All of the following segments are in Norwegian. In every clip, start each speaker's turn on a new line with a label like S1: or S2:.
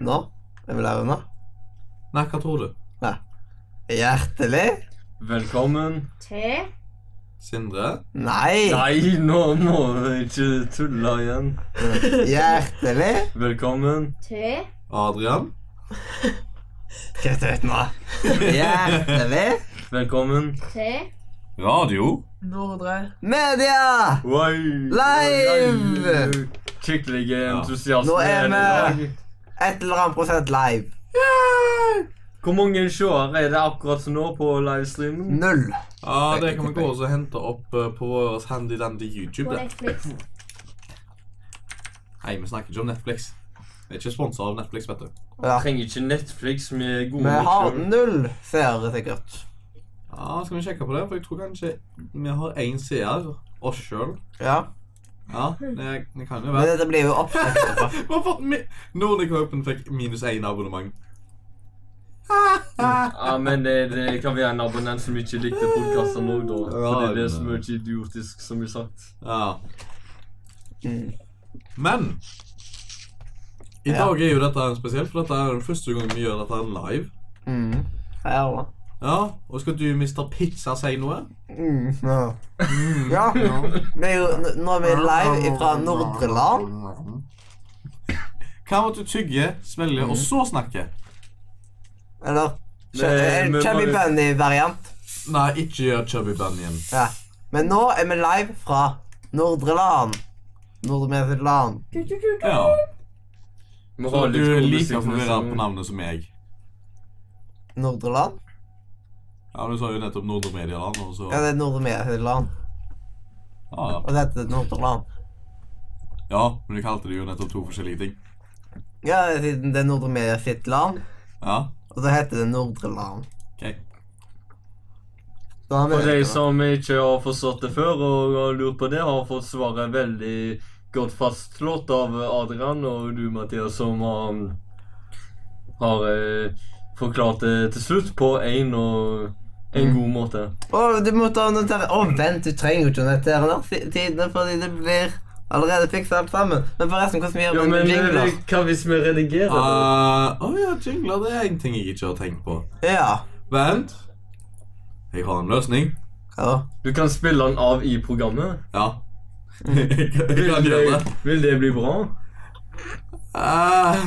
S1: Nå er vi der unna.
S2: Nei, hva tror du?
S1: Hjertelig?
S3: Velkommen.
S4: Til
S2: Sindre?
S1: Nei.
S3: Nei, nå må vi ikke tulle igjen.
S1: Hjertelig?
S3: Velkommen.
S4: Til
S2: Adrian?
S1: Kutt ut nå. Hjertelig
S3: Velkommen.
S4: Til
S2: Radio?
S5: Nordre.
S1: media!
S3: Oi.
S1: Live!
S3: Skikkelig
S1: Nå
S3: entusiasme
S1: er
S3: her i
S1: vi-
S3: dag.
S1: Et eller annet prosent live.
S3: Hvor mange seere er det akkurat nå på livestreamen?
S1: Null.
S2: Ja, det kan vi gå og så hente opp eh, på vår handy-dandy YouTube.
S4: på
S2: det.
S4: Netflix.
S2: Nei, vi snakker ikke om Netflix. Vi er ikke sponset av Netflix, vet du.
S1: Ja.
S3: Trenger ikke Netflix med gode
S1: Vi har
S3: show.
S1: null seere, sikkert.
S2: Ja, skal vi sjekke på det? For jeg tror kanskje vi har én seer, oss sjøl.
S1: Ja.
S2: Ja, det, det kan jo
S1: Men
S2: være.
S1: dette blir jo opptatt.
S2: Hvorfor at mi- Nordic Open fikk minus én abonnement?
S3: Ja, men det, det kan være en abonnent som ikke likte podkasten òg, da.
S2: Ja,
S3: Fordi det er så
S2: men-
S3: mye idiotisk, som jeg sagt.
S2: Ja.
S1: Mm.
S2: Men i
S1: Ja.
S2: dag er jo dette spesielt, for dette er den første gang vi gjør dette live.
S1: Mm. Ja, da.
S2: Ja, Og skal du, Mr. Pizza, si noe?
S1: Mm. Ja. ja. Vi er jo, n- nå er vi live fra Nordre Land.
S2: Hva med at du tygger, svelger, og så snakker?
S1: Eller eh,
S3: Nei, men
S1: Chubby
S3: bare-
S1: Bunny-variant.
S2: Nei, ikke gjør Chubby Bunyan.
S1: Ja. Men nå er vi live fra Nordre Land. Nordre Land.
S2: Ja.
S3: Vi
S2: Så
S3: har
S2: du
S3: litt
S2: er
S3: god
S2: like
S3: musikk med
S2: forvirra
S3: sånn-
S2: på navnet som jeg.
S1: Nordre Land?
S2: Ja, Du sa jo nettopp Nordre Medieland, og så
S1: Ja, det er Nordre Land.
S2: ja, ja.
S1: Og dette er Nordre Land.
S2: ja, men du kalte det jo nettopp to forskjellige ting.
S1: Ja, siden det er Nordre Media sitt land,
S2: Ja,
S1: og så heter det Nordre Land.
S2: ok.
S1: Da har vi-
S3: For de som ikke har forstått det før og har lurt på det, har fått svaret veldig godt fastslått av Adrian og du, Mathias, som har, har eh, forklart det til slutt på en og en god måte.
S1: Å, du må ta og notere Å, vent, du trenger jo ikke å notere nå, tidene, fordi det blir allerede fiksa alt sammen. Men forresten, hvordan vi gjør
S3: Ja,
S1: det med
S3: men
S1: jingler?
S3: eh, hva hvis vi redigerer
S2: Eh, Å
S3: det?
S2: ja, jingler det er en ting jeg ikke har tenkt på.
S1: Ja.
S2: Vent. Jeg har en løsning.
S1: Hva da?
S3: Du kan spille den av i programmet.
S2: Ja. jeg kan jeg kan
S3: Vil
S2: gjøre det.
S3: det, vil det bli bra?
S2: Eh,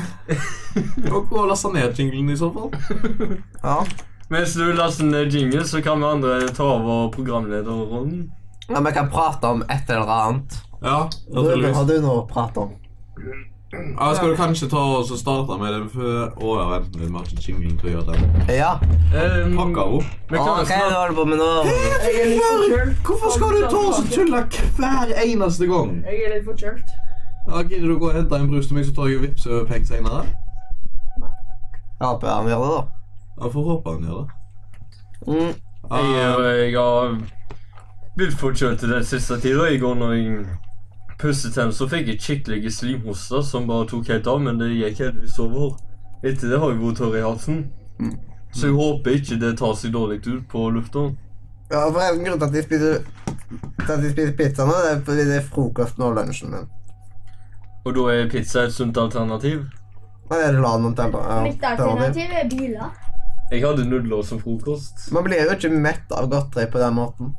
S2: Og hvor laster ned jinglen i så fall?
S1: Ja.
S3: Mens du laster ned jingle, så kan vi andre ta over programlederrollen.
S1: Ja, vi kan prate om et eller annet.
S2: Ja,
S1: Ruben,
S2: naturligvis.
S1: har du noe å prate om?
S2: Ja, skal du kanskje ta og så starte med den før Å ja, vent litt, vi har ikke jinglen til å gjøre den.
S1: Ja.
S3: Eh,
S2: Pakka opp.
S3: Vi kan
S1: Å, Hva er det du
S3: snakke
S1: holder på med nå?
S5: Jeg er litt forkjølt.
S2: Hvorfor skal du ta og så tulle hver eneste gang?
S5: Jeg er litt forkjølt.
S2: Ja, Gidder du å gå og hente en brus til meg, så tar jeg og vippser penger senere?
S1: Jeg håper han gjør det, da.
S2: Ja, får håpe han gjør det.
S1: Mm.
S3: Jeg, eh,
S2: Ah,
S3: jeg har blitt forkjølt i den siste tida. I går når jeg pusset tenner, så fikk jeg skikkelig slimhoste som bare tok helt av, men det gikk heldigvis over. Etter det har jeg vært tørr i halsen. Så jeg håper ikke det tar seg dårlig ut på lufta.
S1: Ja, for en grunn til at de spiser, til at de spiser pizza nå, det er fordi det er frokosten og lunsjen min.
S3: Og da er pizza et sunt alternativ.
S1: Hva er det du la noen temper? ja,
S4: Mitt
S1: temper til?
S4: alternativ er biler.
S3: Jeg hadde nudler som frokost.
S1: Man blir jo ikke mett av godteri på den måten.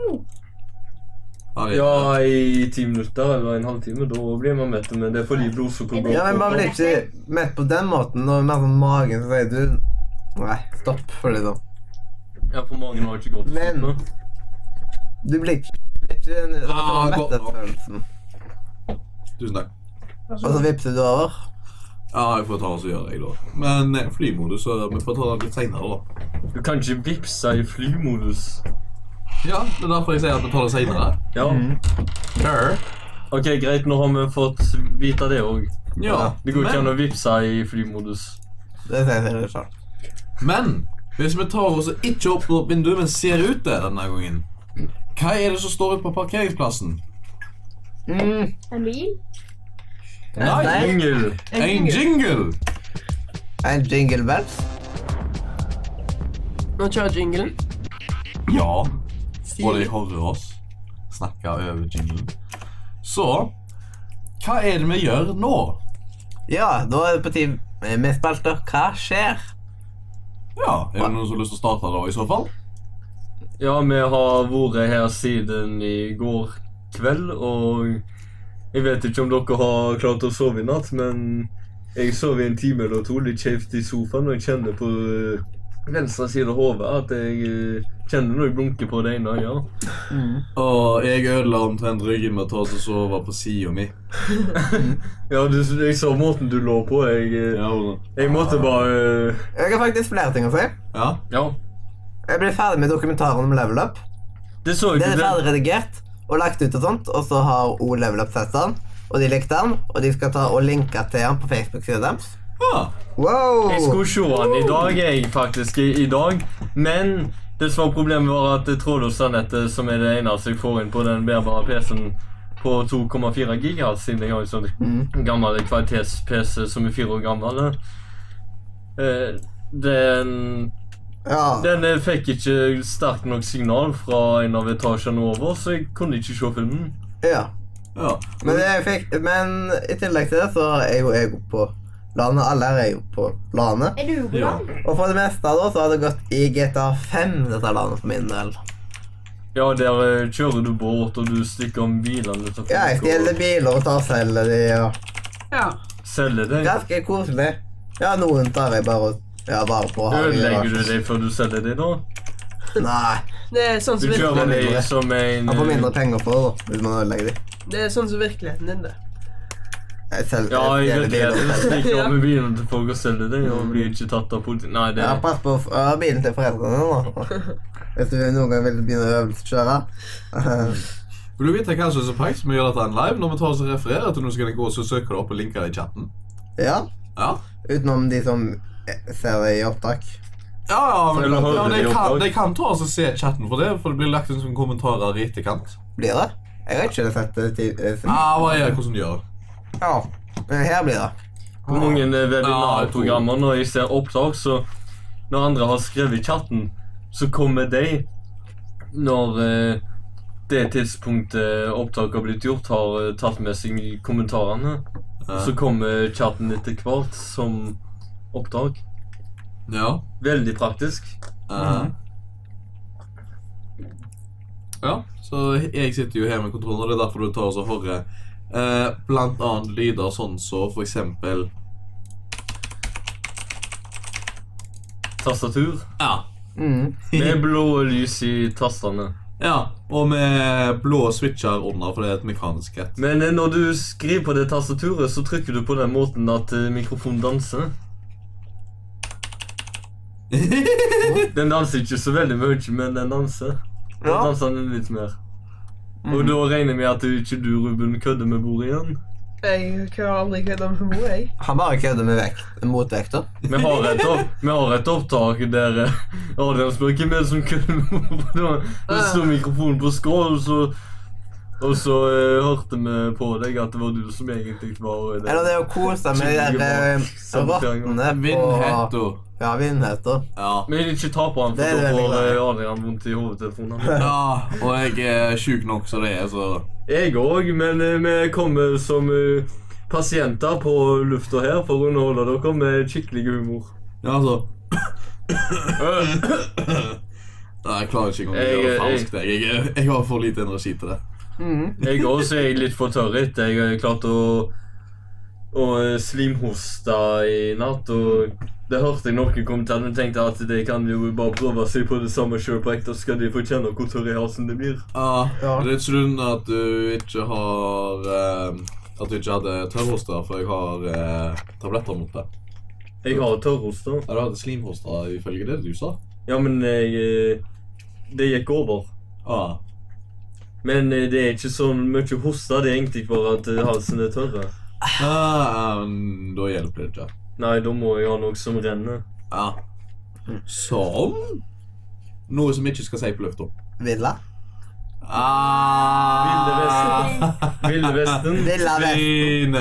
S2: det-
S3: Ja, i ti minutter eller en halvtime. Da blir man mett, men det er fordi blodsukkeret
S1: Ja, men Man blir ikke mett på den måten. Når mer sånn magen så sier du Nei, stopp. For liksom.
S3: Ja, for mange har ikke gått
S1: Men-
S3: uten.
S1: Du blir ikke blir ikke den den
S2: Ah, godt nok.
S1: metthetsfølelsen.
S2: Tusen takk.
S1: Og så vipser du over.
S2: Ja, jeg får ta og så gjøre det, jeg, da. Men eh, flymodus, så vi får ta det litt senere, da.
S3: Du kan ikke vippse i flymodus.
S2: Ja, det er derfor jeg sier at vi tar det senere.
S3: Ja.
S2: Sure.
S3: Ok, greit, nå har vi fått vite det òg.
S2: Ja,
S3: Det går ikke an
S2: men,
S3: å vippse i flymodus.
S1: Det sier seg litt sjøl.
S2: men hvis vi tar oss og ikke åpner opp vinduet, men ser ut det denne gangen Hva er det som står ute på parkeringsplassen?
S1: Mm.
S4: En bil.
S2: Nei,
S1: Nei.
S3: Engel.
S2: En jingle!
S1: En jingle bells.
S5: Nå kjører jinglen.
S2: Ja, og de hører oss snakke over jinglen. Så hva er det vi gjør nå?
S1: Ja, da er det på tide med spalter. Hva skjer?
S2: Ja, Er det noen som har lyst til å starte da, i så fall?
S3: Ja, vi har vært her siden i går kveld, og jeg vet ikke om dere har klart å sove i natt, men jeg sov i en time eller to litt skjevt i sofaen, og jeg kjenner på øh, venstre side av hodet at jeg øh, kjenner når jeg blunker på det ene øyet.
S2: Og jeg ødela omtrent ryggen med å ta oss og sove på sida mi.
S3: Ja, du, jeg så måten du lå på. Jeg, øh,
S2: Ja, hvordan?
S3: jeg måtte bare øh,
S1: Jeg har faktisk flere ting å si.
S2: ja.
S3: Ja.
S1: Jeg ble ferdig med dokumentaren om Level Up.
S3: Det så
S1: Den
S3: ikke
S1: er
S3: det.
S1: ferdig redigert og lagt ut og sånt, og så har O Level Up sett den, og de likte den, og de skal ta og linke til den på Facebook-siden deres.
S2: Ah,
S1: Wow!
S3: Jeg skulle se den i dag, jeg, faktisk, i, i dag, men det som var problemet, var at trådløsnettet, som er det eneste jeg får inn på den bærbare PC-en på 2,4 gigahertz, siden jeg har en
S1: Mm.
S3: sånn gammel kvalitets-PC som er fire år gammel, eh, den
S1: Ja.
S3: den eh, fikk ikke sterkt nok signal fra en av etasjene over, så jeg kunne ikke se filmen.
S1: ja.
S2: ja.
S1: Men, jeg fikk, men i tillegg til det så er jo jeg på landet. Alle her er jo på landet.
S4: Er du god?
S2: Ja.
S4: da?
S1: Og for det meste da, så har det gått i GTA 5, dette landet, for min del.
S3: Ja, der eh, kjører du båt, og du stikker om bilene til folk
S1: Ja, jeg stjeler
S3: og
S1: biler og tar og selger de, og
S5: Ja.
S3: selger dem.
S1: ganske koselig. Ja, noen tar jeg bare og ja, bare på og har i
S3: Ødelegger du
S1: garasjen.
S3: dem før du selger dem, da?
S1: Nei.
S5: Det er sånn
S3: Du
S5: som, virkelig,
S3: kjører
S1: mindre.
S3: deg som en eh,
S1: Man får mindre penger for det, da, hvis man ødelegger de.
S5: det er sånn som virkeligheten din, det.
S1: Jeg selger
S3: Ja, jeg
S1: jeg
S3: vet
S1: stjeler
S3: det.
S1: biler.
S3: Du stikker av med bilen til folk og selger den, og blir ikke tatt av politiet. Nei, det
S1: Ja, pass på ja, bilen til foreldrene, da. Hvis du noen gang vil begynne å øvelseskjøre.
S2: Vil du vite hva som er så pekt med å gjøre dette en live? Når vi tar oss og refererer til noe, så kan jeg gå og så søke det opp og linke det i chatten.
S1: Ja.
S2: Ja,
S1: Utenom de som ser det i opptak.
S2: ja, ja men,
S3: Eller
S2: ja,
S3: hører
S2: men jeg,
S3: de
S2: kan,
S3: opptak?
S2: jeg kan ta oss og se chatten for det, for det blir lagt inn som kommentarer i etterkant.
S1: Blir det? Jeg har ikke sett det til eh, siden.
S3: Ah.
S2: Ja, hva er det, hvordan du gjør det?
S1: Ja. Men her blir det.
S3: Hvor mange eh,
S2: Ja,
S3: webinarprogrammer når jeg ser opptak, så når andre har skrevet i chatten, så kommer de når eh, det tidspunktet opptaket har blitt gjort, har eh, tatt med seg kommentarene. Og så kommer chatten etter hvert som opptak.
S2: Ja.
S3: Veldig praktisk.
S2: eh. Ja, så jeg sitter jo her med kontrollen, og det er derfor du tar oss og hører eh, blant annet lyder sånn så for eksempel
S3: Tastatur.
S2: Ja.
S1: Mm.
S3: Med blå lys i tastene.
S2: ja. Og med blå switcher under, for det er et mekanisk rett.
S3: Men eh, når du skriver på det tastaturet, så trykker du på den måten at eh, mikrofonen danser. Den danser ikke så veldig mye, men den danser. Den
S1: Ja. Mm.
S3: danser den litt mer. Og da regner jeg med at du ikke du, Ruben, kødder med bordet igjen.
S5: Jeg har aldri kødda med henne, jeg.
S1: Han bare kødder med vekt, motvekter.
S3: Vi har et, opp, vi har et opptak der eh, Adrian spør hvem er det som kødder med bordet. Og Da sto mikrofonen på skrå, og så, og så eh, hørte vi på deg at det var du som egentlig var eh,
S1: Eller det å kose med de der eh, rottene på
S2: Vindhetto.
S1: Ja, vindheter.
S2: Ja.
S3: Men ikke ta på han,
S1: Det er
S3: for da
S1: veldig
S3: får
S1: glad i.
S3: eh, Adrian vondt i hodetelefonen.
S2: ja, og jeg er sjuk nok som det er, så
S3: Jeg òg, men eh, vi kommer som eh, pasienter på lufta her for å underholde dere med skikkelig humor.
S2: Ja, altså
S3: Eh,
S2: Nei, jeg klarer ikke engang å
S3: Jeg-
S2: gjøre det
S3: jeg-
S2: falskt. Jeg, jeg, jeg har for lite energi til det.
S5: Mhm.
S1: Mm.
S3: Jeg òg er jeg litt for tørr etter. Jeg har klart å, å eh, slimhoste i natt. og det hørte jeg noen kom til, men tenkte at de kan jo bare prøve seg på det samme sjøl på ekte, så skal de få kjenne hvor tørr i halsen det blir.
S2: Ja,
S1: Ja.
S2: Det er ikke synd at du ikke har eh, At du ikke hadde tørrhoster, for jeg har eh, tabletter mot det.
S3: Jeg har tørrhoster.
S2: Ja, du hadde slimhoster ifølge det du sa?
S3: Ja, men jeg eh, Det gikk over.
S2: Ja.
S3: Men eh, det er ikke sånn mye hoste. Det er egentlig bare at eh, halsen er tørr.
S2: Ah, men da hjelper det ikke.
S3: Nei, da må jeg ha noe som renner.
S2: Ja. Som Noe som jeg ikke skal si på lufta.
S1: Villa.
S2: Ah.
S3: Ville Vesten.
S1: Villa Vesten.
S2: Svin.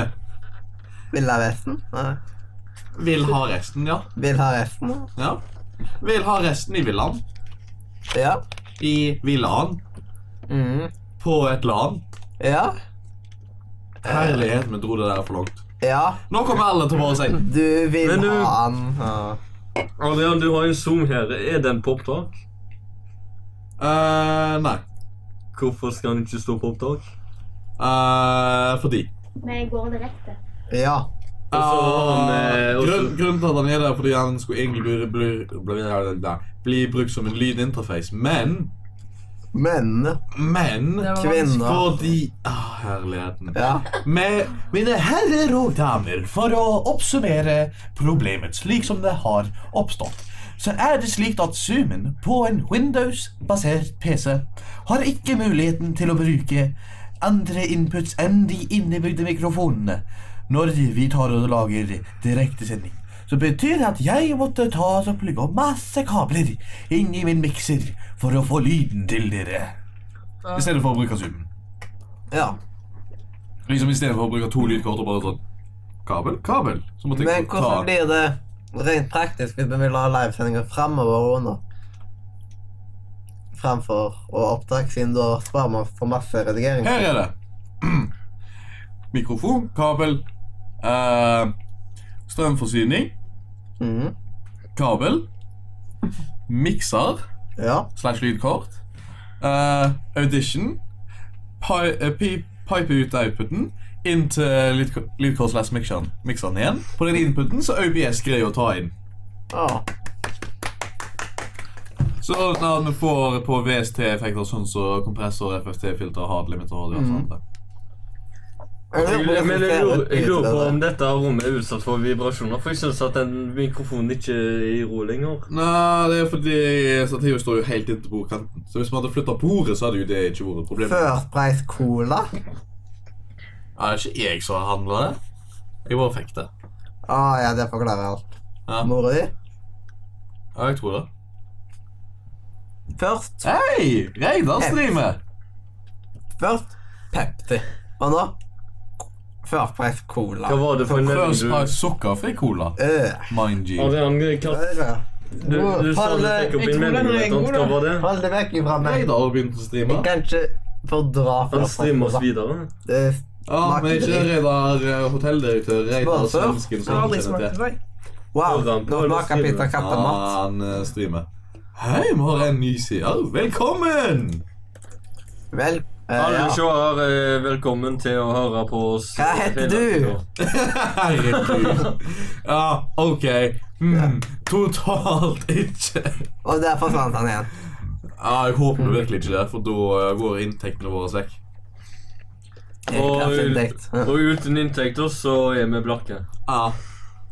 S1: Villa Vesten. Nei.
S2: Vil ha resten, ja.
S1: Vil ha resten.
S2: ja. Vil ha resten i villaen.
S1: Ja.
S2: I villaen.
S1: Mm.
S2: På et land.
S1: Ja.
S2: Herlighet, vi dro det der for langt.
S1: Ja,
S2: Nå kommer alle til å bare si
S1: du vil
S3: Men du-
S1: ha han. Ja.
S3: Adrian, du har en Zoom her. Er den på opptak?
S2: eh, Nei.
S3: Hvorfor skal den ikke stå på opptak?
S2: Eh, fordi
S4: Men jeg går direkte.
S1: ja.
S3: Og så har han, eh, også-
S2: Grunn, Grunnen til at han er der, fordi han skulle egentlig bli, bli, bli, bli, bli brukt som en lydinterface, men
S1: Men
S2: Men
S5: Det var
S1: kvinner
S2: Fordi ah, Herligheten.
S1: Ja.
S2: Med mine herrer og damer, for å oppsummere problemet slik som det har oppstått, så er det slik at zoomen på en Windows-basert PC har ikke muligheten til å bruke andre inputs enn de innebygde mikrofonene når vi tar og lager direktesending. Så betyr det at jeg måtte ta og plugge opp masse kabler inn i min mikser for å få lyden til dere. I stedet for å bruke zoomen.
S1: ja.
S2: Liksom I stedet for å bruke to lydkort og bare sånn Kabel, kabel. Så måtte jeg
S1: Men hvordan
S2: ta
S1: blir det rent praktisk hvis vi vil ha livesendinger fremover og under? Fremfor å opptak, siden da sparer man for masse redigering.
S2: Her er det. Mikrofon, kabel, eh, strømforsyning,
S1: Mhm.
S2: kabel, mikser
S1: Ja.
S2: slash lydkort, eh, audition, pi, eh, pi, pipe ut outputen, inn til lydko- lydkort slash mikseren mikseren igjen. På den inputen så OBS greier å ta inn.
S1: Ja.
S2: Så når vi får på VST-effekter sånn som kompressor, FFT-filter, hard limiter og sånt.
S5: Mm.
S1: Jeg
S3: Jeg,
S1: lurer på
S3: men jeg
S1: hvordan
S3: lurer, jeg
S1: det ser ut
S3: lurer på
S1: utover
S3: om
S1: det.
S3: dette rommet er utsatt for vibrasjoner, for jeg syns at den mikrofonen ikke er i ro lenger.
S2: Nei, det er fordi stativet står jo helt inntil bordkanten. Så hvis vi hadde flytta bordet, så hadde jo det ikke vært et problem.
S1: First Price Cola?
S2: Ja, det er ikke jeg som har handla det. Jeg bare fikk det.
S1: Å Ah, ja, det forklarer alt.
S2: Ja.
S1: Mora di?
S2: Ja, jeg tror det.
S1: Først
S2: Hei! Reidar streamer!
S1: Først Pepsi. Og nå First Price Cola.
S3: Hva var det for en melding
S2: First
S3: du
S2: Price sukkerfri cola.
S1: Øh.
S2: Mind you.
S3: Adrian, hva- du, du sa
S1: Hold
S3: du
S1: det-
S3: fikk opp
S5: jeg
S3: en
S5: tror den
S3: melding.
S5: er
S3: vet du,
S5: god,
S3: Hva
S5: da.
S3: var det?
S1: Hold det vekk fra meg.
S2: Reidar har begynt å streame.
S1: Jeg kan ikke fordra
S3: Han
S1: First Price
S3: streamer oss
S1: Cola.
S3: videre.
S1: Det Eh,
S2: Ja, men ikke
S1: smaker dritt.
S2: Reidar eh, hotelldirektør. Reidar
S1: Sponsor?
S2: svensken.
S5: Jeg har aldri
S2: som
S5: smakt
S2: heter.
S5: det før.
S1: Wow,
S3: Hold den på,
S1: nå
S3: eller
S1: smaker
S3: skriver
S1: pizza
S3: den?
S1: kattemat.
S2: Ja, han eh, streamer. Hei, vi har en ny seer. Velkommen! Ah.
S1: Vel eh,
S3: Alle
S1: ja.
S3: seere, eh, velkommen til å høre på oss. eh,
S1: Hva heter du?
S2: Herregud. Ja, OK. Mm, totalt ikke.
S1: Og der forsvant han igjen.
S2: Ja, jeg håper virkelig ikke det, for da eh, går inntektene våre vekk.
S1: Klassinntekt.
S3: Og, og uten inntekter så er vi blakke.
S2: Ja.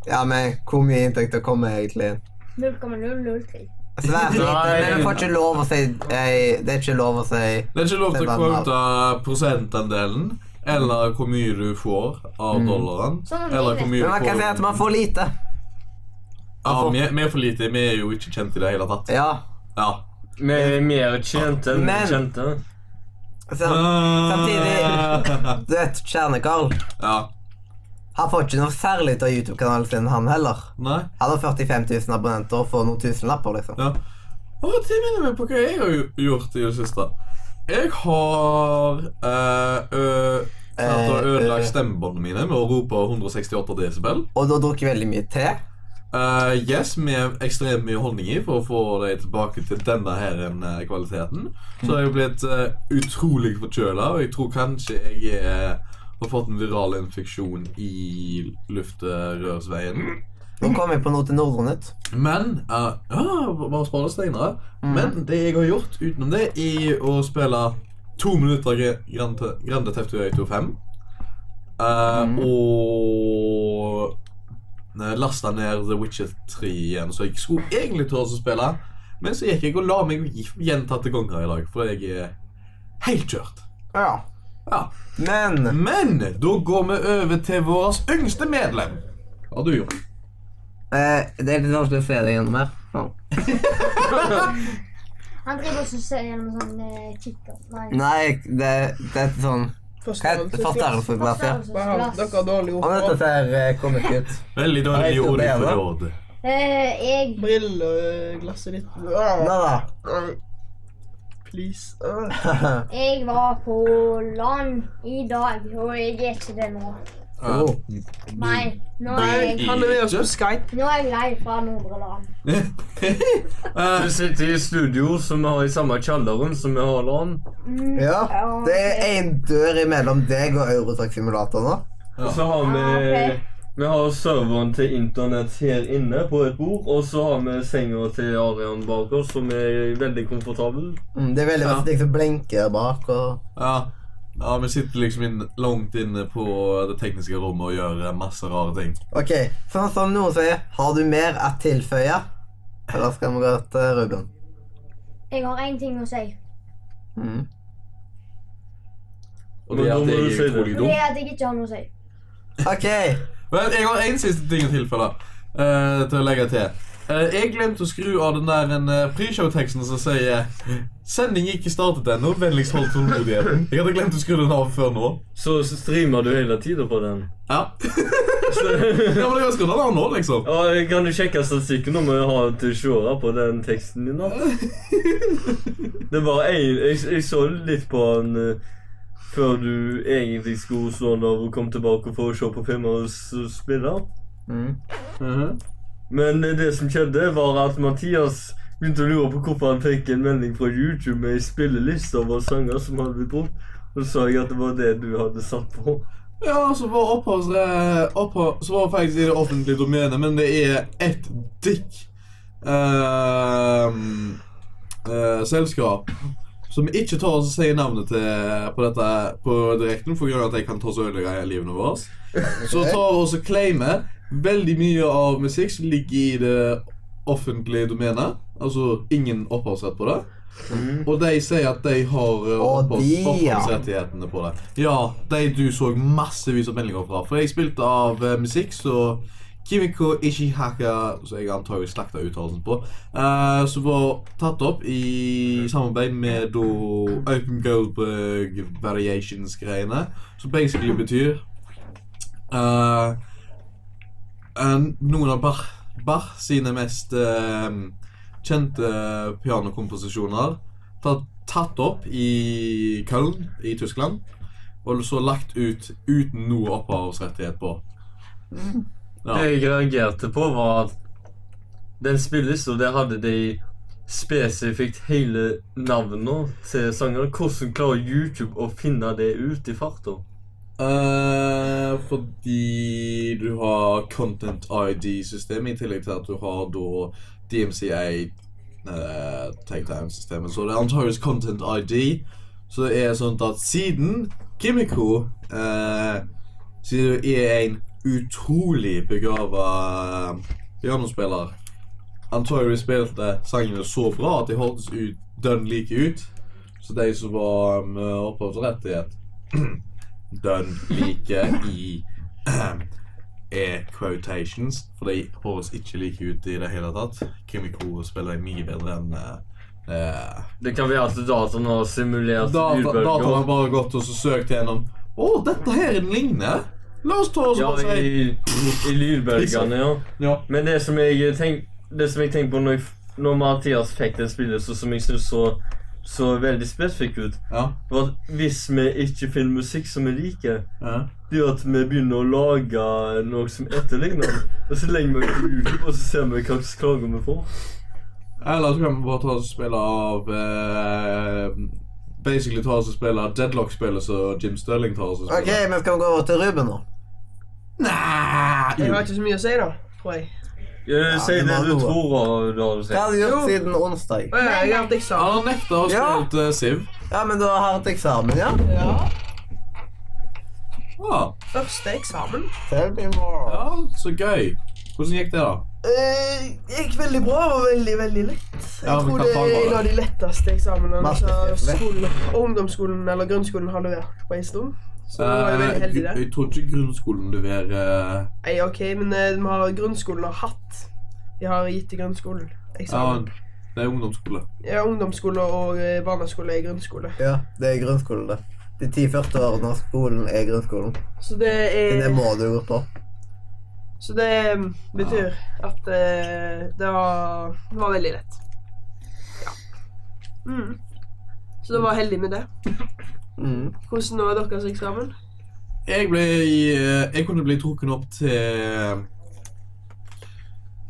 S1: Ja, men hvor mye inntekter kommer egentlig Altså, inn?
S4: 0,003.
S1: Svært lite.
S3: Nei.
S1: Men vi får ikke lov å si eh, Det er ikke lov å si
S2: Det er ikke lov til å
S1: Det var
S2: kvote prosentandelen, eller hvor mye du får av dollaren.
S4: Sånn er det.
S2: Eller hvor mye
S1: Men
S2: du
S1: man kan si at man
S2: får
S1: får lite.
S2: Ja, vi er- vi er for lite. Vi er jo ikke kjent i det hele tatt.
S1: Ja.
S2: Ja.
S3: Vi er mer tjente enn
S1: Eh, Men-
S3: kjente.
S1: Så,
S2: Ah.
S1: Samtidig- Altså, du vet, Kjerne-Karl
S2: Ja.
S1: Han får ikke noe særlig ut av YouTube-kanalen sin, han heller.
S2: Nei.
S1: Han har 45 000 abonnenter og får noen tusenlapper, liksom.
S2: Ja. Og det minner meg på hva jeg har gjo- gjort i det siste. Jeg har eh, ø- klart å
S1: Eh,
S2: ødelegge
S1: eh.
S2: stemmebåndene mine med å rope 168 desibel.
S1: Og du har drukket veldig mye te.
S2: Eh, yes, med ekstremt mye holdning i for å få dem tilbake til denne her eh, kvaliteten. Så har jeg blitt eh, utrolig forkjøla, og jeg tror kanskje jeg eh, har fått en viral infeksjon i luftrørsveien.
S1: Nå kom jeg på noe til Nordrønnytt.
S2: Men eh, Ja, bare spar det senere. Men det jeg har gjort utenom det, er å spille to minutter Gre- Grande, Grande Theft Auto 5. eh, Og ne, lasta ned The Witcher 3 igjen, så jeg skulle egentlig tørre å spille. Men så gikk jeg og la meg gi- gjentatte ganger i dag, for jeg er helt kjørt.
S1: Ja.
S2: Ja.
S1: Men eh,
S2: Men da går vi over til vårt yngste medlem. Hva har du gjort?
S1: eh, det er litt vanskelig å se det gjennom her. Sånn.
S4: Han driver også og ser gjennom sånn eh, kikker. Nei.
S1: Nei, det, det er sånn Hva heter det?
S5: Forstørrelsesglass.
S1: Forstørrelsesglass, ja.
S5: Bare han- Dere har dårlig ord
S1: Og dette
S5: for
S1: ser eh, kommet ut.
S2: Veldig
S1: Hei,
S2: dårlig
S1: til
S2: ord
S1: deg,
S2: for
S1: da.
S2: råd.
S4: Eh, jeg
S5: Brilleglasset ditt.
S1: Nå
S5: Ah,
S1: da.
S5: ah, Please. Ah.
S4: Jeg var på LAN i dag, og jeg er ikke det nå.
S1: Åh.
S4: Nei, nå er jeg,
S5: Han er med oss på Skype.
S4: nå er jeg lei fra nordre land.
S2: Eh,
S3: Vi sitter i studio som vi har i samme kjelleren som vi har LAN.
S4: Mm,
S1: Ja,
S4: ja,
S1: det er
S4: ok.
S1: én dør imellom deg og Eurotrack-simulator nå.
S3: Og så har vi
S4: Ah, ok.
S3: Vi har serveren til internett her inne på et bord, og så har vi senga til Arian bak oss, som er veldig komfortabel.
S1: Mm, det er veldig
S2: Ja.
S1: masse ting som blinker bak og
S2: ja. ja, vi sitter liksom inn, langt inne på det tekniske rommet og gjør eh, masse rare ting.
S1: Ok, sånn som noen sier, har du mer å tilføye? Eller skal vi gå til Ruben?
S4: Jeg har én ting å si.
S1: Mm.
S2: Og
S3: Men
S2: det er
S3: da
S2: at
S3: må
S2: jeg
S3: du si
S2: er
S3: det.
S2: utrolig
S4: Og det
S2: dum.
S4: er at jeg ikke har noe å si.
S1: Ok,
S2: Men jeg har en siste ting å tilfelle. eh, til å legge til. Eh, jeg glemte å skru av den der en, eh, pre-show-teksten som sier 'Sending ikke startet ennå. Vennligst hold tålmodigheten'. Jeg hadde glemt å skru den av før nå.
S3: Så streamer du hele tida på den.
S2: Ja, ja men jeg har skrudd den av nå, liksom.
S3: Ja, Kan du sjekke statistikken om jeg har til seere på den teksten din? da? Det var en, jeg, jeg så litt på den eh, før du egentlig skulle slå den av og kom tilbake for å se på filmer og s- spille.
S1: mm.
S3: Mhm. Men det som skjedde, var at Mathias begynte å lure på hvorfor han fikk en melding fra YouTube med ei spilleliste over sanger som hadde blitt brukt. Så sa jeg at det var det du hadde satt på.
S2: Ja, så var opphavs... eh, opphav- Så var faktisk i det offentlige domenet, men det er ett dick ehm, eh, selskap som ikke tør å si navnet til på dette på direkten for grunn av at de kan ta så ødelegge livene våre. Så tar vi også claimer veldig mye av musikk som ligger i det offentlige domenet. Altså ingen opphavsrett på det. Og de sier at de har eh,
S1: Mm. Å,
S2: opphavs-
S1: de, ja.
S2: opphavsrettighetene på det. Ja, de du så massevis av meldinger fra. For jeg spilte av eh, musikk, så Kimiko Ishihaka, som jeg antar jeg slakta uttalelsen på, eh, som var tatt opp i samarbeid med da Open Goldberg Variations-greiene, som basically betyr eh, en- noen av Bach, Bach sine mest eh, kjente pianokomposisjoner tatt, tatt opp i Köln i Tyskland. Og så lagt ut uten noe opphavsrettighet på. Ja.
S3: Det jeg reagerte på, var at den spillelista, der hadde de spesifikt hele navnene til sangerne. Hvordan klarer YouTube å finne det ut i farta?
S2: Eh, fordi du har Content ID-systemet, i tillegg til at du har da DMCA uh, takedown-systemet. Så det er antakeligvis Content ID. Så det er sånn at siden Kimiko eh, siden du er en utrolig begava pianospiller Antakeligvis spilte sangene så bra at de hørtes ut dønn like ut. Så de som var eh, med opphavsrettighet dønn like i er quotations, for de høres ikke like ut i det hele tatt. Kimiko spiller mye bedre enn eh, eh,
S3: Det kan være at dataen har simulert
S2: Data, dataen har
S3: lydbølger.
S2: bare gått og så søkt gjennom. Å, dette her ligner! La oss ta oss
S3: Ja,
S2: og bare si
S3: i, i lydbølgene, ja.
S2: ja.
S3: Men det som jeg tenk, det som jeg tenkte på når, jeg, f- når Mathias fikk den spillelista som jeg syns så, så veldig spesifikk ut,
S2: Ja.
S3: var at hvis vi ikke finner musikk som vi liker
S2: Ja.
S3: Det er jo at vi begynner å lage noe som etterligner det. Og så legger vi det på YouTube, og så ser vi hva slags klager vi får. Eh,
S2: Eller så kan vi bare ta oss og spille av eh, Basically ta oss og spille av Deadlock-spillet som Jim Stirling tar oss og
S1: ok,
S2: spiller.
S1: men skal vi gå over til Ruben nå?
S2: Nei! Ah,
S5: Jeg
S2: Jo.
S5: har ikke så mye å si, da. Tror jeg.
S3: Eh, Si
S1: det
S3: det
S1: var
S3: du
S1: noe.
S3: tror, da, da du
S1: Hva har
S3: sier.
S1: du gjort
S5: Jo.
S1: siden onsdag?
S5: Å, ja, Jeg har hatt eksamen.
S2: Han har nekta å
S1: Ja.
S2: spille eh, Siv.
S1: Ja, men du har hatt eksamen, ja?
S5: Ja.
S2: Ja.
S5: Første eksamen.
S1: Tell me more.
S2: ja, så gøy. Hvordan gikk det, da?
S5: Eh, Det gikk veldig bra. Det var veldig, veldig lett. Jeg
S2: Ja, men
S5: tror
S2: hva
S5: det
S2: faen var
S5: er
S2: det?
S5: en av de letteste eksamenene
S1: Matte,
S5: som
S1: vet.
S5: skolen, ungdomsskolen eller grunnskolen har levert på en stund. Så jeg var jo
S2: Eh,
S5: veldig heldig i det.
S2: jeg tror ikke grunnskolen leverer eh,
S5: Nei, ok, men eh, de har, grunnskolen har hatt. De har gitt i grunnskolen
S2: ja,
S5: eksamen.
S2: Det er ungdomsskole.
S5: Ja, ungdomsskole og eh, barneskole er grunnskole.
S1: Ja, det er grunnskolen, det. De ti første årene av skolen er grunnskolen.
S5: Så det
S1: Men det
S5: er
S1: må du gå på.
S5: Så det eh, betyr at eh, det var Det var veldig lett. Ja. Mm. Så da var jeg heldig med det.
S1: Mm.
S5: Hvordan var deres eksamen?
S2: jeg ble eh, Jeg kunne bli trukket opp til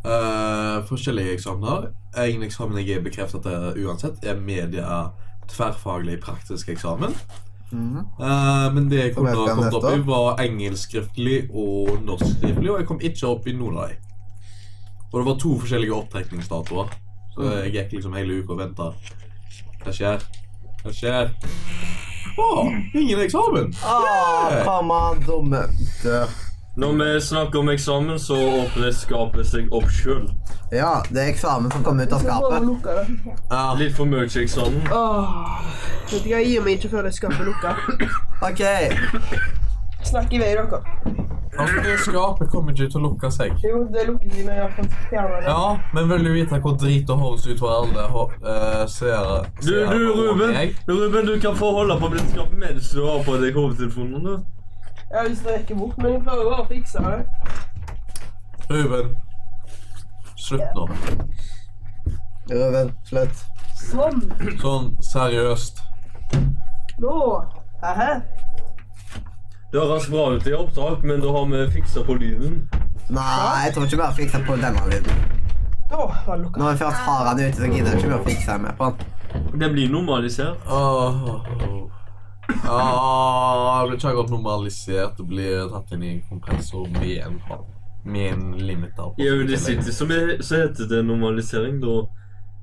S2: eh, forskjellige eksamener. En eksamen jeg er bekreftet til uansett, er media tverrfaglig praktisk eksamen.
S1: Mm.
S2: Eh, men det jeg kom,
S6: Hvor er
S2: da,
S6: den
S2: kom opp i,
S6: neste?
S2: var engelsk skriftlig og norsk skriftlig, og jeg kom ikke opp i noen av dem. Og det var to forskjellige opptrekningsdatoer, så jeg gikk liksom hele uka og venta. Hva skjer? Hva skjer? Å, ingen eksamen!
S1: Åh, kom an, dumme.
S6: Dør.
S3: Når vi snakker om eksamen, så åpner skapet seg opp sjøl.
S1: Ja, det er eksamen som kommer ut av
S5: Jeg skal bare
S1: skapet.
S5: lukke det.
S2: Ja.
S3: Litt for mye eksamen.
S5: Åh, vet du hva, jeg gir meg ikke før det skapet lukker.
S1: Ok,
S5: Snakk i vei, dere.
S2: Altså, skapet kommer ikke til å lukke seg.
S5: Jo, det lukker de når jeg får fjernet det.
S2: Ja, men vil du vite hvor drit og høres ut for alle ho- eh, seere?
S3: Du,
S2: seere
S3: du,
S2: og
S3: Ruben,
S2: jeg?
S3: Ruben, du kan få holde på blindskapet mens du har på deg hovedtelefonen. du.
S5: Jeg har lyst til å rekke bort, men jeg prøver bare å fikse det.
S2: Ruben. Slutt nå.
S1: Ruben, slutt.
S5: Sånn.
S2: Sånn seriøst.
S5: Nå. Hæ?
S3: Det høres bra ut i opptak, men da har vi fiksa på lyden.
S1: Nei, jeg tror ikke vi har fiksa på denne lyden.
S5: Nå var det lukket.
S1: Når vi først har den ute, så gidder jeg ikke mer å fikse mer på den.
S3: Det blir normalisert.
S2: Åh. Ah, det blir ikke akkurat normalisert å bli tatt inn i en kompressor med en, med en limiter. på.
S3: I Audacity så, vi- så heter det normalisering. Da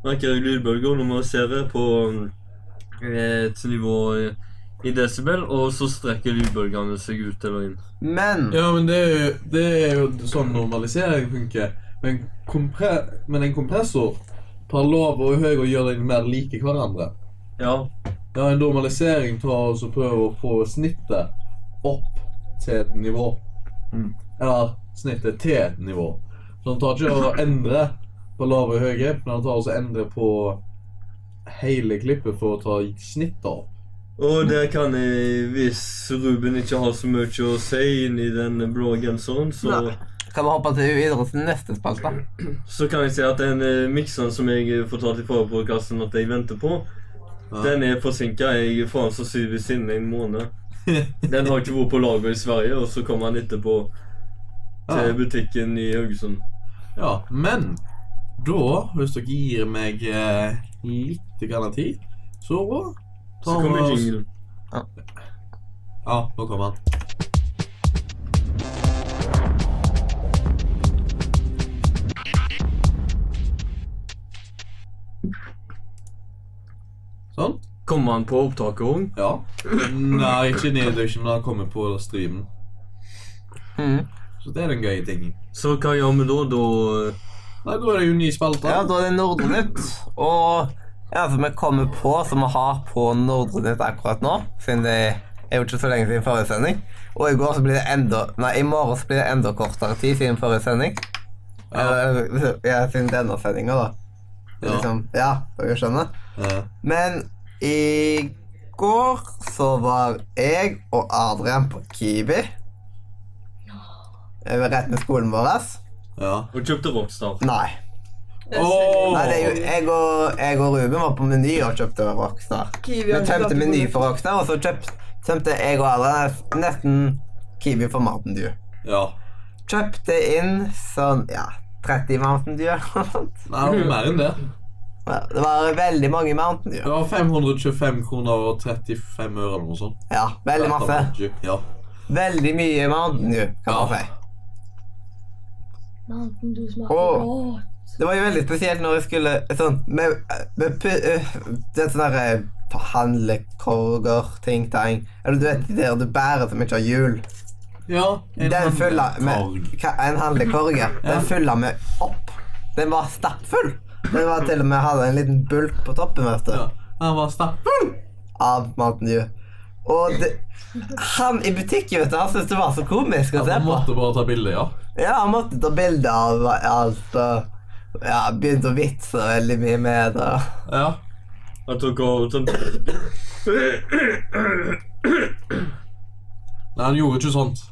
S3: merker jeg lydbølger når man ser det på eh, et nivå i- i desibel, og så strekker lydbølgene seg ut eller inn.
S1: Men
S2: Ja, men det er, jo, det er jo sånn normalisering funker. Men, kompre men en kompressor tar lov og høy og gjør dem mer like hverandre.
S3: Ja.
S2: Ja, en normalisering tar og så prøver å få snittet opp til et nivå.
S3: Mm.
S2: Eller snittet til et nivå. Så den tar ikke og endrer på lave og høye, men den tar også endrer på hele klippet for å ta snittet opp.
S3: Og der kan jeg, hvis Ruben ikke har så mye å si inni den blå genseren, så,
S1: kan vi hoppe til idrettens neste spalte?
S3: så kan jeg si at den eh, mikseren som jeg fortalte i forrige podkast at jeg venter på,
S2: Ja.
S3: den er forsinka. Jeg er faen sannsynligvis innen en måned. Den har ikke vært på lager i Sverige, og så kommer han etterpå til
S2: Ja.
S3: butikken i Haugesund.
S2: Ja, men da, hvis dere gir meg eh, litt grann tid, så
S3: Så
S2: tar vi
S3: kommer
S2: oss-
S3: jinglen.
S2: Ja, nå kommer han. Sånn.
S3: Kommer han på opptaket òg?
S2: Ja. Nei, ikke i nedauction, men han kommer på streamen.
S1: Mhm.
S2: Så det er den gøye tingen.
S3: Så hva gjør vi da? Da eh?
S2: Nei, da er det jo ny spalte.
S1: Ja, da er det Nordre Nytt. Og ja, som vi kommer på, som vi har på Nordre Nytt akkurat nå, siden det er jo ikke så lenge siden forrige sending. Og i går så blir det enda Nei, i morgen så blir det enda kortere tid siden forrige sending.
S2: Ja.
S1: Eller, ja, siden denne sendinga, da.
S2: Ja.
S1: Liksom, ja, dere skjønner.
S2: Eh,
S1: Men i går så var jeg og Adrian på Kiwi. Jeg var rett med skolen vår.
S2: ja.
S3: Og kjøpte Rockstar.
S1: Nei.
S2: Åh!
S1: Nei, det er jo, jeg, og, jeg og Ruben var på Meny og kjøpte Rockstar.
S5: Kiwi
S1: Vi
S5: har ikke vært
S1: tømte
S5: på
S1: Meny
S5: Meny.
S1: for Rockstar, og så kjøpt, tømte jeg og Adrian nesten Kiwi for Mountain Dew.
S2: Ja.
S1: Kjøpte inn sånn ja, 30 Mountain Dew eller noe sånt.
S2: Nei, det var mer enn det.
S1: Ja, Det var veldig mange Mountain Dew.
S2: Det var 525 kroner og 35 øre eller noe sånt.
S1: Ja, veldig masse.
S2: Ja.
S1: Veldig mye Mountain Dew, kan man
S2: Ja.
S1: si.
S4: Mountain Dew smaker
S1: Åh.
S4: godt.
S1: Det var jo veldig spesielt når jeg skulle sånn med, med, pu- øh, Det er sånne der, eh, handlekorger, ting, tang Eller du vet de der du bærer som ikke har hjul.
S2: ja en sånn
S1: Den fylla med
S2: handlekorg.
S1: ka- En handlekorg, ja.
S2: Ja.
S1: Den fylla med opp. Den var stappfull. Den var til og med hadde en liten bulk på toppen, vet du.
S2: Ja. Han var stappfull.
S1: Av Mountain Dew. Og det, han i butikken, vet du, han syntes det var så komisk å se
S2: Han
S1: på.
S2: måtte bare ta bilde, ja.
S1: Ja, han måtte ta bilde av alt og ja, begynte å vitse veldig mye med det.
S2: ja.
S3: Jeg tok og sånn
S2: Nei, han gjorde ikke sånt.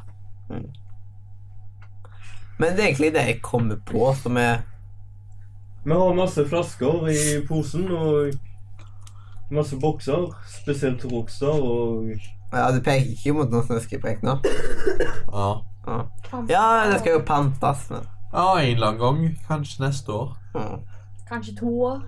S1: Men det er egentlig det jeg kommer på som er
S3: Vi har masse flasker i posen og masse bokser. Spesielt Rockstar og
S1: Ja, du peker ikke mot noen snøskredprek nå?
S2: Ja.
S1: Ja, det skal jo pantes, men
S2: ja, en eller annen gang. Kanskje neste år.
S1: mm.
S4: Kanskje to år.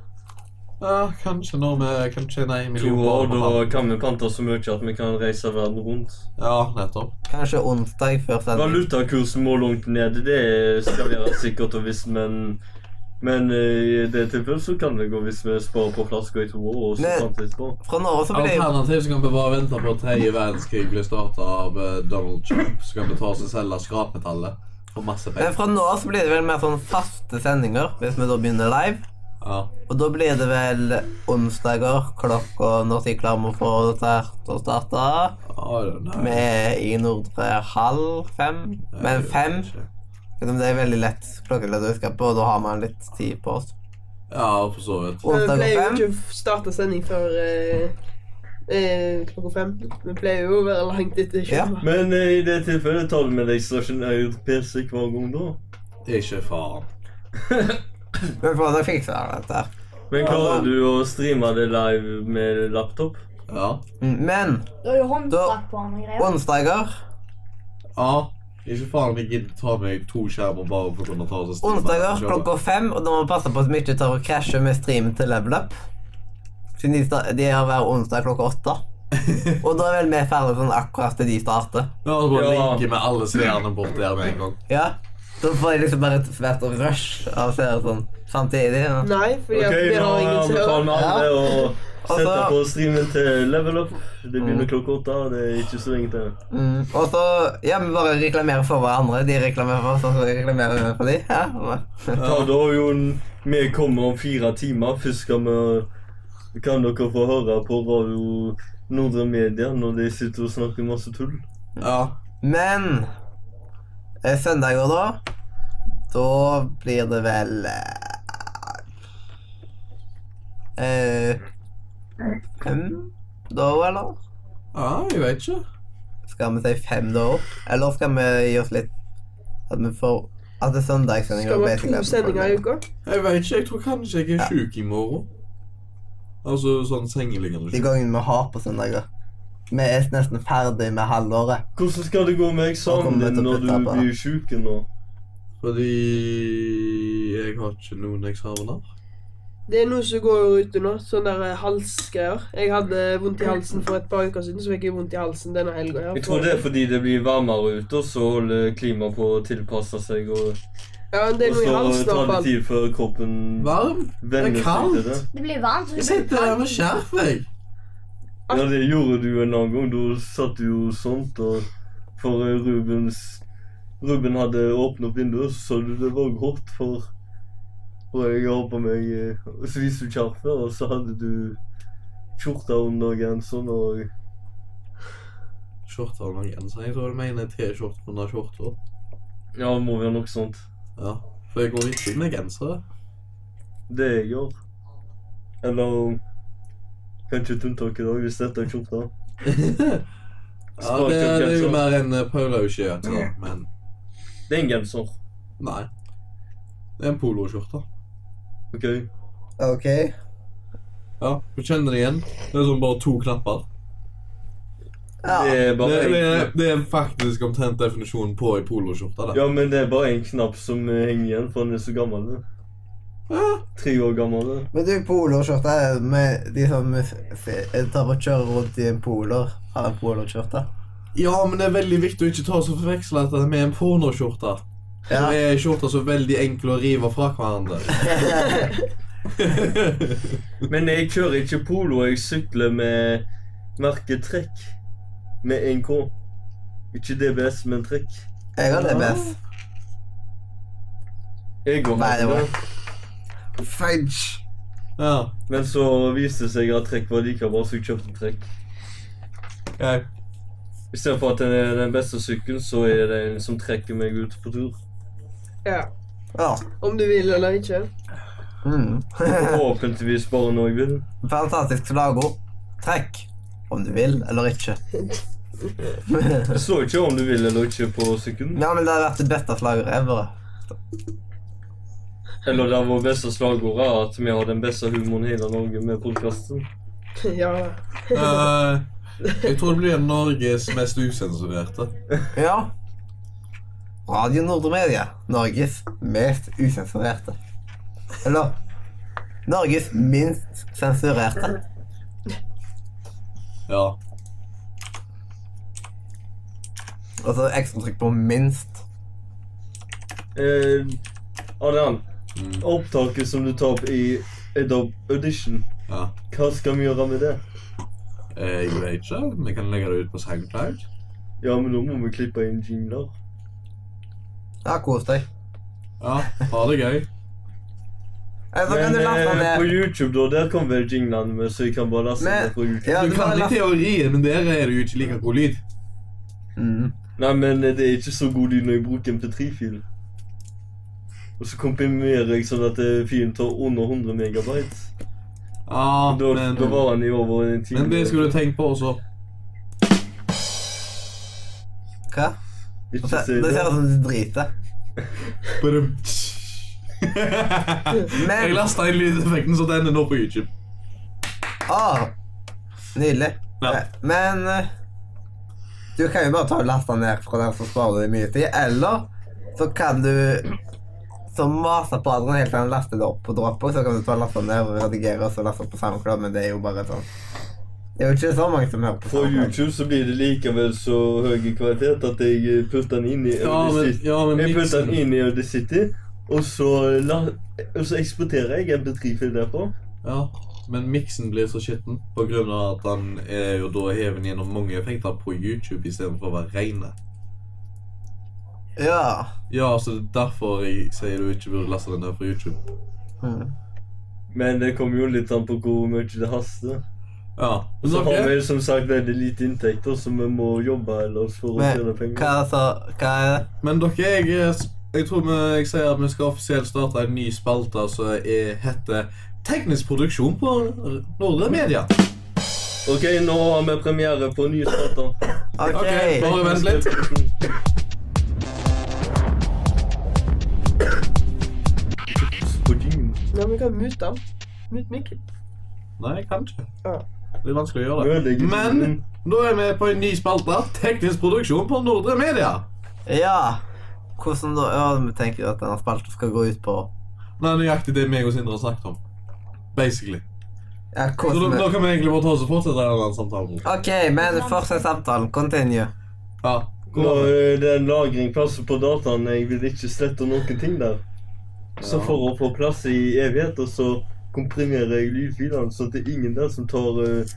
S2: Ja, kanskje når vi Kanskje nei, en
S3: To
S2: million
S3: år,
S2: på
S3: da
S2: fram.
S3: kan vi pante så mye at vi kan reise verden rundt.
S2: Ja, nettopp.
S1: Kanskje onsdag før sending.
S3: Valutakursen må langt ned, det skal være sikkert og visst, men men eh, i det tilfellet så kan det gå hvis vi sparer på flasker i to år. og så
S1: Men-
S3: pante etterpå.
S1: Fra nå av så blir det jo
S2: Alternativt så kan vi bare vente på at tredje verdenskrig blir starta av eh, Donald Trump. Så kan vi ta oss og selge skrapmetallet for masse
S1: Men
S2: penger.
S1: fra nå av så blir det vel mer sånn faste sendinger, hvis vi da begynner live.
S2: Ja.
S1: Og da blir det vel onsdager klokka når de klarer å få dette her til å starte.
S2: Ja, det er nei.
S1: Vi er i Nordre halv fem, men fem liksom, Det er veldig lett klokkeledd å huske på, og da har man litt tid på oss.
S2: Ja, for så vidt.
S5: Vi
S1: Onsdag
S5: pleier jo
S1: fem.
S5: ikke å starte sending før eh, eh, klokka fem. Vi pleier jo å være langt etter
S1: Ja.
S5: sju.
S3: Men eh, i det tilfellet tar du med deg stasjonær PC hver gang da.
S2: Ikke faen.
S1: Men for å fikse dette her.
S3: Men klarer du å streame det live med laptop?
S2: Ja.
S1: Mm, Men
S4: Du har jo håndtak på han og greier.
S1: onsdager
S2: ja. Ikke faen om jeg gidder ta meg to skjermer bare for å kunne ta oss og streame
S1: Onsdager
S2: selv.
S1: klokka fem, og da må vi passe på at vi ikke tar og krasjer med streamen til Level Up. Siden de, sta- de har hver onsdag klokka åtte. Og da er vel vi ferdig sånn akkurat til de starter.
S2: Ja, så bare
S3: Ja.
S2: linke med alle seerne bort der med en gang.
S1: Ja. Da får jeg liksom bare et svært rush av seere sånn samtidig. Ja.
S5: Nei,
S3: Ok,
S5: fordi at vi
S3: nå
S5: har ingen
S3: anbefaler
S5: seere.
S3: vi alle å sette
S1: Altså-
S3: på streamen til level up. Det
S1: Mm.
S3: begynner klokka åtte, det er ikke så lenge til.
S1: Mm. Og så Ja, vi bare reklamerer for hverandre. De reklamerer for oss, og så reklamerer vi for de. Ja. og-
S3: Ta da, Jon. Vi kommer om fire timer. Først skal vi Kan dere få høre på radio Nordre Media når de sitter og snakker masse tull?
S2: Ja.
S1: Men eh, søndager, da Da blir det vel eh, eh, Fem da, eller?
S2: ja, jeg vet ikke.
S1: Skal vi si fem da òg? Eller skal vi gi oss litt At vi får At det er søndagssendinger?
S5: Skal vi ha
S1: basically, at vi
S5: to
S1: får
S5: sendinger i
S1: det.
S5: uka?
S2: Jeg vet ikke, jeg tror kanskje jeg er sjuk i morgen. Altså sånn sengeliggende
S1: De
S2: sjuk.
S1: gangene vi har på søndager. Vi er nesten ferdig med halvåret.
S3: Hvordan skal det gå med eksamen
S1: Da kommer vi til å
S3: din når du
S1: putte på.
S3: blir sjuk nå?
S2: Fordi jeg har ikke noen eksamener.
S5: Det er noe som går ute nå, sånne der eh, halsgreier. Jeg hadde vondt i halsen for et par uker siden, så fikk jeg vondt i halsen denne helga. her.
S3: Jeg tror det er fordi det blir varmere ute, og så holder klimaet på å tilpasse seg. Og,
S5: Ja, det er
S3: og
S5: noe i
S3: så
S5: halsen i
S3: tar
S5: hvert
S3: det
S5: fall.
S3: tid før kroppen
S2: Varm? Det er
S3: venner seg til
S2: kaldt.
S3: det.
S4: Det blir varmt. så
S2: Jeg
S4: det blir
S2: sitter der med
S4: kaldt.
S2: skjerf, jeg.
S3: Ja, det gjorde du en annen gang. Da satt du jo sånt, og for eh, Rubens Ruben hadde åpnet opp vinduet, så sa du det var grått, for for jeg har på meg eh, og Så viste du skjerfet, og så hadde du skjorta under genseren sånn, og
S2: Skjorta og lang genser. Jeg tror du mener T-skjorte under skjorta.
S3: Ja, det må være noe sånt.
S2: Ja. For jeg går ikke med gensere.
S3: Det jeg gjør. Eller Kanskje et unntak i dag, hvis dette er skjorta.
S2: ja, det, det er jo mer en eh, polo-skjorte, men
S3: Det er en genser.
S2: nei. Det er en poloskjorte.
S3: OK?
S1: OK.
S2: Ja, du kjenner det igjen. Det er sånn bare to knapper.
S1: Ja.
S3: Det er
S2: Det,
S3: bare
S2: det,
S3: en
S2: er,
S3: knapp.
S2: det er faktisk omtrent definisjonen på ei poloskjorte. det.
S3: Ja, men det er bare en knapp som eh, henger igjen, for den er så gammel. den. Tre år gammel. den.
S1: Men du, poloskjorte er med de som f- tar og kjører rundt i en poler, har en poloskjorte.
S2: Ja, men det er veldig viktig å ikke ta så forveksle dette med en pornoskjorte.
S1: Ja.
S2: Som er en skjorte som er veldig enkel å rive fra hverandre.
S3: Men jeg kjører ikke polo, jeg sykler med merket trekk. Med NK. Ikke DBS, men trekk.
S1: Jeg har DBS.
S3: Jeg går
S1: Nei, det
S3: med
S1: var-
S3: det.
S1: Fudge.
S2: Ja,
S3: Men så viste det seg at trekk var like bra, så jeg kjøpte trekk.
S2: jeg,
S3: I stedet for at den er den beste sykkelen, så er det en som trekker meg ut på tur.
S5: Ja.
S1: Ja.
S5: Om du vil eller ikke.
S1: Mm.
S3: Forhåpentligvis bare når jeg vil.
S1: Fantastisk slagord. Trekk. Om du vil eller ikke.
S3: Det står ikke om du vil eller ikke på sykkelen.
S1: Ja, men det har vært det beste slagordet ever.
S3: Eller det er vår beste slagord er at vi har den beste humoren i hele Norge med podkasten.
S5: ja.
S2: eh, Jeg tror det blir Norges mest usensurerte.
S1: Ja. Radio Nordre Media. Norges mest usensurerte. Eller Norges minst sensurerte.
S2: Ja.
S1: Og så Altså, ekstra trykk på 'minst'.
S3: Eh, Adrian,
S2: Mm.
S3: opptaket som du tar opp i Adobe Audition,
S2: ja.
S3: hva skal vi gjøre med det?
S2: Eh, Jeg vet ikke. Vi kan legge det ut på SoundCloud.
S3: Ja, men nå må vi klippe inn jingler.
S1: Ja, kos deg.
S2: Ja, ha det gøy.
S1: Eller så kan
S3: Men
S1: du laste
S3: eh, på
S1: ned
S3: YouTube, da, der kommer vel jinglene med, så vi kan bare laste
S1: Men-
S3: det på YouTube.
S1: ja,
S2: Du
S1: bare
S2: kan i
S1: laste-
S2: teorien, men der er det jo ikke like god lyd.
S1: mm.
S3: Nei, men eh, det er ikke så god lyd når jeg bruker MP3-fil. Og så komprimerer jeg sånn at eh, filen tar under 100 megabyte.
S2: Ja,
S3: Da,
S2: men,
S3: da var han i over en time.
S2: men det skal du tenke på også.
S1: Hva?
S3: Ikke
S1: Og så-
S3: si
S1: Det ser
S3: det.
S1: ut som du driter.
S2: Badum. Jeg
S1: Men
S2: lasta inn lydeffekten, så den er nå på YouTube.
S1: ah, Nydelig.
S2: Ja.
S1: Men eh, du kan jo bare ta og laste den ned fra der, så sparer du mye tid. Eller så kan du så mase på Adrian helt til han laster det opp og dropper, så kan du ta og laste den ned og redigere og så laste opp på SoundCloud, men det er jo bare sånn Det er jo ikke så mange som hører på
S3: På
S1: SoundCloud.
S3: YouTube så blir det likevel så høy kvalitet at jeg eh, putter den inn i
S2: Ja, men,
S3: Audacity.
S2: ja, men
S3: Jeg putter
S2: miksen
S3: den inn i Audacity, og så, la, og så eksporterer jeg MP3-fil derpå.
S2: ja, men miksen blir så skitten på grunn av at den er jo da heven gjennom mange effekter på YouTube istedenfor å være reine.
S1: Ja.
S2: Ja, så det er derfor jeg sier du ikke burde laste den ned fra YouTube.
S1: Mm.
S3: Men det kommer jo litt an på hvor mye det haster.
S2: Ja,
S3: Og
S2: men
S3: så har
S2: ok.
S3: vi som sagt veldig lite inntekter, så vi må jobbe ellers for å
S1: Men
S3: tjene penger.
S1: hva så Hva er det?
S2: Men dere, jeg, eh, jeg tror vi, jeg sier at vi skal offisielt starte en ny spalte som er- heter Teknisk produksjon på Nordre Media.
S3: Ok, nå har vi premiere på nye stater.
S1: OK.
S2: Ok, bare vent litt.
S5: Ja, men vi kan mute den. Mute mikken.
S2: Nei, jeg kan ikke.
S5: Ja.
S2: Det er vanskelig å gjøre det. Men
S3: Men
S2: nå er vi på en ny spalte. Teknisk produksjon på Nordre Media.
S1: Ja. Hvordan da? Ja, vi tenker jo at denne spalten skal gå ut på
S2: Nei, nøyaktig det meg og Sindre har snakket om. Basically.
S1: Ja,
S2: Så da,
S1: hvordan
S2: da
S1: vi
S2: kan vi egentlig bare ta oss og fortsette denne samtalen.
S1: OK, men fortsett samtalen. Continue.
S2: Ja.
S3: nå er det en lagring plass på dataen. Jeg vil ikke slette noen ting der. Så for å få plass i evigheter, så komprimerer jeg lydfilene, så det er ingen der som tar eh,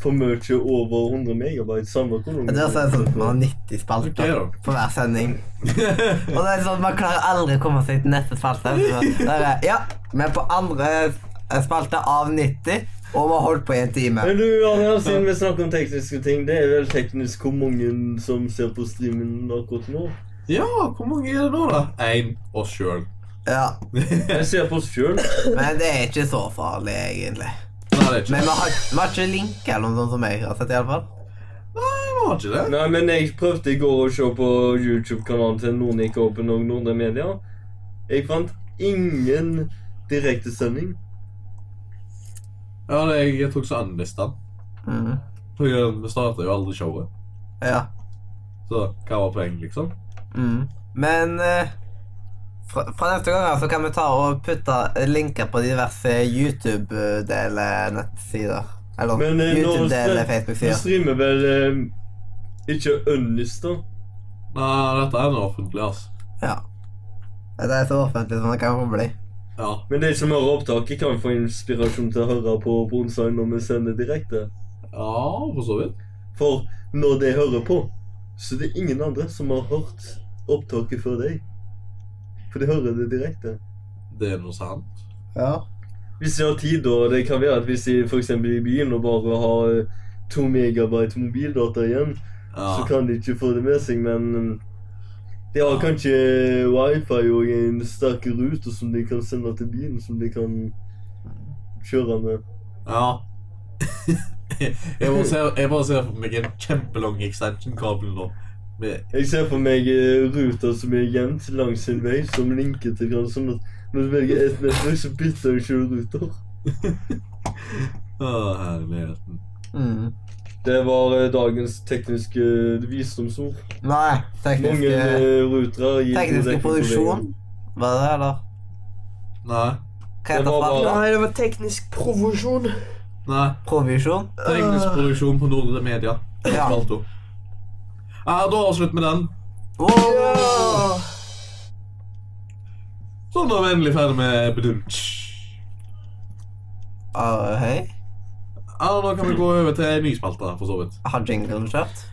S3: for mye over 100 megabyte. Samme hvor
S1: Det er også sånn at man har 90 spalter
S2: Ok, da.
S1: på hver sending. Og det er sånn at Man klarer aldri å komme seg til neste spalte. Så Der er, ja, vi er på andre spalte av 90, og vi har holdt på i en time.
S3: Men du, Adrian, siden vi snakker om tekniske ting, det er vel teknisk hvor mange som ser på streamen akkurat nå?
S2: ja, hvor mange er det nå, da? Én oss sjøl.
S1: Ja,
S3: Jeg ser på oss sjøl.
S1: Men det er ikke så farlig, egentlig.
S2: Nei, det er ikke
S1: Men vi har, vi har ikke link eller noe sånt som jeg har sett, iallfall.
S2: Nei, vi har ikke det.
S3: Nei, men jeg prøvde i går å se på YouTube-kanalen til Nordic Open og Nordre Media. Jeg fant ingen direktesending.
S2: Ja, det, jeg, jeg tok så annerledes
S1: Mm.
S2: For jeg- Vi starta jo aldri showet.
S1: Ja.
S2: Så hva var poenget, liksom?
S1: Mm. Men eh, fra, fra neste gang av så kan vi ta og putte linker på diverse YouTube-dele-nettsider. Eller
S3: Men eh, nå
S1: YouTube-dele
S3: stre- nå
S1: Facebook-sider.
S3: streamer vel eh, ikke Unlist, da.
S2: Nei, dette er noe offentlig, altså.
S1: Ja. Det er så offentlig som det kan få bli.
S2: Ja.
S3: Men de som hører opptaket, kan få inspirasjon til å høre på på onsdag når vi sender direkte.
S2: ja, for så vidt.
S3: For når de hører på, så det er ingen andre som har hørt opptaket før deg. For de hører det direkte.
S2: Det er noe sant.
S1: Ja.
S3: Hvis de har tid, og det kan være at hvis de f.eks. er i byen og bare har eh, to megabyte mobildata igjen, så
S2: Ja.
S3: kan de ikke få det med seg, men mm, de har kanskje wifi og en sterk ruter som de kan sende til byen, som de kan kjøre med.
S2: ja. jeg, bare ser, jeg bare ser for meg en kjempelang extension-kabel nå. Med,
S3: Jeg ser for meg eh, ruter som er gjemt langs en vei, som linker til hverandre. Sånn at når du velger ett nettverk, så bytter du ikke ruter.
S2: å, herligheten.
S1: Mm.
S3: Det var eh, dagens tekniske eh, visdomsord.
S1: Nei,
S3: Mange
S1: tekniske,
S3: eh, rutere gir god
S1: tekniske
S3: dekning på
S1: produksjon.
S3: veien.
S1: Var det det, eller?
S2: Nei.
S1: Hva
S3: Det
S1: heter
S3: var
S1: det?
S3: bare-
S5: Nei, det var teknisk provosjon.
S2: Nei.
S1: Provisjon?
S2: Teknisk produksjon på Nordre Media.
S1: Ja.
S2: Spalt opp. Ja, da avslutter vi den.
S1: Wow!
S2: Sånn, da er vi endelig ferdig med Bedunch.
S1: Ah, Hei.
S2: Ja, nå kan vi gå over til en ny spalte, for så vidt.
S1: Har jinglen kjørt?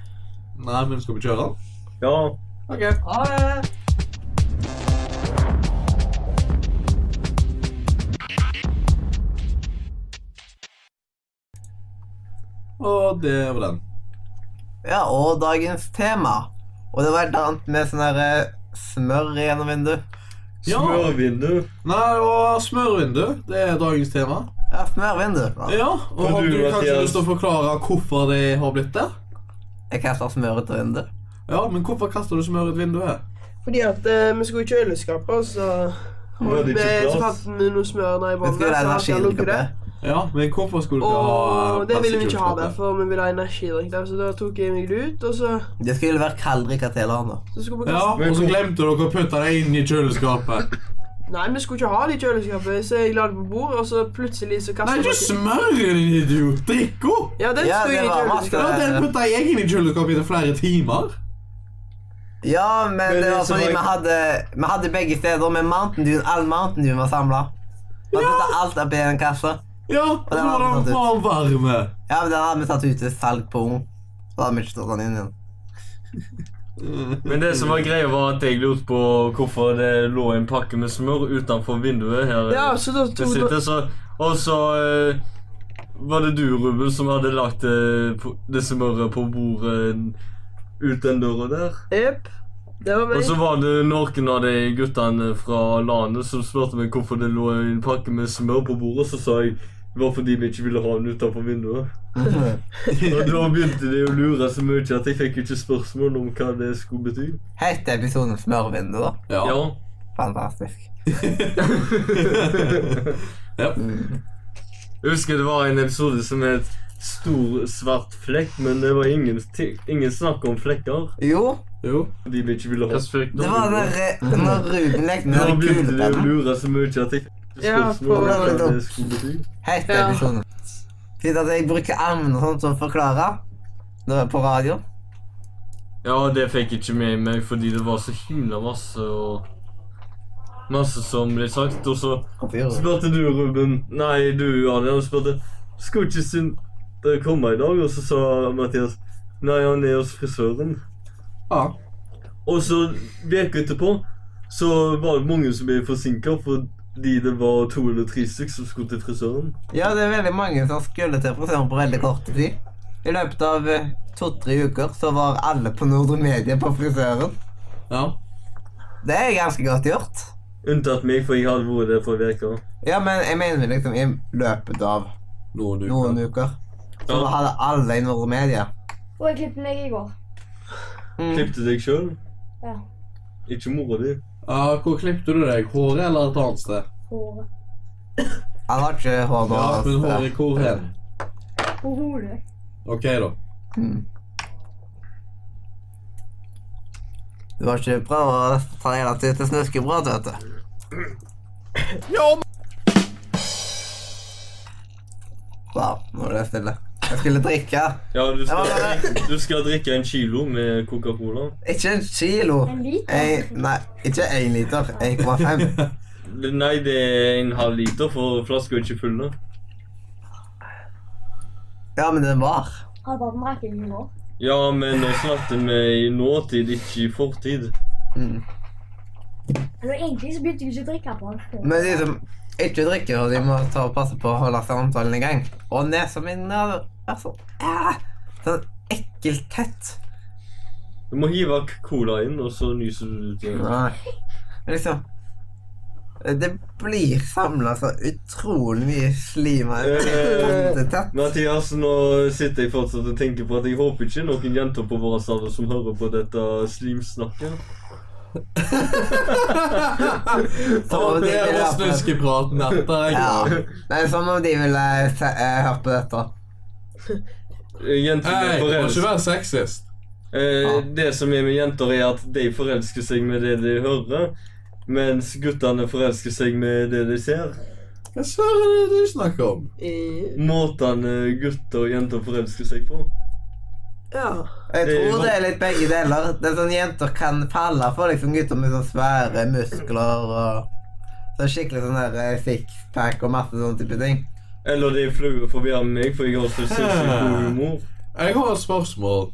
S2: Nei, men skal vi kjøre den?
S3: Ja.
S2: OK. Ha det. Og det var den.
S1: Ja, og dagens tema. Og det var et eller annet med sånn her eh, smør gjennom vinduet.
S2: Ja.
S3: Smørvindu.
S2: Nei, og smørvindu. Det er dagens tema.
S1: Ja, smørvindu. Ja.
S2: Ja, og
S3: Kan
S2: har
S3: du,
S2: du kanskje
S3: Mathias?
S2: lyst til å forklare hvorfor det har blitt det?
S1: Jeg kaster smør ut av vinduet.
S2: Ja, men hvorfor kaster du smør ut vinduet?
S5: Fordi at eh, vi skulle ikke altså. øleskapet, og så
S3: Var det
S5: vi,
S3: ikke
S5: så
S3: plass?
S5: fant vi noe smør der i
S1: Vi skulle
S5: vannet.
S1: ha
S5: så hadde jeg
S1: energidrikk
S5: lukket det.
S1: oppi.
S2: Ja, men hvorfor skulle du ha
S5: Og det ville vi ikke ha
S2: plastikkulskapet?
S5: der, for vi ville ha energidrikk der, så da tok jeg meg det ut, og så,
S1: Det skulle være kalddrikk til hele landet.
S5: så skulle vi
S2: Ja,
S5: kaste
S2: og så glemte dere å putte det inn i kjøleskapet.
S5: Nei, vi skulle ikke ha det i kjøleskapet, så jeg la det på bordet, og så plutselig så
S2: Nei,
S5: kastet
S2: ikke smør, din idiot! Drikk opp!
S5: Ja, den
S1: Ja,
S5: sto
S1: det
S5: jeg i
S1: var
S5: kjøleskapet.
S1: masse.
S2: Ja, den putta jeg inn i kjøleskapet i flere timer.
S1: Ja, men,
S3: Men
S1: det var
S3: så
S1: fordi
S3: var-
S1: vi hadde, vi hadde begge steder, men Mountain Dew, all Mountain Dew var samla. Man
S2: Ja.
S1: putta alt oppi en kasse.
S2: Ja, og så
S1: den
S2: var
S1: hadde
S2: den
S1: tatt ut.
S2: var varme.
S1: Ja, men den hadde vi tatt ut til salg på Ung. Så hadde vi ikke tatt den inn igjen.
S3: Men det som var greia, var at jeg lurte på hvorfor det lå en pakke med smør utenfor vinduet her.
S5: Ja, så da
S3: Det
S5: tok
S3: sitter så Og så eh, var det du, Ruben, som hadde lagt eh, på- det smøret på bordet eh, ut den døra der.
S5: Jepp. Det var
S3: Og
S5: meg.
S3: så var det noen av de guttene fra landet som spurte meg hvorfor det lå en pakke med smør på bordet, så sa jeg det var fordi vi ikke ville ha den utenfor vinduet. Og da begynte de å lure så mye at jeg fikk ikke spørsmål om hva det skulle bety.
S1: Helt til episoden Smørvindu, da.
S2: Ja.
S1: Fantastisk.
S2: ja.
S1: Mm.
S3: Jeg husker det var en episode som het Stor svart flekk, men det var ingen, ti- ingen snakk om flekker.
S1: Jo,
S2: Jo.
S3: De vi ikke ville ha.
S1: det var den der- når Ruben lekte med
S3: Da
S1: den
S3: begynte de å
S1: kulepennen.
S3: lure så mye at jeg fikk spørsmål
S5: Ja,
S3: om
S5: på-
S3: hva det skulle bety.
S1: Helt til
S5: Ja.
S1: episoden. Siden at jeg bruker armene og sånt som forklarer når jeg er på radio.
S3: Ja, det fikk jeg ikke med meg fordi det var så himla masse og Masse som ble sagt, og så
S1: Hvorfor gjør du det?
S3: spurte du, Ruben Nei, du, Adrian, spurte Skulle ikke Sindre komme i dag? Og så sa Mathias Nei, han er hos frisøren.
S2: Ja.
S3: Og så veka etterpå så var det mange som ble forsinka fordi det var to eller tre stykker som skulle til frisøren.
S1: Ja, det er veldig mange som skulle til frisøren på veldig kort tid. I løpet av eh, to-tre uker så var alle på Nordre Media på frisøren.
S2: ja.
S1: Det er ganske godt gjort.
S3: Unntatt meg, for jeg hadde vært der for ei uke.
S1: Ja, men jeg mener liksom i løpet av
S2: Noen uker.
S1: noen uker. Så
S3: Ja.
S1: hadde alle i Nordre Media.
S4: Og jeg klippet meg i går.
S1: Mm.
S3: Klippte deg sjøl?
S4: Ja.
S3: Ikke mora di?
S2: Ja, hvor klippte du deg? Håret eller et annet sted?
S4: Håret.
S1: Han har ikke hår nå.
S2: Ja, men
S1: altså.
S2: håret hvor hen?
S4: På hodet.
S2: OK, da.
S1: Mm. Du har ikke prøvd å ta deg rett ut til snuskebrød, vet du. Wow, nå ble det stille. Jeg skulle drikke.
S3: Ja, du skal,
S1: Ja, men-
S3: du skal drikke en kilo med Coca-Cola.
S1: Ikke en kilo.
S4: En
S1: En,
S4: liter.
S1: nei, ikke én liter. 1,5.
S3: Det- Nei, det er en halv liter, for flaska er ikke full. da.
S1: Ja, men den var.
S4: Har bare drakk jeg i går.
S3: Ja, men nå snakket vi i nåtid, ikke i fortid.
S1: Mm.
S4: Eller egentlig så begynte jeg ikke å drikke på den før.
S1: Men de som ikke drikker, de må ta og passe på å holde samtalen i gang. Og nesa mi er sånn eh, Sånn ekkelt tett.
S3: Du må hive k- cola inn, og så nyser du ut igjen.
S1: Nei. Men Liksom Det blir samla så utrolig mye slim her.
S3: Eh,
S1: Det er tett.
S3: Mathias, nå sitter jeg fortsatt og tenker på at jeg håper ikke noen jenter på vår alder som hører på dette slimsnakket.
S2: Ta Sånn det og snuskepraten etter.
S1: Ja. sånn
S2: jeg.
S1: eh, Det er som om de ville se, eh, hørt på dette.
S3: Eh, Jenter
S2: Hei,
S3: blir
S2: må ikke
S3: forelsket.
S2: være sexist.
S3: Eh, Det som er med jenter, er at de forelsker seg med det de hører, mens guttene forelsker seg med det de ser.
S2: Hva søren er det du snakker om?
S5: Eh,
S3: Måtene gutter og jenter forelsker seg på.
S5: Ja.
S1: Jeg
S3: Det
S1: tror
S3: er jo-
S1: det er litt begge deler. Det er sånn Jenter kan falle for liksom gutter med sånne svære muskler og så skikkelig sånn der eh, sixpack og masse sånne type ting.
S3: Eller de flyr forbi meg, for jeg har så sinnssykt god humor.
S2: Jeg har et spørsmål.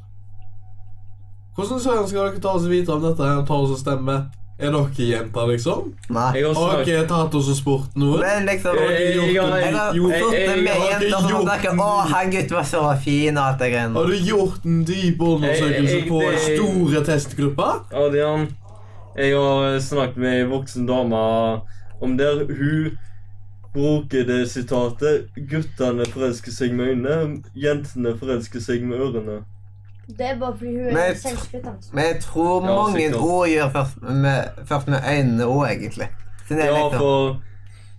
S2: Hvordan søren skal dere ta oss vite om dette her tar oss og stemmer? Er dere jenter, liksom?
S1: Nei.
S3: Jeg har
S2: Har
S3: snakket
S2: dere tatt oss og spurt noen?
S1: Men liksom
S2: Har
S1: Jeg
S2: dere
S3: Jeg
S2: gjort
S3: har-
S2: en-
S1: har
S3: jeg-
S1: gjort
S3: jeg- jeg-
S1: det med
S2: jeg-
S1: jenter som
S2: jeg-
S1: snakker 'Å, han gutten var så fin', og alt det greiene.
S2: Har du gjort en dyp undersøkelse
S3: Jeg- jeg-
S2: på
S3: det-
S2: store testgrupper?
S3: Adrian. Jeg har eh, snakket med ei voksen dame om der hun bruker det sitatet 'Guttene forelsker seg med øynene, jentene forelsker seg med ørene'.
S4: Det er bare fordi hun
S1: Men
S4: er altså.
S1: jeg tr-
S4: selvspyttende.
S1: Men jeg tror
S3: Ja,
S1: mange
S3: sikkert.
S1: ord gjør først med, først med øynene òg, egentlig. Siden det er
S3: Ja,
S1: litt sånn-
S3: for,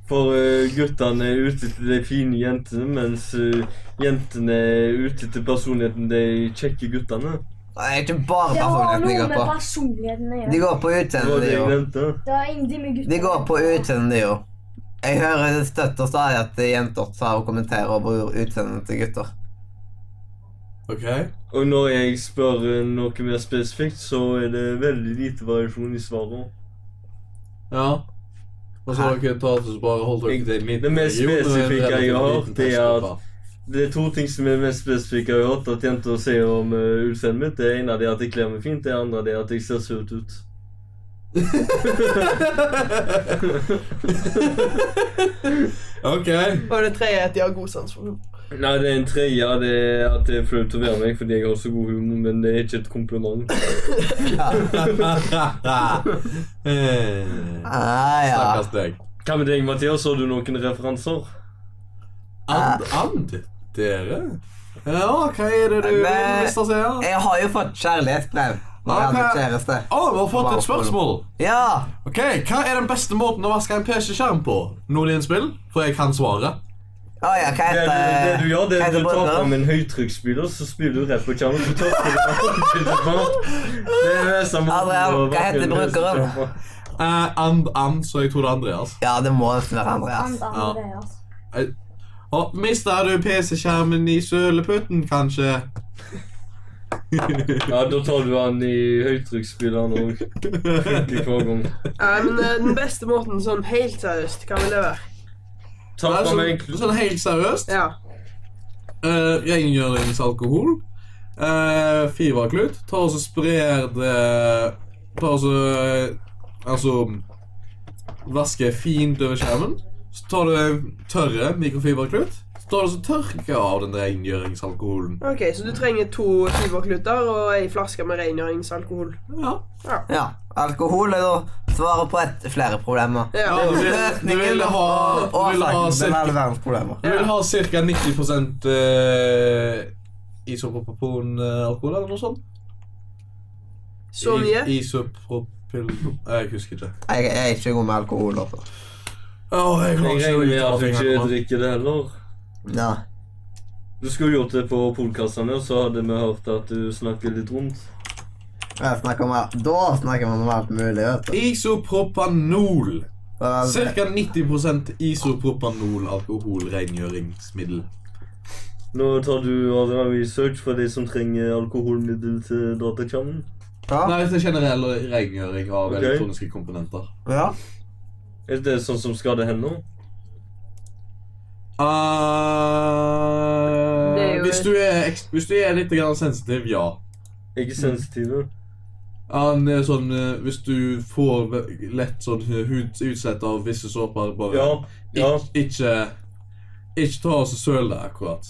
S3: for eh, guttene er ute etter de fine jentene, mens eh, jentene er ute etter personligheten de kjekke guttene.
S1: Det er ikke bare
S4: Det
S1: personligheten
S4: har
S1: de
S4: noe
S1: går
S4: med
S1: på.
S4: personligheten å
S1: De
S4: gjøre.
S1: går på
S3: Det var
S1: utseendet,
S3: det
S1: de
S3: jeg
S1: òg.
S3: nevnte.
S4: Det har ingenting med gutter
S1: De går på utseendet, de òg. Jeg hører det støtt og stadig at jenter tar og kommenterer over utseendet til gutter.
S2: Ok.
S3: Og når jeg spør eh, noe mer spesifikt, så er det veldig lite variasjon i svarene.
S2: Ja. Og så har dere tatt oss og bare holdt dere til en liten
S3: Det mest
S2: region, og en
S3: spesifikke jeg
S2: relativt
S3: har
S2: liten
S3: hørt, er
S2: testgruppe.
S3: Det er to ting som er mest spesifikke jeg har hørt at jenter sier om uh, utseendet mitt. Det ene er det at jeg kler meg fint, det andre er det at jeg ser søt ut.
S2: Ok.
S5: Og det tredje er at de har god sans for humor.
S3: Nei, det er en tredje. Det er at det er flaut å være meg fordi jeg har så god humor, men det er ikke et kompliment.
S1: Ja.
S2: Eh,
S1: Ah, ja.
S2: Stakkars deg.
S3: Hva med deg, Mathias? Har du noen referanser?
S2: And, and dere? Ja, hva er det du
S1: Men-
S2: vil si her?
S1: Jeg har jo fått kjærlighetsbrev når jeg
S2: Ok.
S1: hadde kjæreste.
S2: Å, vi har fått et spørsmål.
S1: Ja!
S2: Ok, Hva er den beste måten å vaske en PC-skjerm på? Noen innspill? For jeg kan svaret.
S1: Å ja, hva
S3: Det, det, det
S1: heter
S3: du gjør, det
S1: hva
S3: er at
S1: heter
S3: du tar
S1: båten?
S3: fram en høytrykksspyler, så spyler du rett på kjernen. Så tar du den av. Det er det mest av måten
S1: Adrian,
S3: å
S1: hva
S3: vaske
S1: heter
S3: en
S1: brukeren?
S3: høytrykksspyler på.
S2: Eh, and, and, så jeg tror det er Andreas.
S1: Ja, det må være Andreas.
S4: Andre, andre, altså.
S2: Og Mista du PC-skjermen i søleputten, kanskje?
S3: Ja, da tar du den i høytrykksspyleren òg. Funker hver gang.
S5: Nei, men eh, den beste måten, sånn helt seriøst, hva vil det være?
S3: Ta
S2: Nei,
S3: fram
S2: sånn,
S3: en kl-
S2: sånn helt seriøst.
S5: Ja.
S2: Uh, Rengjørings alkohol. Uh, Fiverklut. Ta og så sprer det Ta og så eh, Altså Vaske fint over skjermen. Så tar du tørre mikrofiberklut. Så tar du og så tørker av den rengjøringsalkoholen.
S5: Ok, så du trenger to fiberkluter og ei flaske med rengjøringsalkohol.
S2: Ja.
S1: Ja. Alkohol er da svaret på et flere problemer.
S5: Ja.
S2: Ja, du vil, du
S1: Løsningen
S2: vil ha, du vil ha,
S1: årsaken til
S2: cirka,
S1: alle verdens problemer.
S2: du vil ha cirka 90 eh, isopropon-alkohol eller noe sånt?
S5: Så mye.
S2: I- Isopropyl... Jeg husker ikke.
S1: Jeg, jeg er ikke god med alkohol. Altså.
S2: Åh, jeg klarer
S3: Jeg
S2: ikke å
S3: regner
S2: uttale
S3: med at du
S2: ting
S3: ikke
S2: her.
S3: drikker det heller.
S1: Ja.
S3: Du skulle gjort det på podkastene, og så hadde vi hørt at du snakket litt rundt.
S1: Jeg snakker om, al- da snakker man om alt mulig. Vet du.
S2: Isopropanol.
S1: Og-
S2: Cirka 90 isopropanol alkoholrengjøringsmiddel.
S3: Nå tar du Adrian Research for de som trenger alkoholmiddel til datakjernen.
S1: Ja.
S2: Nei, det er generell rengjøring av
S3: Ok.
S2: elektroniske komponenter.
S1: ja.
S3: Er det sånn som skader hender?
S2: Eh,
S5: Det er jo-
S2: Ah, hvis, du er, ekst- hvis du er litt grann sensitiv, ja.
S3: Ikke sensitive.
S2: Han er sånn, eh, hvis du får ve- lett sånn eh, hud, utslett av visse såper, bare
S3: Ja. Ja.
S2: Ik ikke, ikke ta oss og søl det akkurat.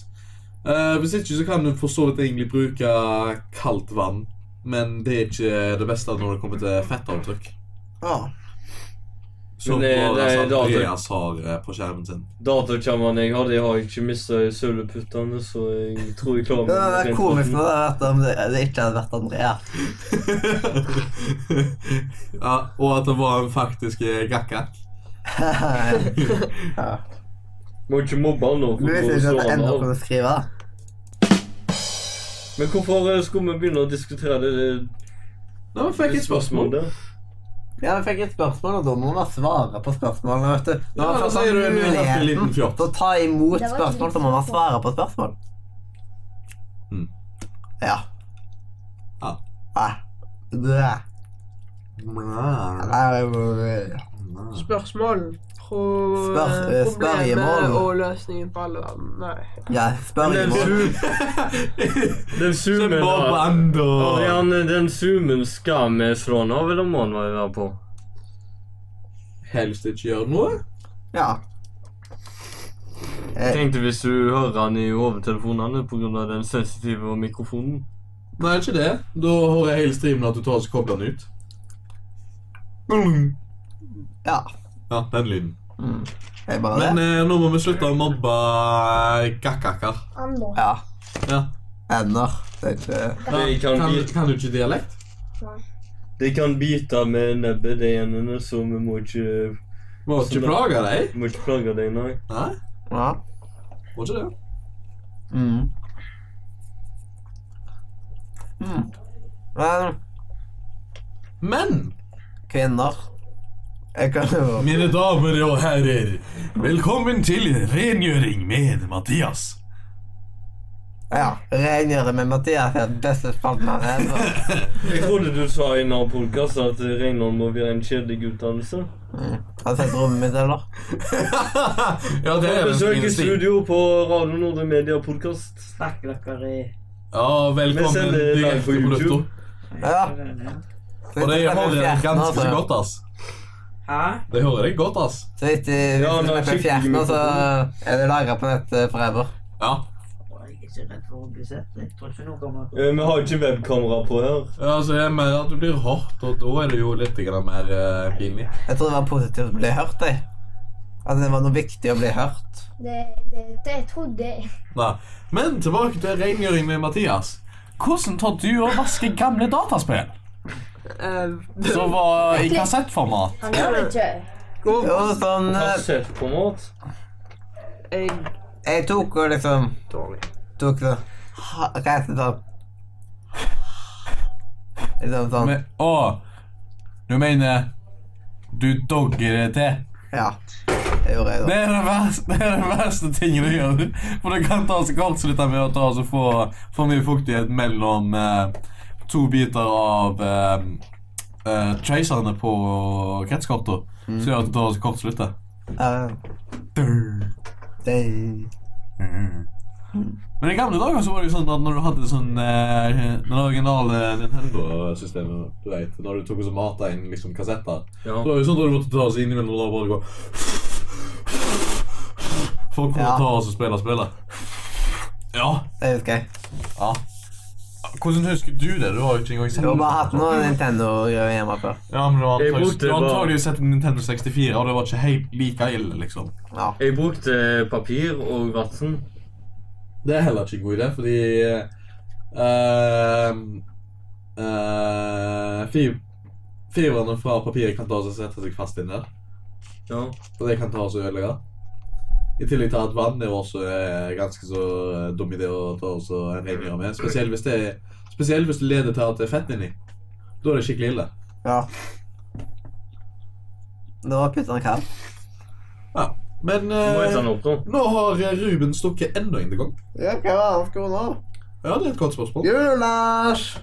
S2: Eh, hvis ikke så kan du for så vidt egentlig bruke kaldt vann, men det er ikke det beste når det kommer til fettavtrykk.
S1: ja.
S2: Som
S3: Men det-
S2: vår
S3: det er
S2: altså,
S3: da-
S2: Andreas har eh, på skjermen sin.
S3: Datakjermene jeg har, de har jeg ikke mista i søleputtene, så jeg tror jeg klarer
S1: Det hadde
S3: rent
S1: vært komisk
S3: vann.
S1: når det, hadde vært om det, det ikke hadde vært Andreas.
S2: ja, og at det var en faktisk eh, gakkak.
S1: ja.
S3: Må ikke mobbe han nå.
S1: Du
S3: for
S1: visste
S3: å
S1: ikke
S3: slå
S1: at det
S3: han
S1: ender
S3: av.
S1: på å skrive?
S3: Men hvorfor eh, skulle vi begynne å diskutere det, det,
S2: Nei, men fikk
S3: det
S2: et spørsmål.
S3: spørsmålet?
S1: Ja, vi fikk et spørsmål, og da må man svare på spørsmålene, vet du. Når
S2: Ja,
S1: man
S2: da
S1: først har
S2: sier du en liten
S1: muligheten
S2: liten fjott.
S1: til å ta imot
S4: Det var
S1: spørsmål, så må man svare på spørsmål.
S2: Mm.
S1: Ja.
S2: Ja.
S1: Nei. Det er bare-
S5: Spørsmål. Pro
S1: Spør- eh, spørjemål.
S5: problemet og løsningen på alle verden. Nei.
S1: Ja, spør
S3: Den,
S1: imot.
S3: zoom- den zoomen da.
S2: Bob
S3: Arian, den zoomen skal vi slå den av, eller må den være på?
S2: Helst ikke gjøre noe.
S1: Ja.
S3: Jeg tenkte hvis du hører den i hovedtelefonene på grunn av den sensitive mikrofonen.
S2: Nei, ikke det. Da hører jeg hele streamen at du tar og så kobler den ut.
S1: ja.
S2: Ja, den lyden.
S1: Mm. Er det bare
S2: Men
S1: det?
S2: eh, nå må vi slutte å mobbe eh, kakkaker.
S4: Ander.
S1: Ja.
S2: Ja.
S1: Ender. Det er ikke
S3: De kan,
S2: Kan,
S3: bite,
S2: kan du ikke dialekt?
S3: de kan bite med nebbet, de endene, så vi må ikke,
S2: Må ikke plage deg.
S3: må ikke plage deg, nei.
S2: Nei,
S1: Ja.
S2: må ikke det.
S1: Mm. Mm. Men
S2: Men
S1: kvinner Jeg kan jo
S2: mine damer og herrer, velkommen til rengjøring med Mathias.
S1: Ja. Rengjøre med Mathias er den beste spalten han har.
S3: Jeg trodde du sa i en annen podcast at Reinhold må være en kjedelig utdannelse.
S1: Har du sett rommet mitt, eller?
S2: ja, det er den
S3: Besøk i
S2: fine stilen.
S3: studio på Radio Nordre Media podcast.
S6: Snakker dere i
S2: Ja,
S3: Vi
S2: velkommen
S3: sender live
S2: direkte
S3: på
S2: på
S3: YouTube.
S2: lufta.
S1: Ja.
S2: Og det hører jeg ganske godt, ass.
S6: Hæ?
S2: Det hører jeg godt, ass.
S1: Så hvis de hvis
S3: Ja,
S1: de
S3: men
S1: slipper
S3: skikkelig
S1: fjerten, så
S3: mikrofon.
S1: er det lagra på nett eh, forever.
S2: Ja.
S6: Å, Jeg er ikke redd for å bli sett. Jeg tror ikke noe kommer
S3: Eh, Vi har ikke webkamera på her.
S2: ja, så er det mer at du blir hardt, og da er det jo litt grann mer eh, pinlig.
S1: Jeg tror det var positivt å bli hørt, jeg. At det var noe viktig å bli hørt.
S4: Det, det, det jeg trodde jeg.
S2: Nei. Men tilbake til rengjøring med Mathias.
S7: Hvordan tar du og vasker gamle dataspill
S5: Eh,
S7: som var i kassettformat?
S4: Han gjør det ikke.
S5: og
S1: Jo, sånn eh,
S3: Kassettformat.
S5: jeg
S1: Jeg tok og liksom
S5: dårlig.
S1: Tok det ha- Reiste sånn Liksom sånn.
S7: Men, å, du mener du dogger det til?
S1: Ja. Det gjorde jeg,
S7: Det
S1: da.
S7: er den verste, det er den verste tingen du gjør. For det kan ta så kaldt som dette med å ta så få for mye fuktighet mellom eh, to biter av eh, eh, tracerne på kretskorta. Så gjør at det tar så kort slutt.
S1: Ja. Eh, Det
S7: Men i gamle dager så var det jo sånn at når du hadde sånn eh, Den originale Nintendo-systemet, du vet, når du tok og så mata inn liksom kassetter
S3: Ja.
S2: Det var jo sånn at du måtte ta oss inn i hverandre og bare gå For å kunne
S1: Ja.
S2: ta oss og spille spillet. Ja.
S1: det husker jeg.
S2: ja. Hvordan husker du det? Du har jo ikke engang sett
S1: Du har bare hatt noe Nintendo-greier hjemme før.
S2: Ja, men du har
S3: Jeg
S2: antagelig-
S3: brukte
S2: du har
S3: bare-
S2: antagelig sett Nintendo 64, og det var ikke helt like ille, liksom.
S1: Ja.
S3: Jeg brukte papir og vann.
S2: Det er heller ikke en god idé, fordi eh, eh, fi- Fibrene fra papiret kan ta og sette seg fast inn der.
S3: Ja.
S2: Og det kan ta oss og ødelegge. I tillegg til at vann er jo også eh, ganske så eh, dum idé å ta oss og rengjøre med. Spesielt hvis, det, spesielt hvis det leder til at det er fett inni. Da er det skikkelig ille.
S1: ja. Det var puttende kald.
S2: Ja. Men
S3: Du må sånn- hete
S2: eh,
S3: den opp, da.
S2: nå har eh, Ruben stukket enda en gang.
S1: Ja, hva var det skal vi nå?
S2: Ja, det er et godt spørsmål.
S1: Julas!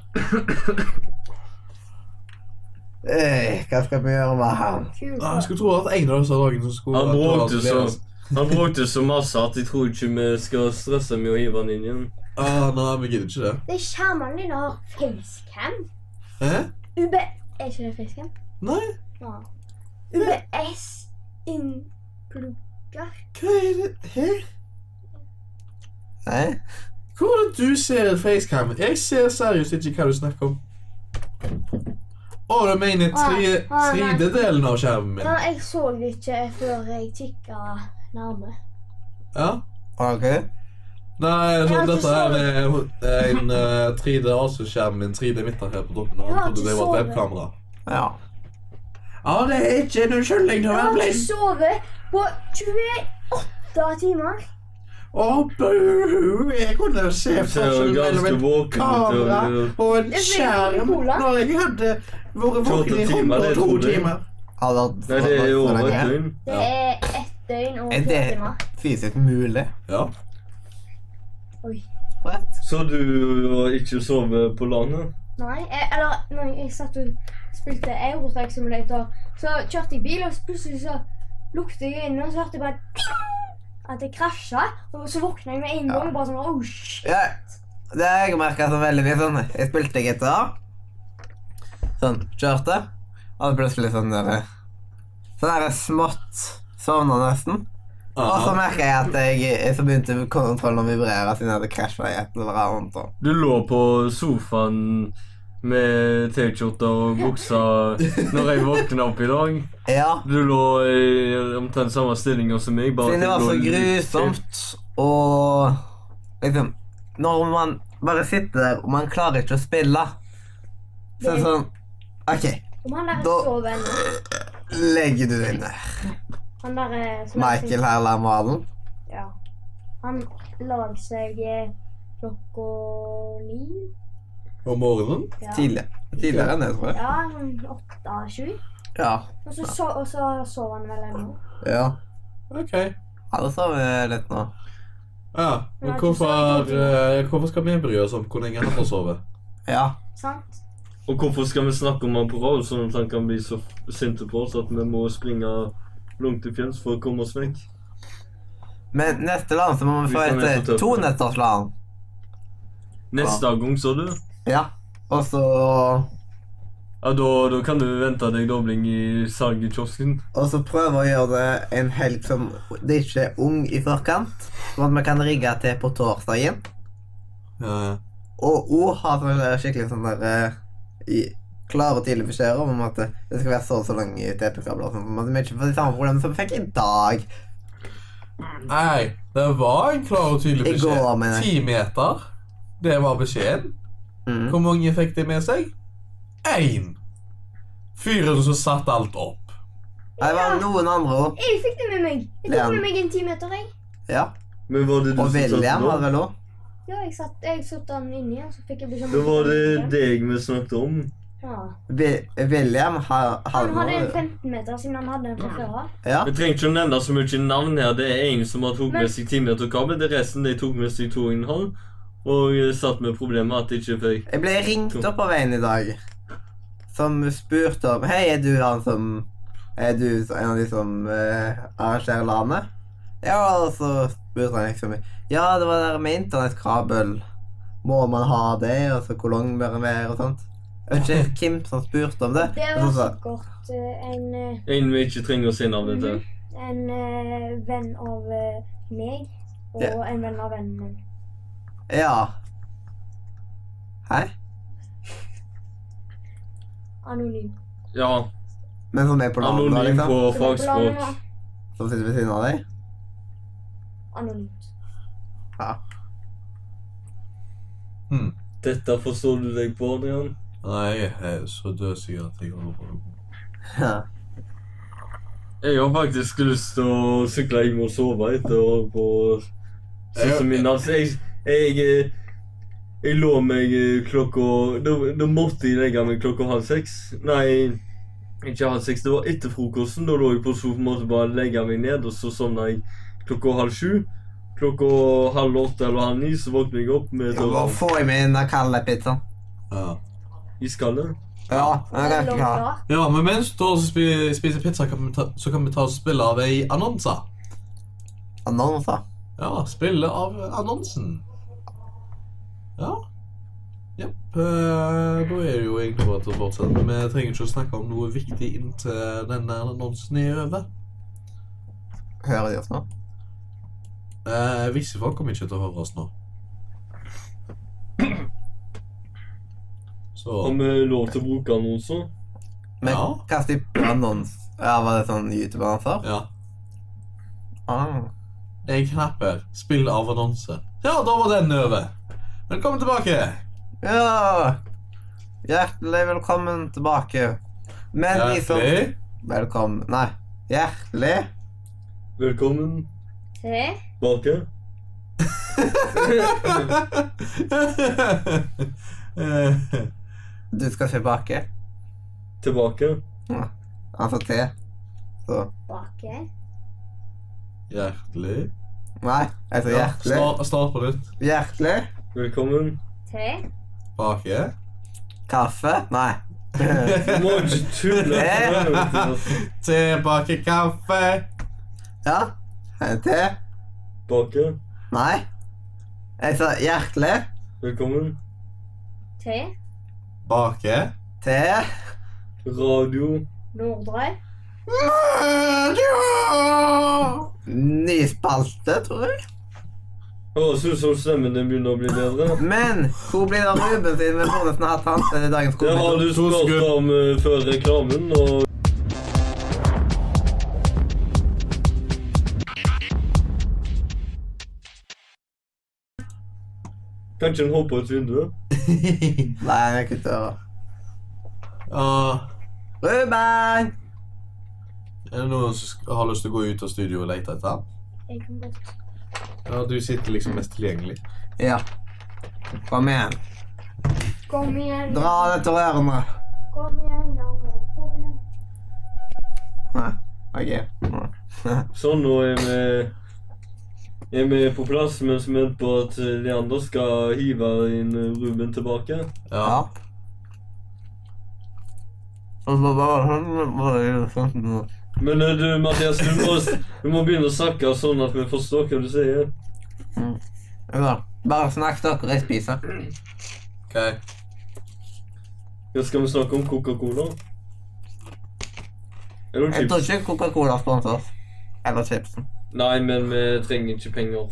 S1: Eh, hva skal vi gjøre med han?
S4: Kult.
S2: Ja, Ah, Jeg skulle tro at en av disse dagene så skulle
S3: Han bråkte så,
S2: så
S3: han bråkte så masse at jeg tror ikke vi skal stresse med å hive han inn igjen.
S2: Ah, nei, vi gidder ikke det.
S4: Det er skjermene dine har facecam.
S2: Hæ?
S4: UB... Er ikke det facecam?
S2: Nei,
S4: Ja. UBS innplugger.
S2: hva er det? Hæ?
S1: Nei?
S2: Hvor er det du ser et facecam? Jeg ser seriøst ikke hva du snakker om. Å, du mener
S4: Å, å, nei.
S2: 3D-delen av skjermen min?
S4: Ja, jeg så det ikke før jeg kikka nærme.
S2: Ja.
S1: Ok.
S2: Nei, nå,
S4: Jeg har ikke
S2: dette her er eh, en eh, 3D Asus-skjerm med en 3D midter her på toppen. Og
S4: Jeg
S2: han
S4: har
S2: trodde
S4: ikke
S2: det var et
S4: sovet.
S2: webkamera.
S1: Ja.
S2: Ja, det er ikke en unnskyldning til å
S4: Jeg
S2: være
S4: har ikke
S2: blind.
S4: sovet på 28 timer.
S2: Å, bu! Jeg kunne jo se
S3: Du ser jo
S2: forskjellen mellom
S3: ganske
S2: en
S3: våken ut.
S2: kamera
S3: og-
S2: og en
S4: Jeg ser ikke
S2: skjerm
S4: Ola.
S2: når jeg hadde vært våken i
S3: 28 timer, det
S2: 102
S3: trodde jeg.
S2: timer.
S1: Har det vært-
S3: Nei, det er jo
S1: så
S3: over
S1: lenge?
S3: et døgn.
S4: Det er ett døgn og
S1: Er
S4: to
S1: det
S4: timer.
S1: fysisk mulig?
S2: Ja.
S4: Oi.
S3: Så du har ikke sovet på landet?
S4: Nei, jeg, eller når jeg satt og spilte Eurotrack Simulator, så kjørte jeg bil, og så plutselig så lukte jeg inne, og så hørte jeg bare «ping» at jeg krasja. Og så våkna jeg med en gang og bare sånn oh, shit.
S1: Ja, det har jeg merka som veldig mye sånn. Jeg spilte gitar. Sånn, kjørte. Og så plutselig sånn der Sånn der smått sovna nesten. Og så merka jeg at jeg, jeg så begynte kontrollen å vibrere siden jeg hadde krasja i et eller annet. og-
S3: Du lå på sofaen med T-skjorte og buksa når jeg våkna opp i dag.
S1: Ja,
S3: Du lå i omtrent samme stillinga som meg. Bare at
S1: siden det var
S3: jeg
S1: så
S3: lå litt-
S1: grusomt og liksom Når man bare sitter der og man klarer ikke å spille, så er det sånn OK,
S4: Og han der
S1: Da-
S4: sover ennå.
S1: legger du deg ned.
S4: Han der eh, som er-
S1: Michael her lar malen.
S4: Ja. Han la seg eh, klokka ni.
S2: Om morgenen?
S4: Ja,
S1: Tidlig. Tidligere enn det, tror jeg.
S4: ja sånn åtte-sju.
S1: Ja.
S4: Og så so- og så sov han vel ennå.
S1: ja.
S2: OK.
S1: Ja, det sover litt nå.
S2: Ja, men hvorfor, eh, hvorfor skal vi bry oss om hvor lenge han har sovet?
S1: Ja.
S4: Sant?
S3: Og hvorfor skal vi snakke om han på rad, sånn at han kan bli så sint på oss at vi må springe langt til fjells for å komme oss vekk?
S1: Men neste land så må vi
S3: Hvis
S1: få
S3: han er så
S1: etter
S3: tøff.
S1: to netters land.
S3: Neste gang, sa du?
S1: Ja. Og så
S3: Ja, da, da kan du vente deg dobling i salg i kiosken.
S1: Og så prøve å gjøre det en helg som det ikke er ung i forkant. Sånn at vi kan rigge til på torsdagen.
S2: Ja, ja.
S1: Og O har sånn der skikkelig sånn der eh, i klare og tydelige beskjeder om at det skal være så og så lange TP-kabler. og sånn, på en måte. Vi er ikke får de samme problemene som vi fikk i dag.
S2: Nei, det var en klar og tydelig
S1: I går,
S2: beskjed.
S1: mener jeg.
S2: Ti meter. Det var beskjeden.
S1: Mm.
S2: Hvor mange fikk de med seg? Én. Fyren som satte alt opp.
S1: Det var noen andre òg.
S4: Jeg fikk det med meg. Jeg tok med meg en timeter, jeg.
S1: Ja.
S3: Men var det du
S1: Og
S3: som satt
S1: William
S3: da?
S1: hadde vel òg.
S4: Ja, jeg satt, jeg satt den inni, og så fikk jeg beskjed om
S3: Da
S4: å
S3: var
S4: ta den
S3: det deg
S4: igjen.
S3: vi snakket om.
S4: Ja.
S1: Vi- William har,
S4: Han hadde en
S1: noe-
S4: 15-meter siden han hadde den fra før av.
S1: Ja.
S3: Vi trenger ikke å nevne så mye navn her. Det er en som har tok
S4: Men-
S3: med seg timer til kabel. Det resten de tok med seg to og en halv. Og eh, satt med problemet at de ikke fikk
S1: Jeg ble ringt opp av en i dag som spurte om Hei, er du han som Er du en av de som eh, arrangerer landet? Ja, og så spurte han liksom Ja, det var det der med internettkabel. Må man ha det? Og så hvor lang bør den være? Og sånt. Jeg vet ikke hvem som spurte om det.
S4: Det
S1: Og
S4: var
S1: så sa-
S4: sikkert eh, en, eh,
S3: en vi ikke trenger å si navnet til.
S4: en eh, venn av eh, meg og
S1: Ja.
S4: en venn av vennen min.
S1: Ja. Hæ?
S4: Anonym.
S3: Ja,
S1: Men som er på landet, da,
S3: anonym
S1: liksom?
S3: på
S4: Så det var
S3: fagspråk.
S4: planen,
S1: Som sitter ved siden av deg?
S4: da. Anonymt.
S2: Hm.
S3: Dette forstår du deg på, Adrian?
S2: Nei, jeg er så dødsig at jeg holder på.
S1: Ja.
S3: Jeg har faktisk lyst til å sykle hjem og sove etter å ha på Sånn
S2: Jeg-
S3: som min altså, jeg, jeg, eh, jeg lå meg eh, klokka da, da måtte jeg legge meg klokka halv seks. Nei, ikke halv seks. Det var etter frokosten. Da lå jeg på sofaen måtte bare legge meg ned, og så sovna jeg klokka halv sju. Klokka halv åtte eller halv ni så våkner jeg opp med sånn
S1: Ja, Bare
S3: tårer
S1: få i meg den der kalde pizzaen.
S2: Ja.
S3: i skallet.
S1: Ja, den er ganske
S4: Langt
S1: klar.
S4: da.
S2: ja, men mens du også spi- spiser pizza, kan vi ta, så kan vi ta og spille av ei annonse.
S1: Annonser.
S2: Ja, spille av annonsen. Ja. Jepp. eh, Da er det jo egentlig bare til å fortsette. Vi trenger ikke å snakke om noe viktig inntil denne annonsen er over.
S1: Hører de oss nå?
S2: Eh, visse folk kommer ikke til å høre oss nå. Så
S3: Har vi lov til å bruke annonser?
S1: Men
S2: Ja.
S1: hva type annons? Ja, var det sånn YouTube-annonser?
S2: Ja.
S1: Ah.
S2: Jeg knapper. Spill av annonse. Ja, da var den over. Velkommen tilbake.
S1: Ja! Hjertelig velkommen tilbake. Men de som
S2: Hjertelig.
S1: Velkommen Nei. Hjertelig
S3: Velkommen
S4: Tre.
S3: tilbake.
S1: Du skal tilbake.
S3: Tilbake.
S1: Altså til. Så
S4: Bake.
S2: Hjertelig.
S1: Nei, jeg sa
S2: Ja,
S1: hjertelig.
S2: start, start på nytt.
S1: Hjertelig.
S3: Velkommen.
S4: Te.
S2: Bake.
S1: Kaffe. Nei.
S3: Du må ikke tulle. Tilbake.
S2: Tilbake kaffe.
S1: Ja. Te. Nei. Jeg sa hjertelig.
S3: Velkommen.
S4: Te.
S2: Bake.
S1: Te.
S3: Radio.
S4: Nordre.
S1: Ny spalte, tror jeg.
S3: Høres ut som stemmen din begynner å bli bedre.
S1: Men hvor blir det av Ruben sin med bonusen har hatt hans i dagens
S3: Det har
S1: skole?
S3: du spurt om eh, før reklamen, og Kanskje en hopp ut vinduet?
S1: Nei, jeg kutter øret.
S2: Ah,
S1: Ruben!
S2: er det noen som sk- har lyst til å gå ut av studio og lete etter ham?
S4: Jeg kan godt
S2: Ja, du sitter liksom mest tilgjengelig.
S1: Ja. Kom igjen.
S4: Kom igjen.
S1: Dra det til ørene.
S4: Kom igjen, da. Kom igjen.
S1: Nei, OK. Nei.
S3: Sånn, nå er vi, er vi på plass, mens vi venter på at eh, de andre skal hive inn eh, Ruben tilbake.
S1: Ja.
S2: Ja.
S1: Og så bare sånn, bare gjør sånn.
S3: Men eh, du, Mathias, du må, du må begynne å snakke sånn at vi forstår hva du sier.
S1: Ja. Bare snakk dere, jeg spiser.
S2: Ok.
S3: Ja, skal vi snakke om Coca-Cola? Eller
S1: Jeg
S3: chips?
S1: tror ikke Coca-Cola sponser oss. Eller chipsen.
S3: Nei, men vi trenger ikke penger.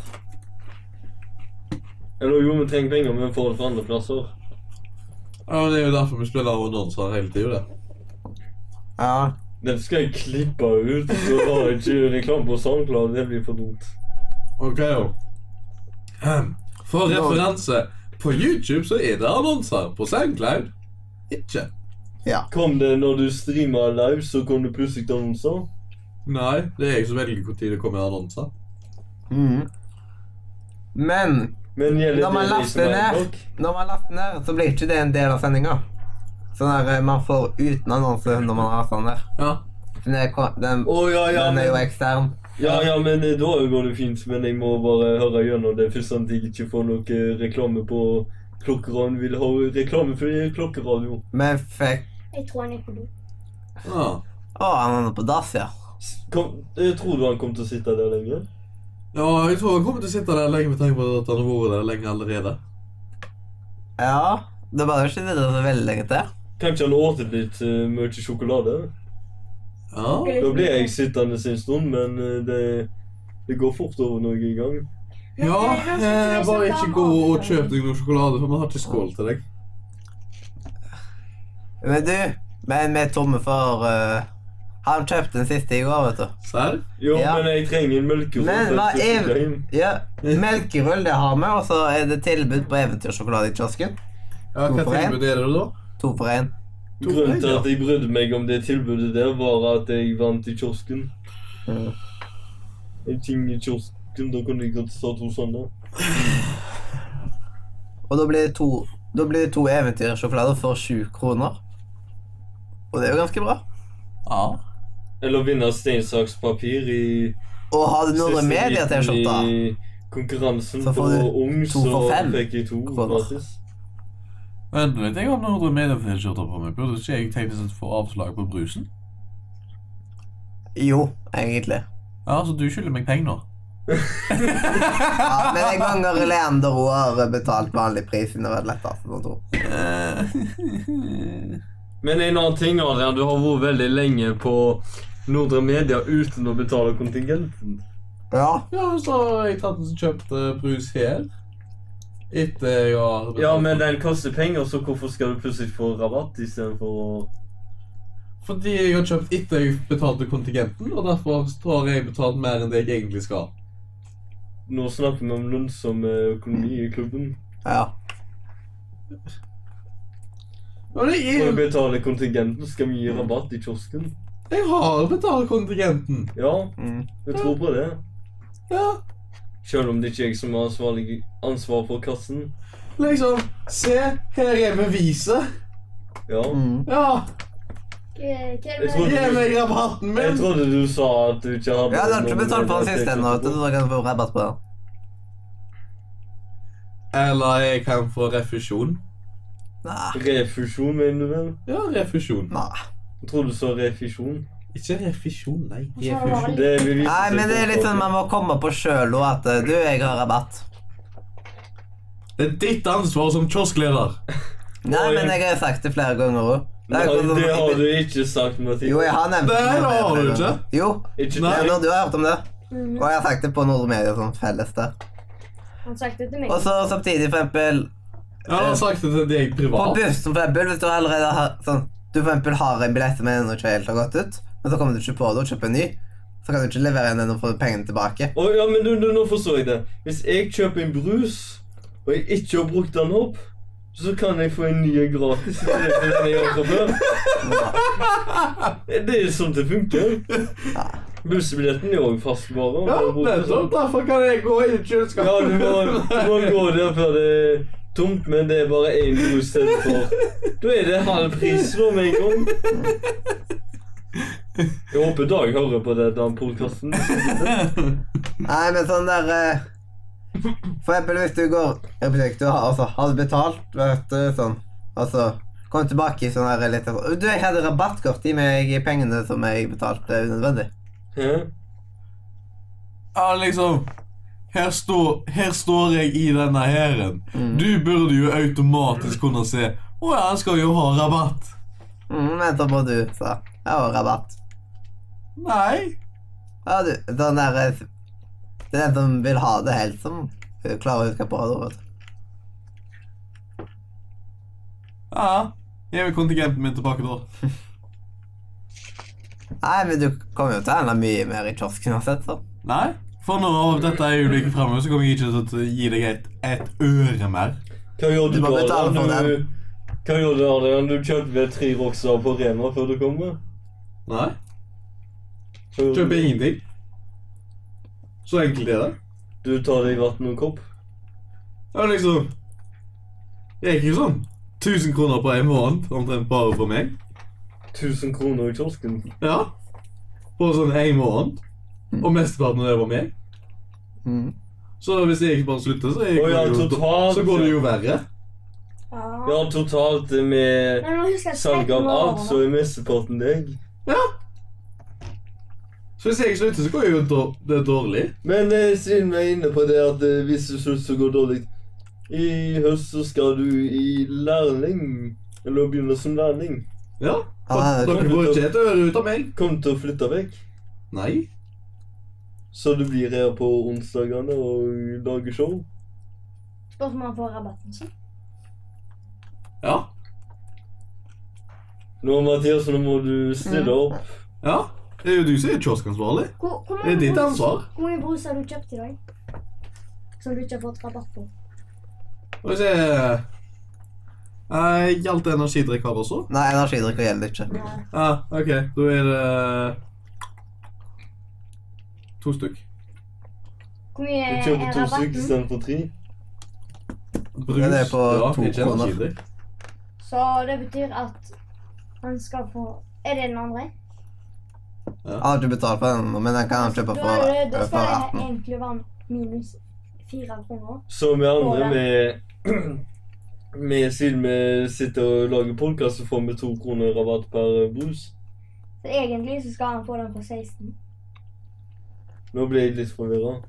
S3: Eller jo, vi trenger penger, men vi får det fra andre plasser.
S2: Ja, men Det er jo derfor vi spiller annonser hele tida.
S1: Ja.
S3: Den skal jeg klippe ut, så har jeg ikke reklame på SoundCloud. Det blir for dumt.
S2: Ok, jo. Ahem. For referanse, på YouTube så er det annonser. På SoundCloud ikke.
S3: Kom det når du streama live, så kom det plutselig annonser?
S2: Nei, det er jeg som velger når det kommer annonser.
S1: Mhm. Men
S3: Men gjelder
S1: Når man
S3: det de som
S1: laster
S3: er
S1: ned.
S3: nok?
S1: når man laster ned, så blir ikke det en del av sendinga. Sånn der eh, man får uten annonse når man har sånn der.
S2: Ja.
S1: Den er, ko- den,
S3: Å ja, ja,
S1: den er jo
S3: men,
S1: ekstern.
S3: ja, ja, men eh, da går det fint. Men jeg må bare høre gjennom det først, sånn at jeg ikke får noe reklame på Klokkeradioen vil ha reklame for eh, klokkeradio.
S1: Men fikk
S4: Jeg tror han er på do.
S2: Ah.
S1: Å, han er på dass, ja.
S3: Kom, eh, tror du han kom til å sitte der lenge?
S2: ja, jeg tror han kommer til å sitte der lenge med tanke på at han har vært der lenge allerede.
S1: Ja. Det var jo ikke det så veldig lenge til.
S3: Kanskje han åt litt eh, mye sjokolade?
S2: Ja.
S3: Da blir jeg sittende en stund, men eh, det, det går fort over noe i gang.
S2: ja eh, bare ikke gå og kjøp deg noe sjokolade, for vi har ikke skål til deg.
S1: Men du, men vi er tomme for eh, Han kjøpte den siste i går, vet du.
S2: Serr?
S3: Jo,
S1: Ja.
S3: men jeg trenger en melkerull.
S1: Men hva er-
S3: er...
S1: Ja, Melkerull, det har vi, og så er det tilbud på eventyrsjokolade i kiosken.
S2: Ja, hva
S1: Hvorfor en?
S2: tilbud er det da?
S1: To for én.
S3: Grunnen til at jeg brydde meg om det tilbudet der, var at jeg vant i kiosken.
S1: Mhm.
S3: En ting i kiosken, da kunne jeg godt ta to sånne.
S1: Og da blir det to, da blir det to eventyrsjokolader for sju kroner. Og det er jo ganske bra.
S2: Ja.
S3: Eller vinne stein, saks, papir i
S1: Og har du noe
S3: siste
S1: media
S3: liten
S1: til skjorta?
S3: i Konkurransen
S1: Så
S3: på
S1: får du
S3: ung,
S1: to for
S3: så
S1: fem
S3: fikk jeg to
S1: kroner.
S3: gratis.
S2: Vent litt, jeg har noen mediefriskjorter på meg. Burde ikke jeg teknisk sett få avslag på brusen?
S1: Jo, egentlig.
S2: Ja, så du skylder meg penger nå?
S1: Ja, men en gang har Leander og har betalt vanlig pris siden det var lett. Altså, sånn, tror.
S3: Eh. Men en annen ting, Adrian, du har vært veldig lenge på Nordre Media uten å betale kontingenten.
S1: jeg. Ja,
S2: Ja, så har jeg tatt og kjøpt eh, brus her. Etter jeg har
S3: Ja, men den koster penger, så hvorfor skal du plutselig få rabatt istedenfor å
S2: Fordi jeg har kjøpt etter jeg betalte kontingenten, og derfor har jeg betalt mer enn det jeg egentlig skal.
S3: Nå snakker vi om lønnsom eh, økonomi i klubben.
S1: ja.
S2: Men jeg,
S3: For å
S2: er-
S3: betale kontingenten skal vi gi rabatt i kiosken.
S2: jeg har betalt kontingenten.
S3: Ja,
S1: Mm.
S3: jeg tror på det.
S2: Ja.
S3: Selv om det ikke er jeg som har ansvarlig ansvar for kassen.
S2: Liksom Se, her er beviset.
S3: Ja.
S1: Mm.
S2: Ja,
S4: Hva hva er
S3: Jeg
S4: det
S3: tror-
S4: med
S2: gi meg rabatten
S3: Jeg
S2: min.
S3: trodde du sa at du ikke hadde
S1: Ja, du har
S3: noen
S1: ikke betalt for den
S3: relatert
S1: siste ennå. vet du,
S3: etterpå.
S1: så Da kan du få rabatt på den.
S2: Eller jeg kan få refusjon.
S1: Nei.
S3: Refusjon, mener du vel?
S2: Ja, refusjon.
S1: Nei.
S3: Jeg tror du sa refusjon.
S2: Ikke refusjon, nei.
S4: Hvorfor har
S2: Refusjon.
S4: du-
S3: Det vil vise
S1: Nei,
S3: seg
S1: men det er
S3: på-
S1: litt sånn man må komme på sjøl òg at eh, Du, jeg har rabatt.
S2: Det er ditt ansvar som kioskleder.
S1: Nei,
S3: Oi.
S1: men jeg har jo sagt det flere ganger òg.
S3: Nei, det har du ikke sagt, Mathias.
S1: Jo, jeg har nevnt
S2: Nei, det har du ikke.
S1: Jo.
S3: Ikke
S2: Nei.
S1: Ja,
S3: det.
S1: nå, du har hørt om det.
S4: Mhm.
S1: Og jeg har sagt det på Nordre Media sånn felles der.
S4: Han sa det til meg.
S1: Og så samtidig, for eksempel
S2: Jeg har sagt det til deg
S1: På
S2: privat.
S1: bussen, for eksempel, hvis du allerede har sånn, Du for eksempel har en billett som ennå ikke helt har gått ut, men så kommer du ikke på det og kjøper en ny, så kan du ikke levere inn den og få pengene tilbake.
S3: Å, ja, men du, du, nå forstår jeg det. Hvis jeg kjøper en brus, og jeg ikke har brukt den opp, så kan jeg få en ny gratis. i stedet for den jeg har fra før. Det er sånn det funker. Bussbilletten er òg fastvare.
S2: Ja, nettopp. Derfor kan jeg gå inn i
S3: sånn. Ja, du må, du må gå der før det er tomt, men det er bare én brus til for. Da er det halv pris nå med en gang. Jeg håper Dag hører på denne podkasten.
S1: Nei, men sånn der eh, For eksempel hvis du går jeg vet ikke, du har, altså, har du betalt, vet du, sånn Altså Kom tilbake i sånn der litt sånn, Du, jeg hadde rabattkort i meg i pengene som jeg betalte unødvendig.
S3: Hæ?
S2: Ja, liksom her står, her står jeg i denne hæren.
S1: Mm.
S2: Du burde jo automatisk kunne se Å ja, han skal jo ha rabatt.
S1: Mm, men så må du, sa Jeg har rabatt.
S2: Nei.
S1: Ja, du, sånn der eh, Det er den som vil ha det helt, som klarer å huske på det. vet du.
S2: Ja. Gi meg kontingenten min tilbake, da.
S1: Nei, men du kommer jo til å handle mye mer i kiosken uansett, så.
S2: Nei. For nå av dette øyeblikket fremover så kommer jeg ikke til å gi deg et, et øre mer.
S3: Hva gjør du
S1: Du må
S3: da?
S1: betale for
S3: da?
S1: den.
S3: Du, hva gjør du da? Du kjøpte tre Roxer på Rema før du kommer?
S2: Nei.
S3: Hva gjør
S2: Kjøper
S3: du?
S2: ingenting. Så enkelt er det.
S3: Du tar deg vann og en kopp?
S2: Det var liksom Det gikk jo sånn 1000 kroner på en måned, omtrent bare for meg.
S3: 1000 kroner i kiosken?
S2: Ja. På sånn en måned.
S3: Mm.
S2: Og mesteparten av det var meg.
S1: Mm.
S2: Så hvis jeg bare slutter, så,
S3: Å
S2: jeg,
S3: ja, totalt.
S2: så går det jo verre.
S4: Ja.
S3: Ja, totalt med
S4: Nei, men husk at
S3: salg av
S4: Steffen var
S3: alt, så er mesteparten deg.
S2: Ja. Så hvis jeg slutter, så går det jo dår- det dårlig.
S3: Men eh, siden vi er inne på det at eh, hvis det slutter så går det dårlig I høst så skal du i lærling. Eller begynne som lærling.
S2: Ja.
S3: Ah,
S1: Ja, det er-
S2: For dere får ikke et øre ut av meg.
S3: Kom til å flytte vekk.
S2: Nei.
S3: Så du blir her på onsdagene og lager show.
S4: Spørs om han får rabatten sin.
S2: Ja.
S3: Nå, Mathias, nå må du stille opp.
S2: Ja. Det er jo du som er kioskansvarlig.
S4: Hvor, hvor
S2: Det er
S4: mange
S2: ditt
S4: brus-
S2: ansvar.
S4: Hvor mange brus har du kjøpt i dag? Som du ikke har fått rabatt på?
S2: Skal vi se Eh, Gjaldt det energidrikk her også?
S1: Nei, energidrikker gjelder ikke.
S4: Nei.
S2: Ja, ah, ok. Da er det To stykk.
S4: Hvor mye
S3: Du
S4: er
S3: kjøper to
S4: Eh, rabatten?
S3: stykker istedenfor tre.
S2: Brus.
S1: Ja, det er på to
S2: ikke
S1: kroner.
S2: energidrikk.
S4: Så det betyr at han skal få Er det den andre?
S1: Jeg har ikke betalt for den, men den kan han kjøpe
S4: Da
S1: for,
S4: er det- da
S1: for
S4: skal det
S1: 18.
S4: egentlig være minus fire kroner.
S3: Så vi andre
S4: Året.
S3: med med Siden vi sitter og lager podkast, så får vi to kroner rabatt per eh, brus.
S4: Så egentlig så skal han få den for 16.
S3: Nå ble jeg litt forvirra.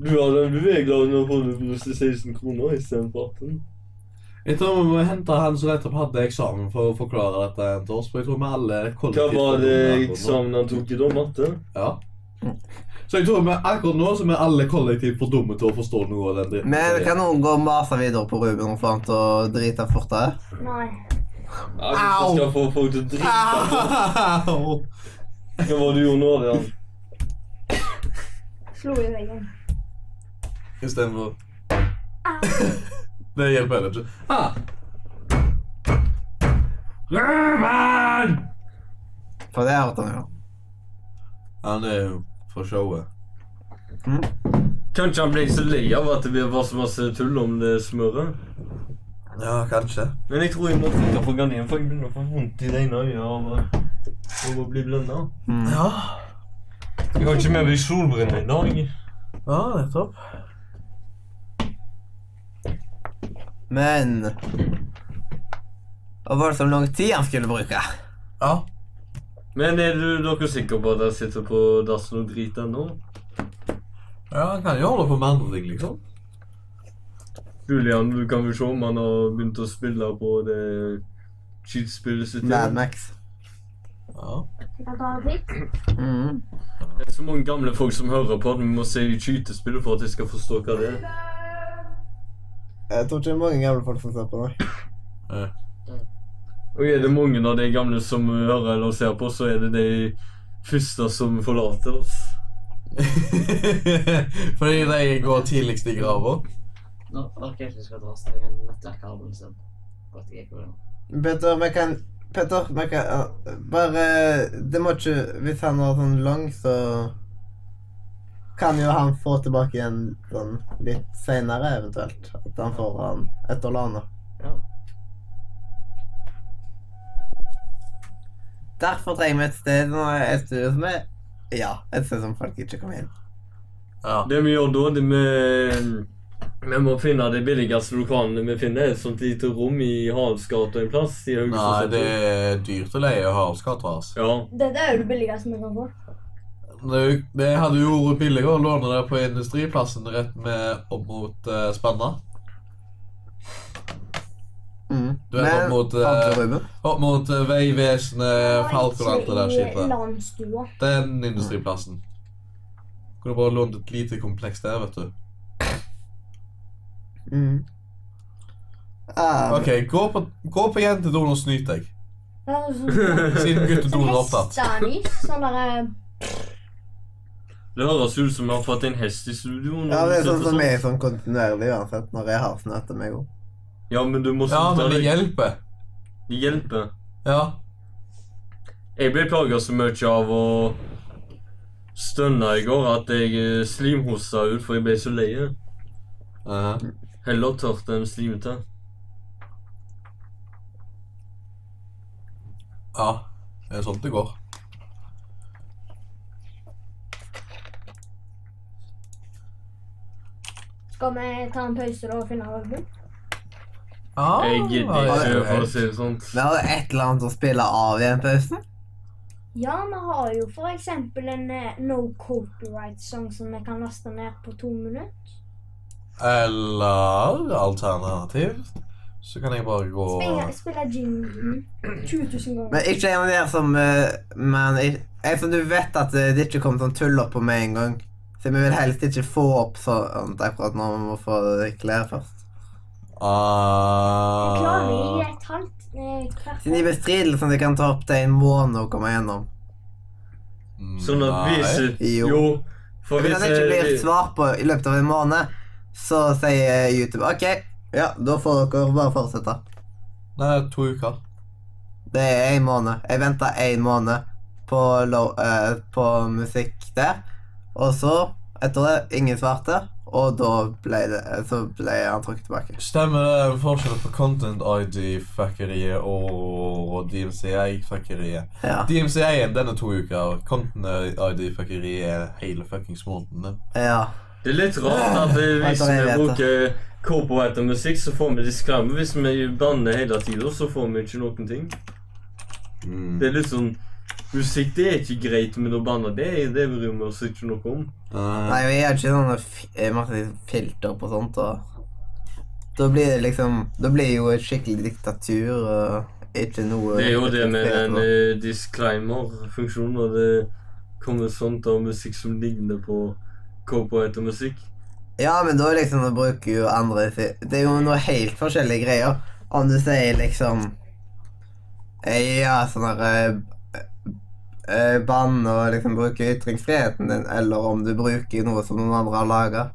S3: Du, Adam, du er glad når du får brus til 16 kroner istedenfor 18.
S2: Jeg tror vi må hente han som nettopp hadde eksamen, for å forklare dette til oss. For jeg tror vi alle
S3: Hva
S2: kollektivt
S3: var det
S2: fornøyd med akkurat nå.
S3: eksamen han tok i da? Matte?
S2: Ja. Så jeg tror vi akkurat nå så er vi alle kollektivt for dumme til å forstå noe av den dritten.
S1: Men kan noen gå og mase videre på Ruben og få han til å drite fortere?
S4: Nei.
S3: Ja, hvis du skal få folk til å
S2: Ah.
S3: drite.
S2: Au!
S3: Hva var det du gjorde nå, Adrian?
S4: Slo i veggen.
S2: Istedenfor Det hjelper heller ikke. Ah. Ruben!
S1: For det hørte han jo.
S2: Han er jo fra showet.
S3: Kanskje han ble så lei av at det var så masse tull om det smøret.
S2: Ja, kanskje.
S3: Men jeg tror jeg må trykke på gardinen, for jeg begynner å få vondt i det ene øyet av å- av å bli blenda. Mm.
S2: Ja,
S3: Jeg har ikke med meg solbriller i dag.
S2: ja nettopp.
S1: Men Hva var det som lang tid han skulle bruke?
S2: Ja.
S3: Men er du, dere sikre på at jeg sitter på dassen og driter ennå?
S2: ja, han kan jo holde på med andre ting, liksom.
S3: Julian, du kan vel se om han har begynt å spille på det skytespillet sitt?
S1: Mad Max.
S2: Ja.
S4: Jeg kan ta en titt.
S1: Mm.
S3: Det er så mange gamle folk som hører på at vi må se skytespillet for at de skal forstå hva det er.
S1: Jeg tror ikke det er mange gamle folk som ser på meg.
S3: Og er det mange av de gamle som hører eller ser på, så er det de første som forlater oss.
S2: Fordi de går tidligst i grava.
S6: Nå orker jeg ikke skal dra til en nettverkkabel sin. Godt jeg ikke vil.
S1: Petter, vi kan Petter, vi kan ja, Bare Det må ikke Hvis han har sånn lang, så kan jo han få tilbake igjen sånn litt seinere, eventuelt. At han får han et eller annet.
S6: Ja.
S1: Derfor trenger vi et sted nå et studio som er Ja, et sted som folk ikke kommer inn.
S2: Ja.
S3: Det vi gjør da, det vi vi må finne de billigste lokalene vi finner. Et sånt lite rom i Halsgata en plass. i Haugesund
S2: Nei, det
S3: sentrum.
S2: er dyrt å leie hardskatter, altså.
S3: Ja.
S4: Dette er jo det billigste vi
S2: Eh,
S4: kan få.
S2: Det, er jo- det hadde jo vært billigere å låne det på industriplassen rett med opp mot eh, Spanna.
S1: Mm.
S2: Du er opp mot, eh,
S1: Fant du Ruben?
S2: Opp mot eh, Vegvesenet, Falcon og alt det der
S4: Ikke i
S2: skittet.
S4: landstua.
S2: Den industriplassen. Kunne bare lånt et lite kompleks der, vet du.
S1: Mm. Ah,
S2: OK, gå på, gå på jentedoen og snyt deg.
S4: Det er sånn
S2: Siden guttedoen er opptatt.
S4: hestanis. Sånn derre
S3: Det høres ut som vi har fått en hest i studio. når
S1: Ja, det er
S3: du
S1: sånn
S3: sitter
S1: som jeg er sånn kontinuerlig uansett, når jeg har snø til meg òg.
S3: Ja, men du må
S2: Ja,
S3: slutte.
S2: men det
S3: det,
S2: hjelper.
S3: det hjelper.
S2: Ja.
S3: Jeg ble plaga så mye av å stønne i går at jeg eh, slimhosta ut, for jeg ble så lei.
S2: Eh,
S3: Heller tørt enn slimete.
S2: ja. Det er sånn det går.
S4: Skal vi ta en pause da og finne Rødbund?
S2: Ah,
S3: Jeg gidder ikke, for å si det sånn.
S1: Vi har jo et eller annet å spille av i den pausen.
S4: Ja, vi har jo for eksempel en eh, no copyright-sang som vi kan laste ned på to minutter.
S2: Eller alternativt så kan jeg bare gå
S4: Spille, spille jinglen 20 000 ganger.
S1: Men ikke en av de her som eh, Men i- en som du vet at eh, det ikke kommer sånn tull opp på med en gang. Så vi vil helst ikke få opp sånt akkurat nå. Vi må få klær først.
S4: Jeg klarer i
S2: ah,
S4: et halvt eh, kvart.
S1: Siden de bestridelsene de kan ta opp til en måned å komme gjennom.
S3: Sånn at
S2: nei.
S3: hvis
S1: Jo.
S3: Jo. For
S1: Hvis
S3: hvis
S1: det ikke blir
S3: jeg-
S1: svar på i løpet av en måned, så sier YouTube OK, ja, da får dere bare fortsette.
S2: Nei, to uker.
S1: Det er en måned. Jeg venta en måned på, lo- eh, på musikk der. Og så, etter det, ingen svarte. Og da ble, det, så ble han trukket tilbake.
S2: Stemmer det er en forskjell på Content ID-fuckeriet og DMCI-fuckeriet.
S1: Ja.
S2: DMCI-en den er to uker. Content ID-fuckeriet er hele fuckings måneden.
S1: ja.
S3: Det er litt rart at eh, hvis
S1: Ah, Vent, jeg
S3: vi
S1: vet
S3: bruker copyrighted musikk, så får vi disclaimer. Hvis vi banner hele tida, så får vi ikke noen ting.
S2: Mm.
S3: Det er litt sånn Musikk det er ikke greit, men å banne det, det bryr vi oss ikke noe om.
S1: Nei, vi har ikke sånne fi- eh, masse filter på sånt. Og da blir det liksom Da blir det jo et skikkelig diktatur. Og ikke noe
S3: Det er jo det med den eh, disclaimer-funksjonen, og det kommer sånt av musikk som ligner på copyrighted musikk.
S1: Ja, men da liksom da bruker jo andre si- Det er jo noe helt forskjellige greier. Om du sier liksom eh, Ja, sånn derre Bann og liksom bruker ytringsfriheten din, eller om du bruker noe som noen andre har laga,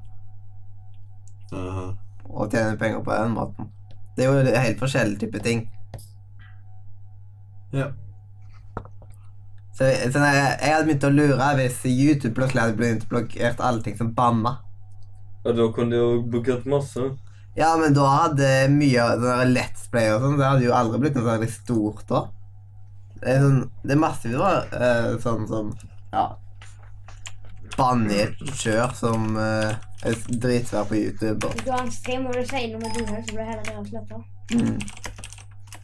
S2: Uh,
S1: og tjener penger på den måten. Det er jo helt forskjellige typer ting. Så, sånn jeg, jeg hadde begynt å lure hvis YouTube plutselig hadde begynt å blokkert alle ting som banna.
S3: Ja, da kunne de jo blokkert masse.
S1: Ja, men da hadde mye av sånn der Let's Play og sånn, det hadde jo aldri blitt noe særlig stort da. Det er, sånn, det er massevis av eh, sånn som ja, banne i et kjør som eh, er dritsvær på YouTube. Og,
S4: Du har en stream og du sier noe med dine, så blir det heller det å slette.
S1: mm.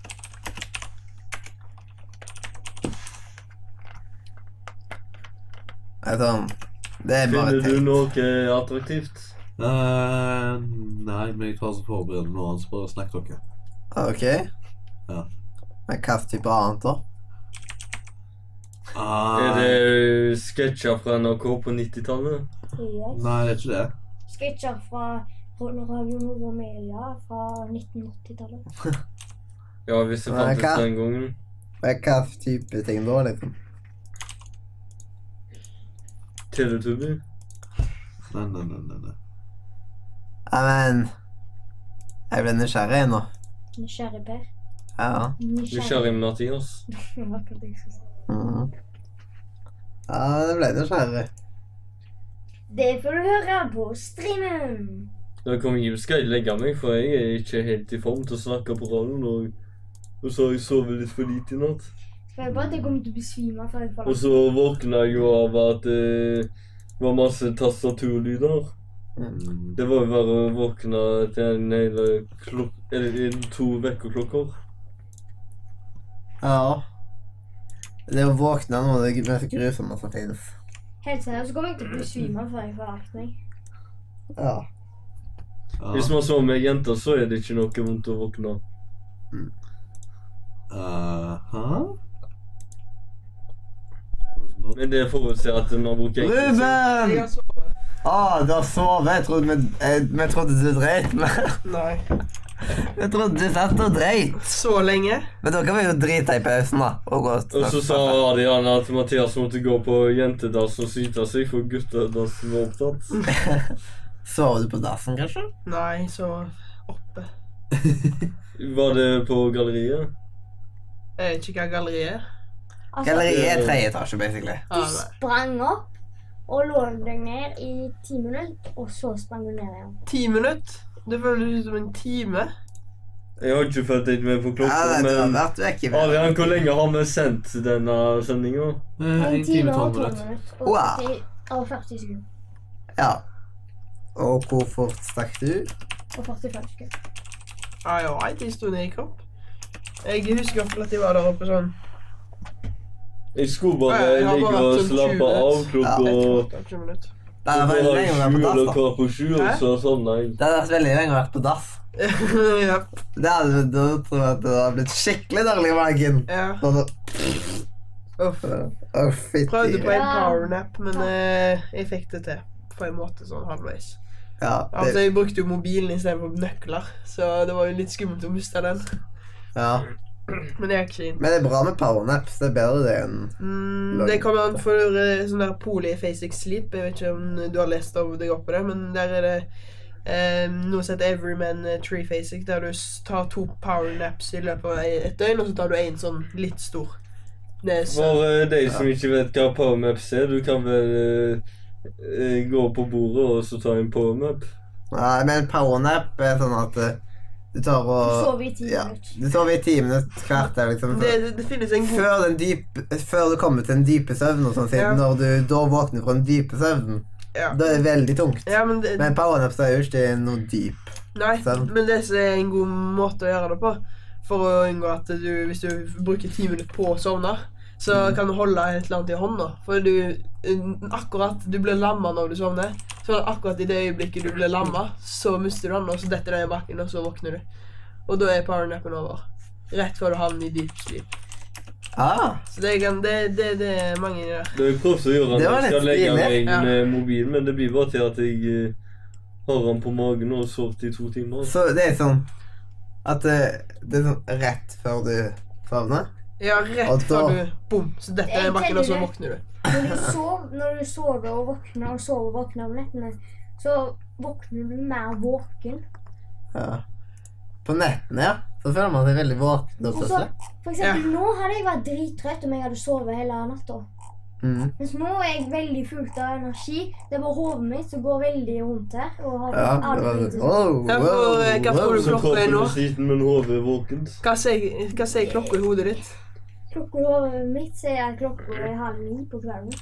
S1: Det er sånn Det er bare
S3: Finner du
S1: teit.
S3: noe attraktivt?
S2: Eh, nei, men jeg tar så forberedende noe annet, så bare snakk dere.
S1: OK?
S2: Ja.
S1: Men hva slags type annet, da?
S2: Ah,
S3: Er det sketsjer fra NRK på 90-tallet?
S4: Yes.
S2: Nei, det er ikke det.
S4: Sketsjer fra Radio Nord og Media fra 1980-tallet.
S3: Ja, hvis det
S1: Nei,
S3: fantes
S1: hva?
S3: den gangen.
S1: Men hva slags type ting da, liksom?
S3: Teletubby.
S2: Nei, nei, nei, nei, nei.
S1: Nei, men Jeg ble nysgjerrig nå.
S4: Nysgjerrig Per.
S1: Ja.
S3: Nysgjerrig Mathias.
S4: Det var akkurat det jeg skulle si.
S1: Mhm. Ja, det ble nysgjerrig.
S4: Det får du høre på streamen.
S3: Da kommer jeg skal jeg legge meg, for jeg er ikke helt i form til å snakke på radioen. Og, og så har jeg sovet litt for lite i natt.
S4: Skal jeg bare at jeg kommer til å besvime før jeg får
S3: Og så våkna jeg jo av at eh, det var masse tastaturlyder.
S2: Mm,
S3: Det var jo bare å våkne til en hel eh, klok... Eller en- to vekkerklokker.
S1: Ja. Det å våkne er noe av det mest grusomme som finnes.
S4: Helt seriøst, så kommer jeg til å besvime før jeg får lagt meg.
S1: Ja.
S2: ja.
S3: Hvis man sover med jenter, så er det ikke noe vondt å våkne.
S2: Eh, hæ?
S3: Men det forutser at en har brukt enkelte.
S1: Ruben!
S5: Jeg har sovet.
S1: Å, du har sovet. Jeg trodde vi, jeg, vi trodde du dreit. men-
S5: Nei.
S1: Vi trodde du satt og dreit.
S5: Så lenge.
S1: Men da kan vi jo drite i pausen, da. Og gå
S3: Og så sa Adrian at Mathias måtte gå på jentedassen og syte seg, for guttedassen var opptatt.
S1: Sov du på dassen, kanskje?
S5: Nei, så oppe.
S3: Var det på galleriet?
S5: Jeg vet ikke hva galleriet er.
S4: Altså,
S1: Galleriet er tredje etasje, basically.
S5: Ja,
S4: du
S5: nei.
S4: sprang opp og lå deg ned i ti minutter, og så sprang du ned igjen.
S5: Ti minutter. Det føles ut som en time.
S3: Jeg har ikke fulgt litt med på
S1: Ja,
S3: klokka,
S1: det, du har
S3: men
S1: vært vekk i
S3: Adrian, hvor lenge har vi sendt denne sendinga?
S2: Eh, en time, tolv minutter.
S4: minutter og
S1: Wow.
S4: 40, og 40 sekunder.
S1: Ja. Og hvor fort stakk du?
S4: Og 45 sekunder.
S5: Ah, jeg vet, jeg sto ned i kropp. Jeg husker iallfall at jeg var der oppe sånn.
S3: Jeg skulle
S5: Ja,
S3: bare
S5: jeg har bare
S3: ligge og
S5: vært sånn
S3: slappe
S5: 20
S3: av
S5: Jeg
S3: klokka
S5: tror det er 20 minutter.
S1: Det hadde vært lenge å være på
S3: sju eller
S1: dass, da.
S3: kvart på sju, og
S5: Hæ?
S3: så sovna jeg.
S1: Det hadde vært veldig lenge å være på dass.
S5: ja.
S1: Det hadde da tror jeg at det hadde blitt skikkelig dårlig i magen.
S5: ja.
S1: Sånn,
S5: Uff.
S1: Å, fytti.
S5: Prøvde på en
S4: Ja.
S5: powernap, men eh, jeg fikk det til. På en måte sånn halvveis.
S1: Ja,
S5: Altså,
S1: det,
S5: Jeg brukte jo mobilen istedenfor nøkler, så det var jo litt skummelt å miste den.
S1: ja.
S5: Men det gikk ikke inn.
S1: Men det er bra med powernaps. Det er bedre det enn
S5: Mm, det kommer an for eh, sånn der polyphasic sleep. Jeg vet ikke om du har lest om deg opp på det, men der er det eh, noe som heter Everyman eh, Treephasic, der du s- tar to powernaps i løpet av et døgn, og så tar du en sånn litt stor. Det er så,
S3: For eh, de som ikke vet hva powermaps er, du kan vel eh, eh, gå på bordet og så ta en powermap.
S1: Nei, men powernap er sånn at eh, du tar
S4: Du
S1: og
S4: sover i 10
S1: ja,
S4: minutter.
S1: Du sover i ti minutter hvert. Der, liksom,
S5: det,
S1: før,
S5: det, det finnes en god
S1: før, den dyp, før du kommer til den dype søvnen og sånn, siden
S5: Ja.
S1: når du da våkner fra den dype søvnen,
S5: Ja,
S1: da er det veldig tungt.
S5: ja men det,
S1: Men powernaps er jo ikke noe dyp.
S5: Nei,
S1: Søvn.
S5: men det som er en god måte å gjøre det på, for å unngå at du, hvis du bruker ti minutter på å sovne, så
S1: Mm.
S5: kan du holde et eller annet i hånda. For du n- akkurat du blir lamma når du sovner. Så akkurat i det øyeblikket du blir lamma, så mister du den, og så detter det i bakken, og så våkner du. Og da er powernappen over. Rett før du havner i dyp sleep.
S1: Ah,
S5: Så det, kan, det, det, det er mange der.
S3: Det har jeg prøvd å gjøre når
S1: Det var
S3: jeg skal
S1: litt
S3: legge
S1: stilig.
S3: meg
S5: Ja.
S3: med mobilen, men det blir bare til at jeg eh, har den på magen og har sovet i to timer.
S1: så det er sånn at eh, det er sånn rett før du sovner.
S5: Ja,
S1: Og
S5: rett
S1: da-
S5: før du Bom! Så detter det i bakken, og så våkner du.
S4: Når du, sover, når du sover og våkner og sover og våkner om nettene, så våkner du mer våken.
S1: Ja. På nettene, ja. Så føler man seg veldig våken og
S4: Altså,
S1: plutselig.
S4: for eksempel nå hadde jeg vært drittrøtt om jeg hadde sovet hele natta.
S1: Mm.
S4: Mens nå er jeg veldig fullt av energi. Det er bare hodet mitt som går veldig rundt her. Og har
S1: Ja,
S4: har
S1: det
S4: det
S1: var, sånn,
S4: veldig-
S1: wow,
S5: Jeg får- jeg kan få
S1: wow.
S5: det
S3: Så
S5: klokka er
S3: kroppen
S5: nå.
S3: er sliten, men hodet er våkent.
S5: Hva sier, hva sier klokka i hodet ditt?
S4: Klokka i hodet mitt sier klokka er halv ni på kvelden.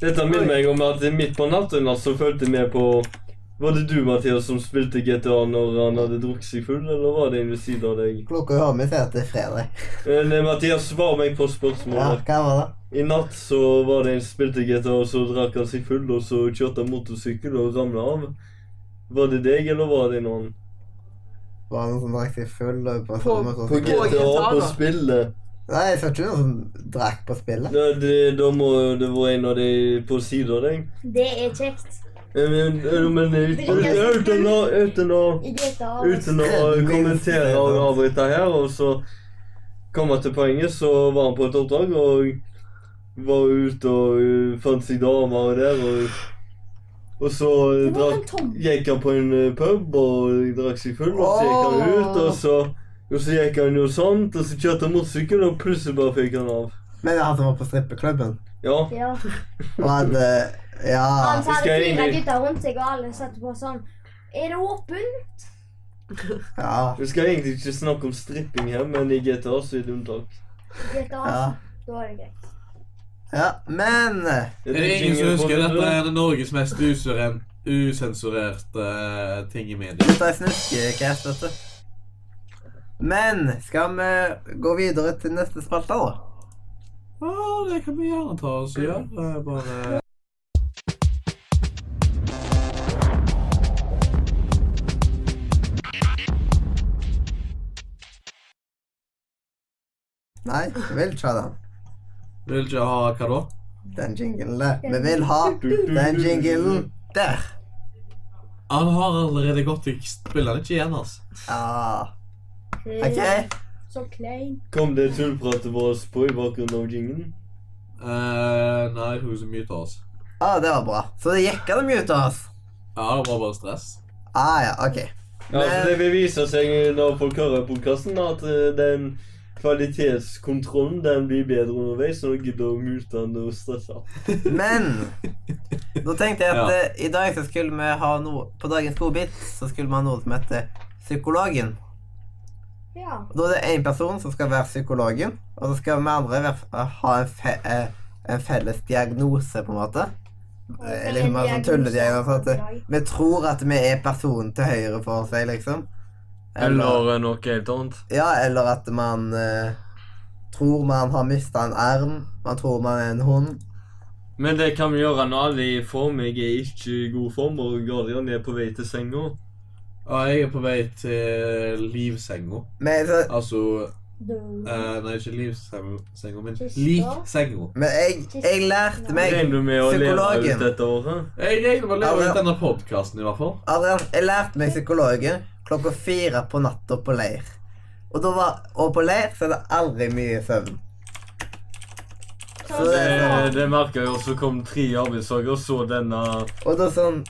S3: Dette minner meg om at midt på natten altså, følte vi på Var det du, Mathias, som spilte GTA når han hadde drukket seg full, eller var det en ved siden av deg?
S1: Klokka i hodet mitt sier at det er fredag.
S3: Men, eh, Mathias, svar meg på
S1: Ja,
S3: spørsmålet.
S1: hva var det?
S3: I natt så var det en spilte GTA, og så drakk han seg full, og så kjørte han motorsykkel og ramla av. Var det deg, eller var det noen?
S1: Var det noen som drakk seg full og på
S5: På-
S1: samme
S3: På
S1: sånn?
S5: På
S3: GTA,
S5: GTA,
S3: på
S5: da.
S3: spillet.
S1: Nei, jeg så ikke noen som drakk på spillet.
S3: Da, det, da må det være en av de på siden av deg.
S4: Det er kjekt.
S3: Eh, Men, eh, men eh, uten uten å Uten å
S4: I GTA.
S3: Uten å kommentere og avbryte her, og så komme til poenget, så var han på et oppdrag og var ute og uh, fant seg damer der, og, og så uh,
S4: Det var
S3: drakk,
S4: en tom.
S3: gikk han på en uh, pub og drakk seg full, og så gikk han ut, og så, og så gikk han jo sånt, og så kjørte han motorsykkel, og plutselig bare fikk han av.
S1: Men han som var på strippeklubben,
S3: Ja.
S4: Ja.
S1: og hadde Ja.
S4: Han sa
S3: Skal
S4: det
S3: jeg
S4: fire
S3: inn i-
S4: gutter rundt seg, og alle satt på sånn. Er det åpent?
S1: ja.
S3: Vi skal egentlig ikke snakke om stripping her, men i GTA så er det unntak.
S4: I GTA.
S1: Ja.
S4: Da er det greit.
S1: ja. Men eh,
S3: Er
S2: Er
S3: det
S2: det ingen som
S3: jingle på
S2: husker
S3: det,
S2: dette
S3: eller?
S2: er Norges mest usuren, usensurerte eh, ting i media?
S1: Dette er snuskecast, vet du. Men skal vi gå videre til neste spalte, da?
S2: Ja, det kan vi gjerne ta oss og gjøre. Det er Bare
S1: Nei, vi vil ikke ha den.
S2: Vil ikke ha hva da?
S1: Den jinglen der. Vi vil ha den jinglen der.
S2: Han har allerede gått i Spiller han ikke igjen, altså.
S1: Ja. OK.
S4: Så klein.
S3: Kom det tullpratet vårt på i bakgrunnen av jingen?
S2: Eh, nei, jeg tror ikke så mye til oss.
S1: Ah, det var bra. Så det gikk an å mute oss.
S2: Ja, det var bare stress.
S1: Ah, ja, OK.
S3: Ja, for det beviser seg når folk hører podkasten, at eh, den kvalitetskontrollen den blir bedre underveis. Så nå gidder å mute den og stresse.
S1: Men da tenkte jeg at
S2: Ja.
S1: eh, i dag så skulle vi ha noe På dagens godbit så skulle vi ha noe som heter Psykologen.
S4: Ja.
S1: Da er det én person som skal være psykologen, og så skal vi andre være, ha en, fe, eh, en felles diagnose, på en måte. Eh, liksom bare sånn tullediagnose. At eh, vi tror at vi er personen til høyre for seg, liksom.
S3: eh, noe helt annet.
S1: Ja, eller at man eh, tror man har mista en arm. Man tror man er en hund.
S3: Men det kan vi gjøre når alle er i form. Jeg er ikke i god form, og Guardian er på vei til senga.
S2: Ja, jeg er på vei til livsenga.
S1: Men, så,
S2: Altså
S4: Du-
S2: eh, Nei, ikke livsenga, men liksenga.
S1: men jeg, jeg lærte meg
S3: Regner du med å leve
S1: Psykologen.
S3: ut dette året?
S2: Jeg regner med å
S1: Ja,
S2: leve ut
S1: men-
S2: denne podkasten, i hvert fall.
S1: Adrian, jeg lærte meg psykologen klokka fire på natta på leir. Og, da var, og på leir så er det aldri mye søvn. Så det er
S3: Det,
S1: sånn,
S3: det merker jeg også kom tre arbeidsdager, så denne
S1: og da sånn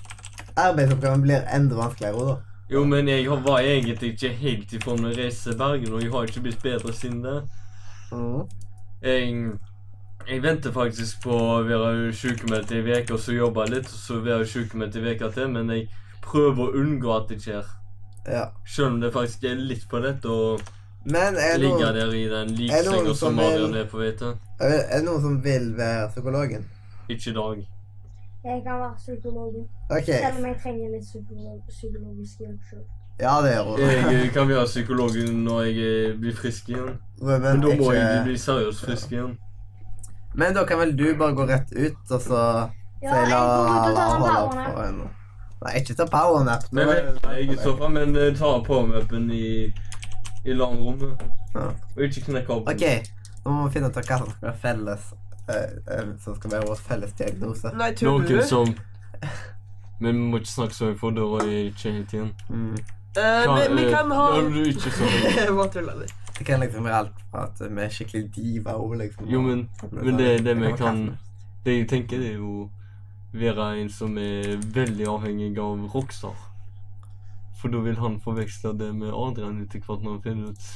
S1: Arbeidsoppgaven blir enda vanskeligere. og da.
S3: Jo, men jeg har- var egentlig ikke helt i form med å reise til Bergen, og jeg har ikke blitt bedre siden det.
S1: Mhm.
S3: Jeg, jeg venter faktisk på å være sykemeldt i en uke, og så jobbe litt, og så være sykemeldt i en uke til, men jeg prøver å unngå at det skjer.
S1: Ja.
S3: Selv om det faktisk er litt på nett å
S1: Men er det,
S3: ligge
S1: noen,
S3: der i den
S1: er det noen
S3: liksenga som
S1: som vil-
S3: Marian er på vei til.
S1: er det noen som vil være psykologen?
S3: Ikke i dag.
S4: Jeg kan være psykologen.
S1: OK.
S4: Selv om jeg trenger litt psykolog psykologisk hjelp selv.
S1: Ja, det gjør hun.
S3: Jeg eh, kan være psykologen når jeg eh, blir frisk igjen. Men
S1: Ruben,
S3: da må jeg
S1: ikke
S3: bli seriøst frisk igjen.
S1: Men da kan vel du bare gå rett ut, og så
S4: Ja,
S1: sier
S4: jeg
S1: la
S4: går ut og
S1: la
S4: tar en
S1: holde
S4: powernap.
S1: på en Nei, ikke ta powernap.
S3: Men jeg, jeg er i så fall, men eh, ta påmøpen i, i langrommet.
S1: Ja.
S3: Og ikke knekke opp.
S1: OK, nå må vi finne ut av hva som skal være felles eh, eh, Som skal være vår felles diagnose.
S5: Nei, tuller du?
S3: som Men vi må ikke snakke så høyt, for da er jeg ikke helt igjen.
S1: Mm.
S5: Eh, vi, vi kan ha
S3: ikke sånn.
S5: Jeg bare tuller litt.
S1: Det kan liksom være alt fra at vi er skikkelig diva og liksom
S3: Jo, men,
S1: og-
S3: men det er det vi
S1: være
S3: kan
S1: kaffen.
S3: Det jeg tenker, det er jo være en som er veldig avhengig av rockstar. for da vil han forveksle det med Adrian etter hvert når han finner ut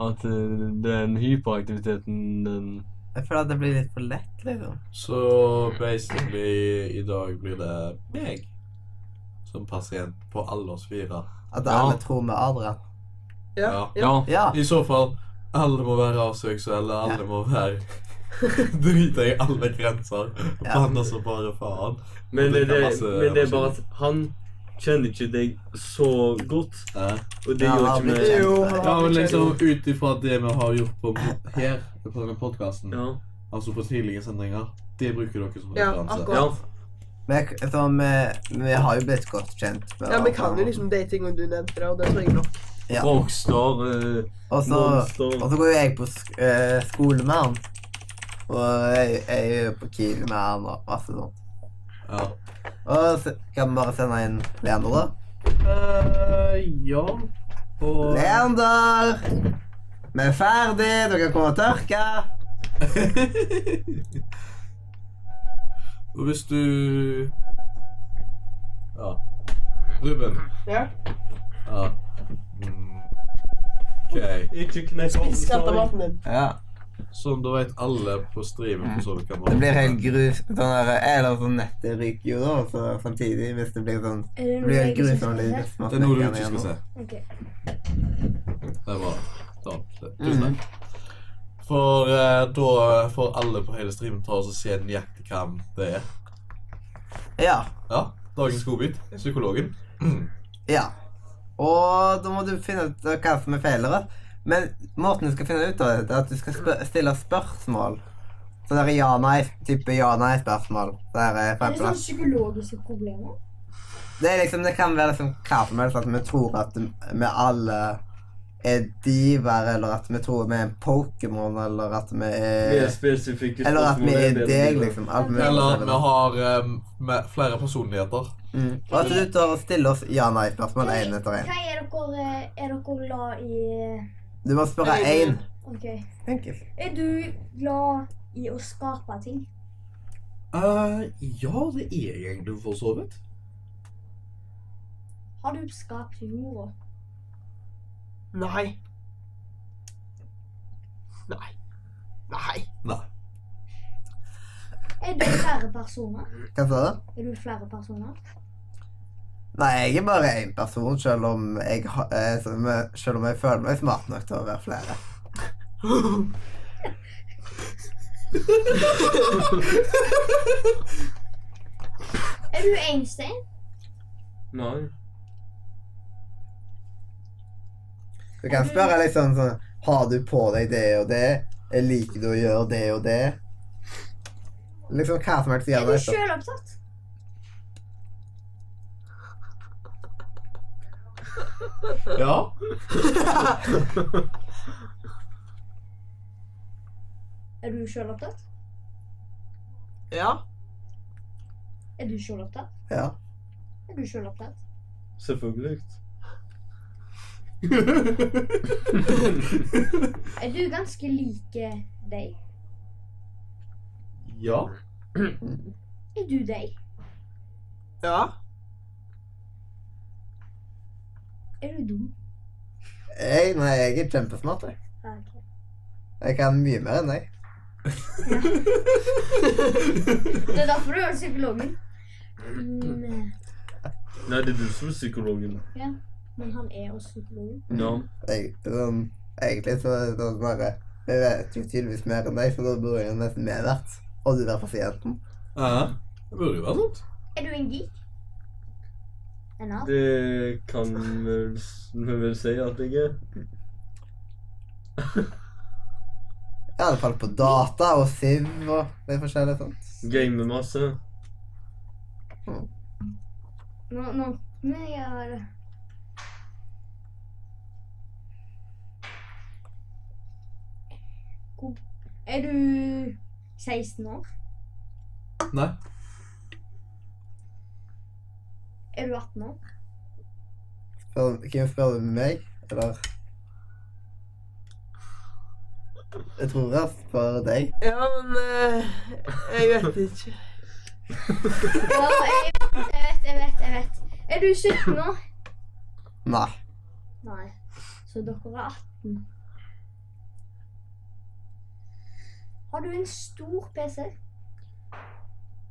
S3: at eh, den hyperaktiviteten, den
S1: Jeg føler at det blir litt for lett, liksom.
S2: Så basically i dag blir det meg som pasient på alle oss fire.
S1: At
S3: Ja.
S1: alle tror vi er Adrian.
S5: Ja.
S2: Ja.
S5: ja.
S3: Ja.
S1: Ja.
S2: I så fall alle må være avseksuelle, alle må være Drite i alle grenser.
S1: Ja.
S2: Banne som bare faen.
S3: Men det,
S2: Det kan
S3: det,
S2: passe,
S3: men det er bare
S2: Anders.
S3: at han kjenner ikke deg så godt,
S2: Eh,
S3: og det
S1: Ja,
S3: gjør
S1: han
S3: ikke
S1: blir
S3: vi.
S1: kjent.
S5: Jo,
S2: Ja, men liksom ut ifra det vi har gjort på her, på denne podkasten,
S3: Ja.
S2: altså på tidligere sendinger, det bruker dere som
S5: Ja,
S2: referanse.
S5: akkurat.
S3: ja.
S1: Men jeg- så vi, vi har jo blitt godt kjent. med
S5: Ja, vi kan jo
S1: hverandre.
S5: liksom de tingene du nevnte, og det trenger nok.
S1: Ja.
S3: Rockstar, eh,
S1: Og så
S3: monster
S1: Og så går jo jeg på sk eh, skole med han. Og jeg, jeg er jo på Kiwi med han og masse sånt.
S2: Ja.
S1: Og så kan vi bare sende inn Leander, da.
S5: Eh,
S2: ja. Og
S1: Leander! Vi er ferdig, dere kan komme og tørke.
S2: Og hvis du Ja. Ruben.
S5: Ja.
S2: Ja. Mm. OK.
S3: Ikke knekk
S5: Spis
S3: ovenstående.
S5: kattematen din.
S1: Ja.
S2: Sånn, da vet alle på sånn streamen for så vidt hva man
S1: Det blir helt grus... Sånn der, eller sånn nettet ryker jo da, og så samtidig hvis det blir sånn
S4: Er
S1: Det
S4: det noe
S1: blir
S4: jeg
S1: helt
S4: ikke
S1: grusomt. når
S4: skal se?
S1: det
S2: Det er noe du
S1: smaker
S2: ikke skal
S1: igjen
S2: se.
S4: Ok.
S2: Det er bra. Ta opp det.
S1: Mm.
S2: Tusen takk. For eh, da får alle på hele streamen ta oss og se nøyaktig hvem det er.
S1: nå. Ja.
S2: Ja, Dagens godbit. Psykologen.
S1: Ja. Og da må du finne ut eh, hva som er feiler. da. Men måten du skal finne ut av det, er at du skal spør stille spørsmål. Så det er ja-nei, type ja-nei-spørsmål. Det er eh, for
S4: Er det sånn
S1: eksempel,
S4: psykologiske problemer?
S1: det, er liksom, det kan være liksom hva som helst, at vi tror at vi alle er diver, eller at vi tror vi er en Pokémon, eller at vi
S3: Mer
S1: er
S3: spesifikke
S1: Eller at vi er
S3: bedre.
S1: deg, liksom. Alt mulig
S2: Eller vi
S1: forskjellig.
S2: har eh, med flere personligheter.
S1: Mm. Og at du tar og stiller oss ja-nei-spørsmål én etter én.
S4: Hva er dere, eh, er dere glad i eh,
S1: Du må spørre én.
S4: Ok.
S1: Enkelt.
S4: Er du glad i å skape ting?
S2: Eh, ja, det er jeg egentlig for så vidt.
S4: Har du skapt jorda?
S5: Nei. Nei. Nei.
S2: Nei.
S4: Er du flere personer?
S1: Hva sa du?
S4: Er du flere personer?
S1: Nei, jeg er bare én person, selv om jeg, ha- eh, som, eh, selv om jeg føler meg smart nok til å være flere.
S4: Er du Einstein?
S3: Nei.
S1: Du kan spørre litt sånn sånn Har du på deg det og det? Jeg liker du å gjøre det og det? Liksom hva som helst
S4: Er
S1: gjør
S4: du
S1: det. så-
S4: sjølopptatt?
S2: Ja.
S4: Er du sjølopptatt?
S5: Ja.
S4: Er du sjølopptatt?
S1: Ja.
S4: Er du sjølopptatt?
S3: Selvfølgelig.
S4: Er du ganske like deg?
S2: ja.
S4: Er du deg?
S5: Ja.
S4: Er du dum?
S1: Jeg, nei, jeg er kjempesmart. Jeg.
S4: Ja, ok.
S1: jeg kan mye mer enn deg.
S4: Det er derfor du er psykologen. Mm,
S3: Nei, det er du som er psykologen.
S4: ja. Men han er også psykologen.
S3: Ja.
S1: Jeg, sånn, egentlig så sånn bare Jeg vet jo tydeligvis mer enn deg, så da burde jeg nesten mer vært. Og du være pasienten.
S2: Eh, det burde jo være sant.
S4: Er du en geek? En av?
S3: Det kan vi vel s- vi vel si at jeg er.
S1: I alle fall på data og Siv og det sånn. forskjellige sånt.
S3: Gamer masse.
S4: Nå, nå, nå gjør Hvor- Er du 16 år?
S2: Nei.
S4: Er du 18 år?
S1: Spør, hvem spør du meg, eller? Jeg tror jeg spør deg.
S5: Ja, men eh, jeg vet ikke.
S4: Ja, jeg, jeg vet, jeg vet, jeg vet. Er du 17 nå?
S1: Nei.
S4: Nei. Så dere er 18. Har du en stor PC?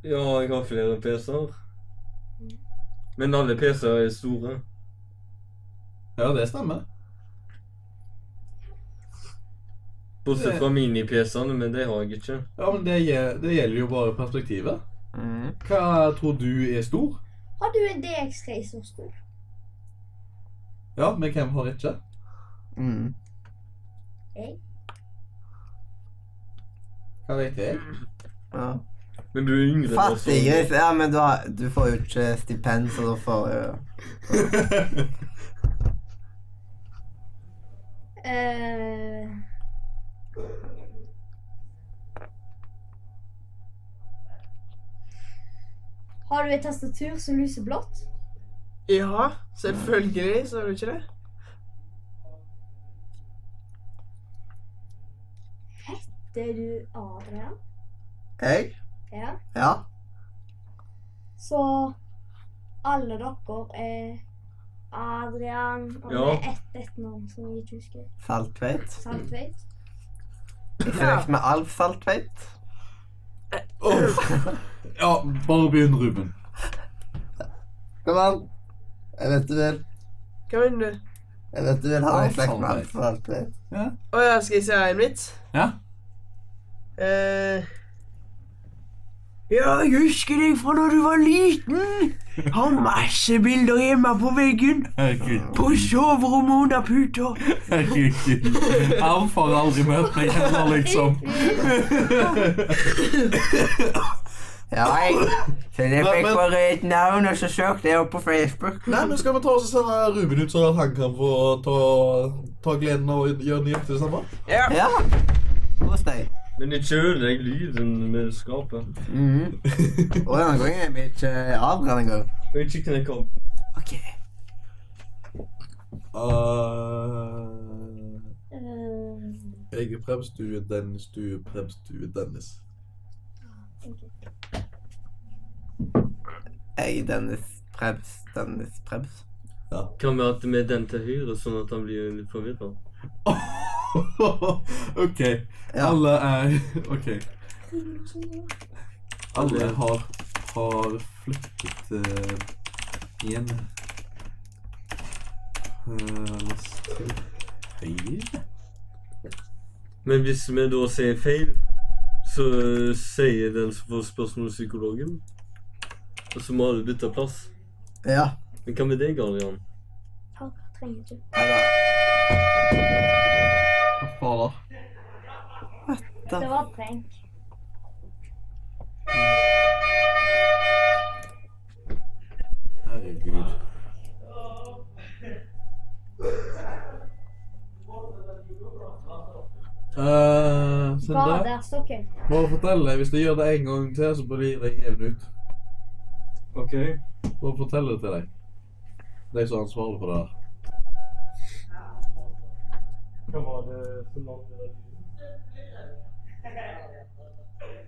S3: Ja, jeg har flere PC-er. Men alle PC-er er store.
S2: Ja, det stemmer.
S3: Bortsett fra mini-PC-ene, men det har jeg ikke.
S2: Ja, men det, gje- det gjelder jo bare perspektivet.
S1: Mm.
S2: Hva tror du er stor?
S4: Har du en DX3 som stor?
S2: Ja, men hvem har ikke?
S1: Mm.
S2: Hva vet jeg?
S1: Ja.
S3: Men du er yngre. da, så-
S1: Fattig gris. Ja, men du, har, du får jo ikke stipend, så da får du
S4: Eh, Har du et tastatur som lyser blått?
S5: Ja, selvfølgelig, så er du ikke det?
S4: Det er du Adrian.
S1: Jeg?
S4: Ja.
S1: Ja.
S4: Så alle dere er Adrian og det
S3: Ja.
S4: er ett etternavn som jeg ikke husker.
S1: Saltveit.
S4: Saltveit.
S1: I tillegg med Alf Saltveit.
S2: Åh. Ja, bare begynn, Ruben.
S1: Kom an. Jeg vet du vil.
S5: Hva mener du?
S1: Jeg vet du vil ha deg
S2: Alf
S1: slekt med Alf
S2: Saltveit.
S1: Saltveit.
S5: Å ja, skal jeg si en vits?
S2: Ja?
S5: Eh, Ja, jeg husker deg fra da du var liten. Har masse bilder hjemme på veggen.
S2: Herregud.
S5: På soverommet under puta.
S2: Herregud. Alf har aldri møtt meg heller, liksom.
S1: Ja, jeg. Så jeg
S2: Men-
S1: fikk
S2: men-
S1: bare et navn, og så søkte jeg opp på Facebook.
S2: Nei, men skal vi ta oss og sende Ruben ut, sånn at han kan få ta, ta gleden av å gjøre nøyaktig det samme?
S1: Ja. Hos deg.
S3: Men ikke ødelegg lyden med skapet.
S2: Mm.
S1: Mhm. Og denne gangen er vi ikke avbrenn engang.
S3: Og ikke knekk av.
S1: Ok.
S2: Uh,
S4: Eh,
S2: jeg er premstue, Dennis, du er premstue, Dennis.
S1: Jeg, Dennis Prebz. Dennis Prebz.
S3: Kan være at med den til høyre, sånn at han blir litt forvirra.
S2: ok,
S1: Ja.
S2: alle er Ok,
S4: Ruben og sånn, ja.
S2: alle har, har flyttet eh, igjen. Eh, la oss se. Høyre?
S3: Men hvis vi da sier feil, så øh, sier den som får spørsmål psykologen. Og så må alle bytte plass.
S1: Ja.
S3: Men hva med deg, Adrian?
S4: Har- Trenger ikke.
S2: Hva fader?
S4: Det var prank.
S2: Herregud. Uh,
S4: Bare der står kø.
S2: Bare fortell deg, hvis jeg gjør det en gang til, så blir jeg jevn ut.
S3: Ok.
S2: Bare fortell det til deg. De som er ansvarlig for det her.
S3: Hva var det som var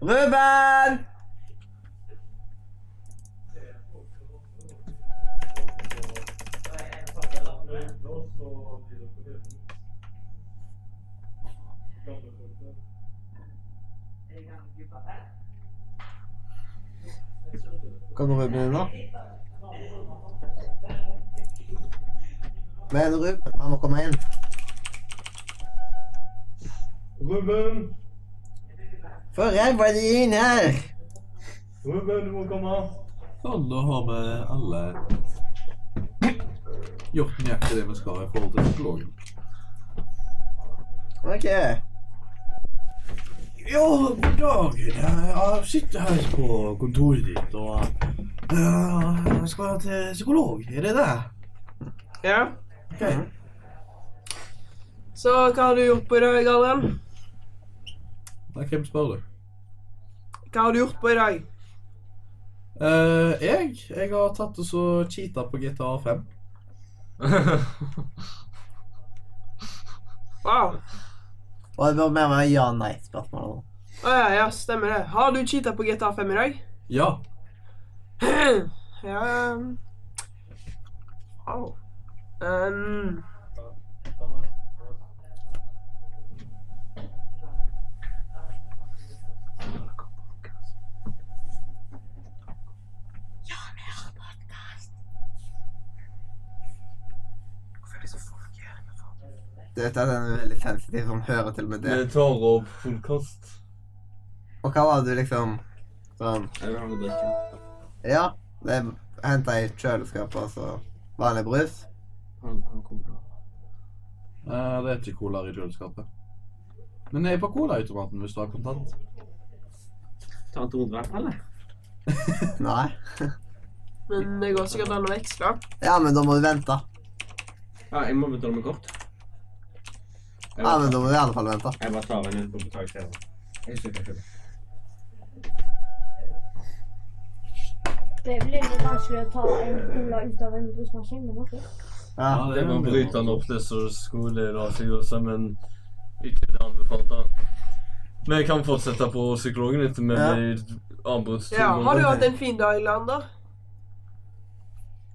S1: Ruben! Kan du Ruben inn nå? Men Ruben, han må komme inn.
S3: Ruben!
S1: For jeg var inn her!
S3: Ruben, du må komme.
S2: Sånn, da har vi alle gjort nøyaktig det vi skal i forhold til psykologen.
S1: Ok.
S2: Ja, god dag. Jeg sitter her på kontoret ditt og eh, jeg skal til psykolog. Er det det?
S5: Ja.
S2: Ok.
S5: Så hva har du gjort på i dag, Adrian?
S2: Nei, hvem spør du?
S5: Hva har du gjort på i dag?
S2: Eh, jeg? Jeg har tatt og så cheata på GTA 5.
S5: Wow.
S1: Og det bør mer være ja-nei-spørsmål. nå.
S5: Å ja, ja, stemmer det. Har du cheata på GTA 5 i dag?
S2: Ja.
S5: Ja Au. Ehm,
S1: Dette er den veldig sensitiv som hører til med det.
S3: Vi tar opp podkast.
S1: Og hva var det du liksom sånn
S8: Jeg vil ha noe å drikke.
S1: Ja, det henta i kjøleskapet, altså. Vanlig brus.
S8: Han, han kommer nå.
S2: Eh, det er ikke cola i kjøleskapet. Men det er på colaautomaten hvis du har kontant.
S8: Ta en runde, eller?
S1: Nei.
S5: men det går sikkert an å veksle.
S1: Ja, men da må du vente.
S8: Ja, jeg må betale med kort. Jeg
S1: Ja,
S8: bare,
S1: men da må du i alle fall vente.
S8: jeg bare tar en øl på betalingsstedet. Jeg husker ikke selv.
S4: Det blir litt vanskelig å ta en cola ut av en brusmaskin, men ok.
S1: Ja.
S2: Ja,
S3: Jeg må
S2: en
S3: bryte han opp det som skulle la seg gjøre, men ikke det anbefalte. Vi kan fortsette på psykologen etter vi
S1: Ja.
S3: blir avbrutt to
S5: Ja, har du
S3: ganger.
S5: hatt en fin dag, Leander?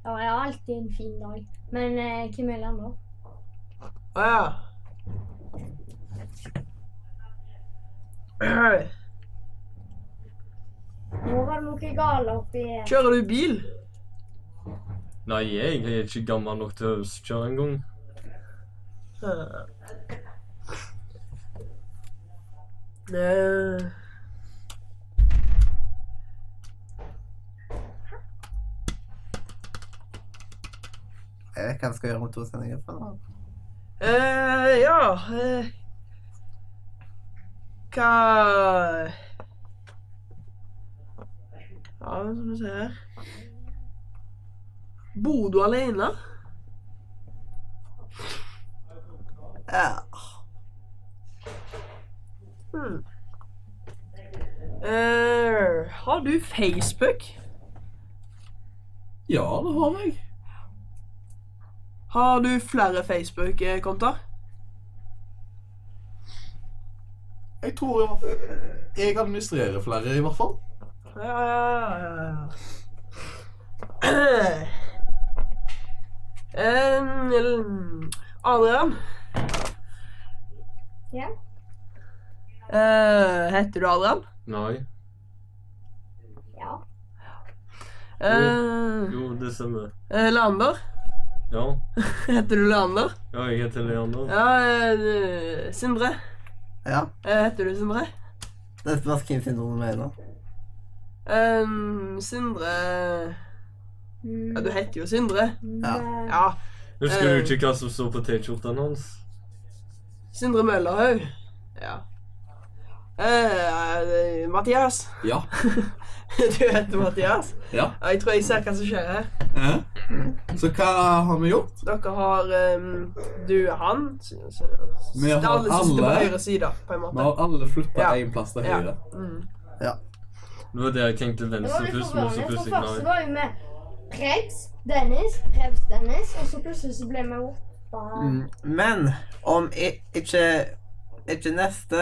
S4: Ja, jeg har alltid en fin dag. Men eh, hvem er Leander?
S5: Å ja.
S4: Nå var det noe galt oppi
S5: Kjører du bil?
S3: Nei, jeg er ikke gammel nok til å øvelseskjøre engang.
S5: Eh. Nei.
S1: Jeg vet hva jeg skal gjøre om to sendinger. for da.
S5: Eh, ja eh. Hva Ja, skal vi se her Bor du alene?
S1: Ja.
S5: Hmm. Eh, har du Facebook?
S2: Ja, det har jeg.
S5: Har du flere eh, Facebook-kontoer?
S2: Jeg tror jeg, jeg administrerer flere, i hvert fall.
S5: Ja, ja, ja, ja. Em, eller- Adrian?
S4: Ja?
S5: Eh, heter du Adrian?
S3: Nei.
S4: Ja.
S5: Eh,
S3: Jo, det stemmer.
S5: eh, Leander?
S3: Ja.
S5: Heter du Leander?
S3: Ja, jeg heter Leander.
S5: Ja, eh, Sindre?
S1: ja.
S5: Eh, heter du Sindre?
S1: Det spørs hvem syndromet mener.
S5: Em, Sindre
S4: Mm,
S5: Ja, du heter jo Sindre.
S1: Ja.
S4: nei.
S5: Ja.
S3: Husker
S5: eh.
S3: du ikke hva som står på T-skjorten hans?
S5: Sindre Møllerhaug. Ja. Eh, eh, Mathias.
S2: Ja.
S5: Du heter Mathias?
S2: Ja.
S5: Jeg tror jeg ser hva som skjer her.
S2: Eh? Så hva har vi gjort?
S5: Dere har em, Du og han. Så, så,
S2: Vi har
S5: alle sitter på
S2: alle.
S5: høyre side, på
S2: Vi
S5: en måte.
S2: har alle flytta
S5: Ja.
S2: én plass til
S5: Ja.
S2: høyre.
S5: Mm.
S3: Det var det jeg tenkte
S4: Det var
S3: venstre
S4: litt
S3: pluss, men så
S4: forvirrende. For
S3: plutselig
S4: først så
S3: nei.
S4: var vi med Krebs, Dennis, Krebs, Dennis, og så plutselig så ble vi åtte.
S1: Mm. Men om i, ikke, ikke neste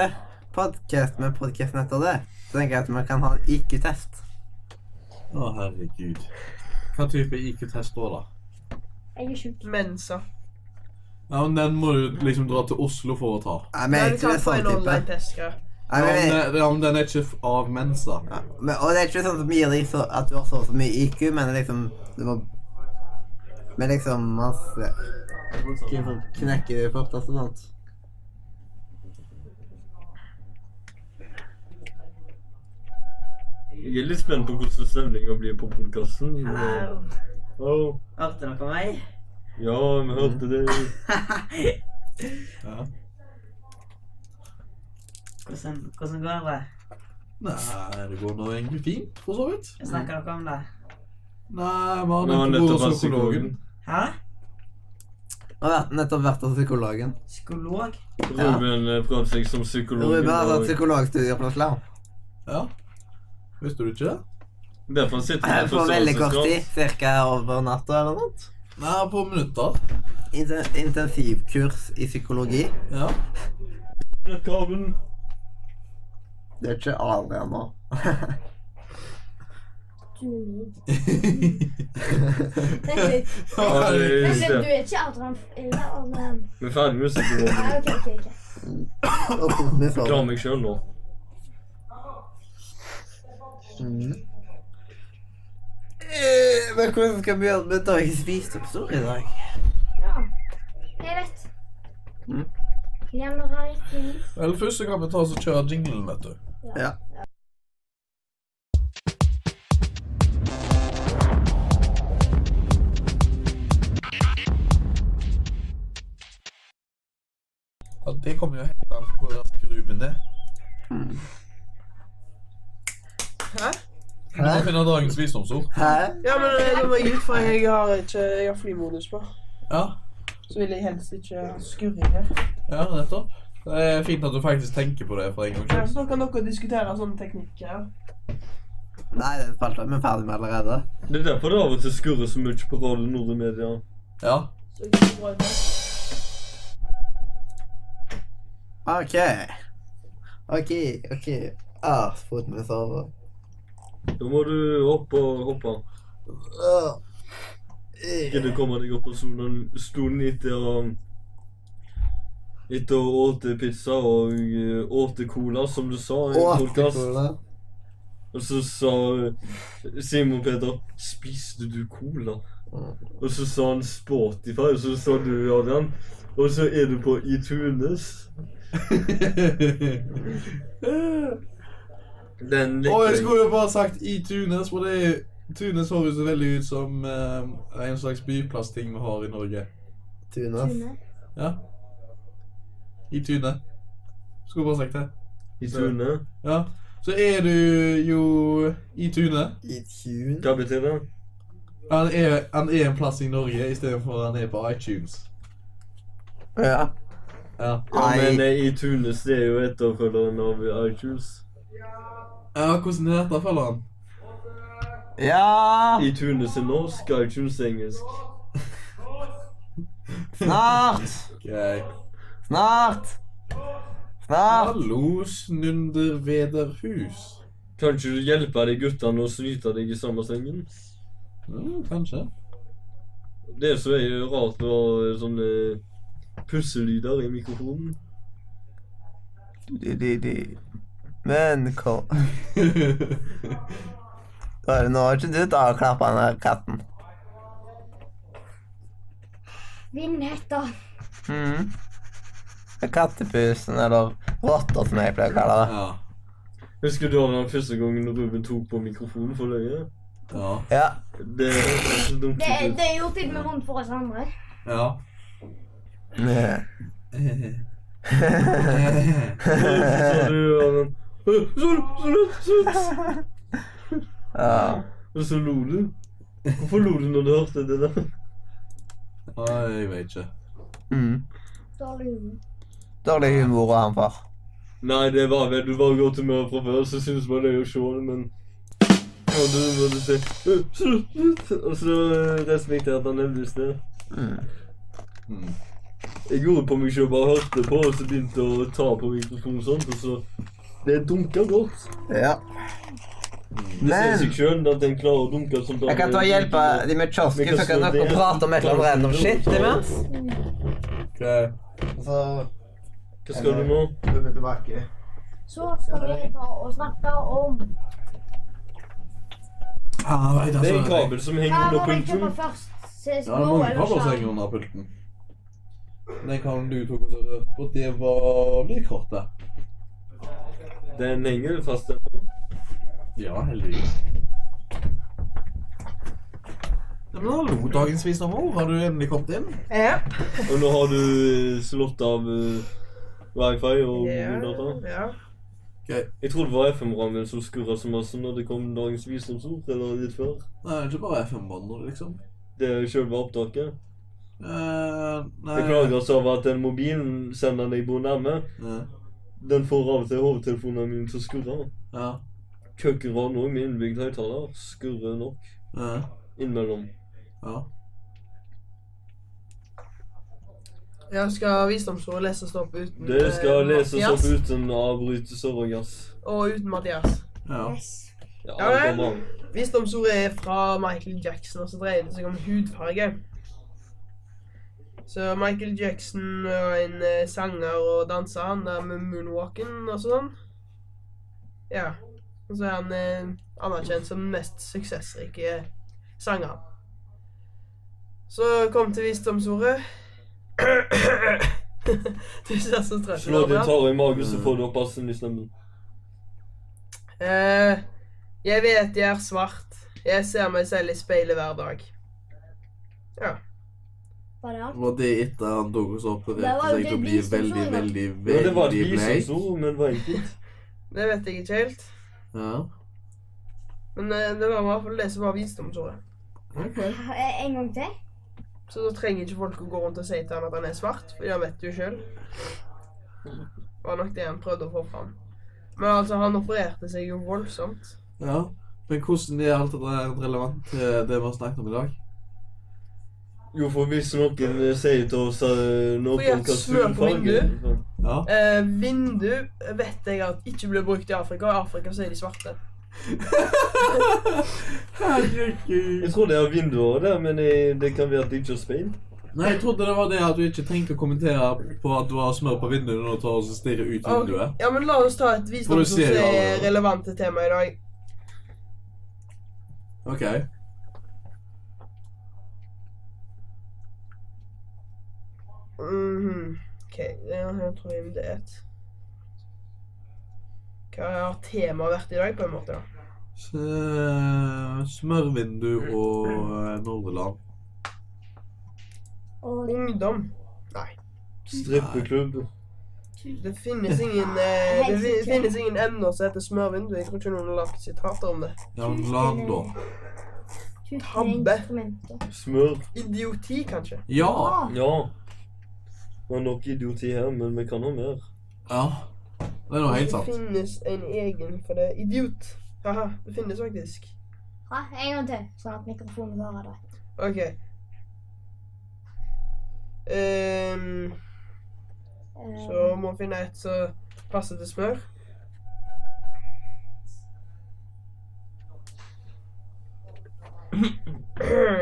S1: podkast, men podkasten etter det, så tenker jeg at vi kan ha en IQ-test.
S2: Å, herregud. Hva type IQ-test da, da?
S4: Jeg er sjuk.
S5: Mensa.
S2: Ja, men Den må du liksom dra til Oslo for å ta.
S1: Nei, men
S5: Ja, vi
S1: ikke
S5: kan
S1: det
S5: få
S1: sånn
S5: en
S1: type.
S5: online-test. ja.
S1: Nei,
S2: Ja, men,
S1: men,
S2: den- ja, men den er ikke f- av mensa.
S1: ja, men, og det er ikke sånn som gir deg så, at du har så og så mye IQ, men det er liksom du må Men liksom masse Hvem som knekker det altså, fortest og sånt.
S3: Jeg er litt spent på hvordan stemninga blir på podkasten. Oh.
S6: Hørte dere meg?
S3: Ja, vi hørte det.
S2: Ja.
S6: Hvordan, hvordan går det?
S2: Nei, det går nå egentlig fint, for så vidt.
S6: Snakker dere om det?
S2: Nei, vi har
S3: Vi
S2: nettopp
S3: har
S2: vært
S3: nettopp vært
S2: hos psykologen.
S3: psykologen.
S6: Hæ?
S1: Og vært- nettopp vært hos psykologen.
S6: Psykolog?
S1: Ja.
S3: Ruben eh, prøvde seg som psykolog.
S1: Ruben altså, har tatt
S3: og
S1: psykologstudier på Oslo.
S2: Ja. Visste du ikke det?
S3: Derfor sitter vi
S1: På veldig kort
S3: forståelsesgrad.
S1: tid. Cirka over natta eller noe. sånt.
S2: Nei, på minutter.
S1: Inten- Intensivkurs i psykologi.
S2: Ja.
S3: Kabelen.
S1: Det er ikke Adrian nå.
S4: Du du er meg. Vent litt.
S3: Ja, det er
S4: Vent litt,
S3: det.
S4: du er ikke Adrian eller Adrian.
S3: Vi er ferdig med
S4: Nei,
S3: musikken.
S4: ok, ok, ok.
S1: sånn.
S3: Dra meg sjøl nå.
S1: Mm. Eh, Men hvordan skal vi gjøre det med dagens visdomsord i dag?
S4: Ja. Jeg vet.
S1: Mm.
S4: Glemmer jeg ikke liv.
S2: Vel, først så kan vi ta oss og kjøre jinglen, vet du.
S1: Ja.
S2: Ja, det kommer jo helt an på hvor rask Ruben er.
S5: Hæ?
S2: Du må finne dagens visdomsord.
S1: Hæ?
S5: Ja, men eh, det må jeg ut, for jeg har, ikke, jeg har flymodus på.
S2: Ja,
S5: Så vil jeg helst ikke ha skurring her.
S2: ja, nettopp. Det er fint at du faktisk tenker på det for en
S5: Ja,
S2: gangs
S5: så
S2: skyld.
S5: nå kan dere diskutere sånne teknikker. ja.
S1: Nei, den spalta er vi ferdig med allerede.
S3: Det er derfor det av og til skurrer så mye på Radio Nord i media.
S2: Ja.
S5: Så det går bra ut her.
S1: OK. OK, OK. Ah, foten min sover.
S3: Da må du opp og hoppe.
S1: Ah. Eh.
S3: Gidder komme deg opp på sonen stunden etter å Etter å åte pizza og eh, åte cola, som du sa i
S1: Åh,
S3: podcast.
S1: cola.
S3: Og så sa eh, Simon Peter 'Spiste du cola?' Og så sa han 'Spotify', og så sa du, Adrian, og så er du på iTunes. Den
S2: Å, jeg
S3: liker jeg.
S2: skulle jo bare sagt i Tunis, for det er Tunis høres jo så veldig ut som eh, en slags byplassting vi har i Norge.
S1: Tunas.
S4: Tune.
S2: Ja. I Tune. Skulle bare sagt det.
S3: iTunes.
S2: Ja. Så er du jo i Tune.
S1: I tune.
S3: Hva betyr det?
S2: Han er, han er en plass i Norge istedenfor at han er på iTunes.
S1: Ja.
S2: Ja.
S3: Ja, men
S1: Nei.
S3: eh, iTunes det er jo etterfølgeren av iTunes.
S2: ja hvordan er dette, følger han?
S1: Ja,
S3: iTunes er norsk, iTunes er engelsk.
S1: snart.
S2: Okay.
S1: Snart. Snart.
S2: Hallo, snundervederhus.
S3: Kan ikke du hjelpe de guttene å snyte deg i samme sengen?
S2: Mm, kanskje.
S3: Det som er jo rart med å ha sånne pusselyder i mikrofonen.
S1: Di, di, di. Men kom Bare nå har ikke du tatt og klappa den katten.
S4: Vindhetta.
S1: Mhm. Kattepusen, eller rotter, som jeg pleier å kalle det.
S2: ja.
S3: Husker du den første gangen Ruben tok på mikrofonen for løye?
S2: Ja.
S1: Ja.
S3: Det er så dumt. ut.
S4: Det, det gjorde til og med vondt for oss andre.
S2: Ja.
S3: Så du og den «Øh, Slutt! Slutt! Slutt!
S1: ja.
S3: Og så lo du. Hvorfor lo du når du hørte det der?
S2: Nei, jeg vet ikke.
S1: Mm.
S4: Dårlig humor.
S1: Dårlig humor av han far.
S3: Nei, det var vel du var i godt humør fra før, så syns man det er jo sjål, men Og du måtte si «Øh, Slutt! Slutt! Og så eh, respekterte han heldigvis det.
S1: Mm.
S2: Mm.
S3: Jeg gjorde på meg selv, bare hørte på, og så begynte å ta på mikrofonen og sånt, og så Det dunker godt.
S1: Ja.
S3: Det sier
S1: Men-
S3: seg sjøl at den klarer å dunke som
S1: Jeg kan ta og hjelpe de med kiosken, så kan dere prate om et eller annet random shit imens.
S2: Okay.
S1: Så
S3: Hva skal du nå?
S1: kommer vi tilbake.
S4: Så skal vi ta og snakke om
S2: Ja, jeg vet,
S3: Det er en
S2: altså.
S3: kabel som
S4: Hva
S3: henger
S4: må
S3: under
S4: vi kjøpe
S3: pulten.
S4: først? CSGO
S2: Ja, det er mange
S4: eller sånn.
S2: kabler som
S4: skjerm?
S2: henger under pulten. Den kabelen du tok og så rørte på, det var lydkortet.
S3: Den henger fast.
S2: Ja, heldigvis. Ja, men hallo, dagens visdom ord. Har du endelig kommet inn?
S5: Ja.
S3: Og nå har du eh, slått av eh, wifi og data.
S5: ja.
S3: Jeg trodde det var FM-rammen som skurra så masse når det kom dagens visdomsord, eller litt før.
S2: Nei, ikke bare FM-bander, liksom.
S3: Det er sjølve opptaket.
S2: Eh, nei
S3: Beklager oss over at den mobilen sender deg bor nærme.
S2: Ja.
S3: Den får av og til hovedtelefonen min til å skurre.
S2: ja.
S3: Kjøkken var noe med innbygd høyttaler. Skurrer nok
S2: ja.
S3: innimellom.
S2: ja.
S5: Jeg skal visdomsord leses opp uten
S3: Det skal
S5: eh,
S3: leses opp
S5: Mathias,
S3: uten avbrytelser og gass.
S5: Og uten Mathias.
S2: Ja.
S4: Yes.
S3: Ja,
S5: Ja,
S3: alt går
S5: vel.
S3: bra.
S5: Visdomsordet er fra Michael Jackson, og så dreier det seg om hudfarge. Så Michael Jackson var en eh, sanger og danser, han der med moonwalken og sånn. Ja. Og så er han eh, anerkjent som den mest suksessrike sangeren. Så kom til visdomsordet. du ser så trøtt
S3: Slå
S5: Abraham.
S3: gitar i magen, så får du opp assen i stemmen.
S5: Eh, jeg vet jeg er svart. Jeg ser meg selv i speilet hver dag. Ja.
S4: Var det alt?
S2: Var det etter han tok oss opp og
S4: Det var
S2: rette
S4: jo
S2: seg til å
S4: det
S2: bli
S4: visdomsordet.
S2: veldig, veldig,
S3: Ja, det var et
S2: veldig bleik?
S3: visdomsord, men var enkelt.
S5: Det vet jeg ikke helt.
S2: Ja.
S5: Men eh, det var i hvert fall det som var visdomsordet.
S2: Ok.
S4: Eh, En gang til?
S5: Så da trenger ikke folk å gå rundt og si til han at han er svart, for han vet det jo sjøl. Det var nok det han prøvde å få fram. Men altså, han opererte seg jo voldsomt.
S2: Ja. Men hvordan er alt dette her relevant til det vi har snakket om i dag?
S3: Jo, for hvis noen eh, sier til oss eh,
S5: Får
S3: noen
S5: jeg et
S3: kan
S5: smør
S3: snu
S5: på
S3: fargen
S2: Ja.
S5: Eh, vindu vet jeg at ikke blir brukt i Afrika. I Afrika så er de svarte.
S3: Jeg tror det er vinduer der, men eh, det kan være at det ikke er speil.
S2: Nei, jeg trodde det var det at du ikke trengte å kommentere på at du har smør på vinduet når du tar og stirrer ut
S5: Og-
S2: vinduet.
S5: Ja, men la oss ta et visdomsord som
S2: Produserer
S5: er
S2: allerede.
S5: relevant til temaet i dag.
S2: Ok.
S5: Mhm. Ok, ja, jeg tror jeg det er et. Hva har temaet vært i dag, på en måte? da?
S2: Så, eh, Smørvindu og eh, Nordland.
S4: Og
S5: Ungdom.
S3: Strippeklubb.
S5: Det finnes ingen, eh, det
S4: Helsike.
S5: fi- finnes ingen emner som heter smørvindu. Jeg tror ikke noen har lagd sitater om det.
S2: Ja, men land, da.
S4: tjukke
S5: Tabbe.
S4: instrumenter.
S3: Smør.
S5: Idioti, kanskje.
S2: Ja.
S4: Ah,
S3: Ja. Det er nok idioti her, men vi kan ha mer.
S2: Ja. Det er nå helt
S5: Det
S2: sant.
S5: finnes en egen for det. Idiot. Haha, det finnes faktisk.
S4: ja, en gang til, sånn at mikrofonen hører det.
S5: OK. Ehm,
S4: Eh,
S5: så må vi finne et som passer til smør.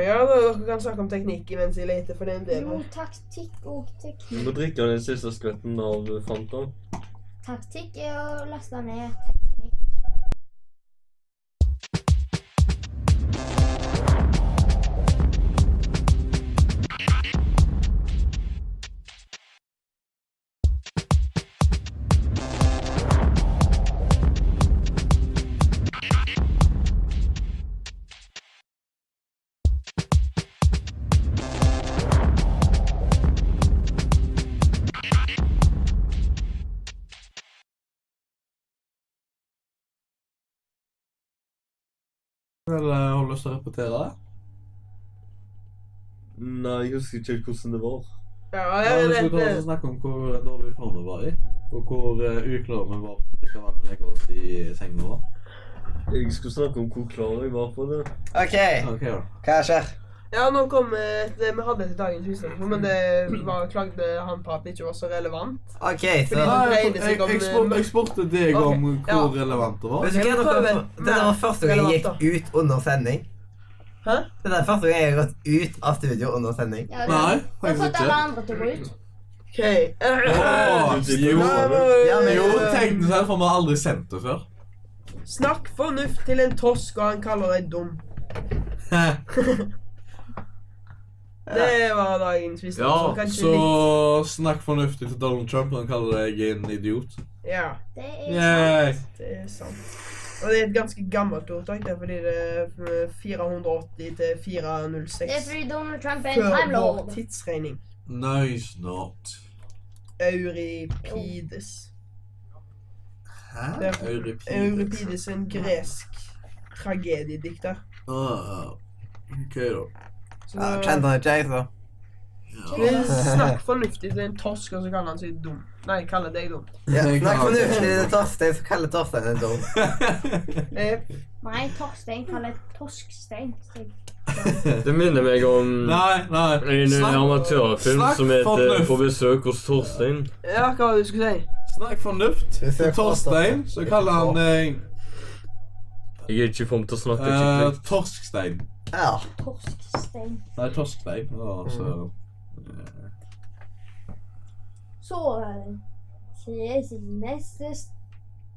S5: Ja, da, dere kan snakke om teknikk mens jeg leter, for det er en del
S4: Jo,
S5: her.
S4: taktikk og
S3: Vi
S4: teknikk.
S3: må drikke den siste skvetten av eh, Fanta.
S4: Taktikk er å laste ned teknikk.
S2: Vel, eh, har du lyst til å repetere det?
S3: Nei, jeg husker ikke helt hvordan det var.
S5: Ja,
S2: Ja,
S5: jeg
S2: vi
S5: vet
S2: skulle ta
S5: det.
S2: oss og snakke om hvor eh, dårlig form vi var i. Og hvor eh, uklar vi var på hva vi legger oss i senga vår.
S3: Jeg skulle snakke om hvor klar jeg var på det.
S1: OK,
S2: Ok, da.
S1: hva skjer?
S5: Ja, nå kom eh, det vi hadde til dagens visdom, men det var, klagde han på at det ikke var så relevant.
S1: OK, så
S5: Fordi-
S2: Nei,
S5: dreide seg om,
S2: jeg- jeg spurte- jeg spurte deg
S5: Ok,
S2: om
S5: ja.
S2: hvor relevant det var.
S1: Vet du hva,
S5: Jeg må
S1: dere,
S5: prøve-
S1: det der var første gang jeg
S5: relevant,
S1: gikk ut under sending.
S5: Hæ?
S1: Det der er første gang jeg har gått ut av studio under sending.
S4: Ja, det-
S2: Nei,
S4: Du har
S2: faktisk
S4: fått alle
S2: ikke.
S4: andre til å gå ut.
S5: OK.
S2: Åh, jo.
S1: Ja, men-
S2: Jo, teknisk sett, for vi har aldri sendt det før.
S5: eh, Snakk fornuft til en tosk, og han kaller deg dum. Det var dagens visdom.
S2: Ja,
S5: så kanskje
S2: så
S5: litt-
S2: snakk fornuftig til Donald Trump når han kaller deg en idiot.
S5: Ja,
S4: Det er
S2: Yay.
S5: det er sant. Og det er et ganske gammelt ordtak, det er fordi det er fra 480 til
S4: Det er
S5: 406
S4: fordi Donald Trump er en
S5: før
S4: time
S5: vår
S4: lord.
S5: tidsregning.
S2: Nice not.
S5: Euripides.
S2: Hæ?
S5: Det er-
S2: Euripides.
S5: Euripides er en gresk tragediedikter.
S2: Ah, OK, da.
S5: Så
S1: Ja, Kjente han ikke jeg, så.
S5: Men Snakk fornuftig til en torsk, og så kaller han seg dum. Nei, kaller deg dum.
S1: Ja,
S2: Jeg
S1: snakk
S2: kan-
S1: fornuftig til Torstein, så kaller Torstein en dum.
S5: Eh,
S4: Nei, Torstein kaller Torskstein.
S3: Det minner meg om
S2: Nei, nei.
S3: en
S2: Snakk,
S3: amatørfilm
S2: snakk
S3: som heter
S2: fornuft.
S3: 'På besøk hos Torstein'.
S5: ja, hva var det du skulle si?
S2: snakk fornuft.
S1: Besøk
S2: Til
S1: hos
S2: Torstein, så kaller han deg
S3: Jeg er ikke i form til å snakke
S2: Eh,
S3: skikkelig.
S2: torskstein.
S1: Ja.
S4: Torskstein.
S2: Nei, torskstein. Altså,
S4: Så eh, ses i neste s-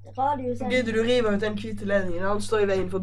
S5: Gidder du
S4: radiosending.
S5: rive ut den hvite ledningen? Han står i veien for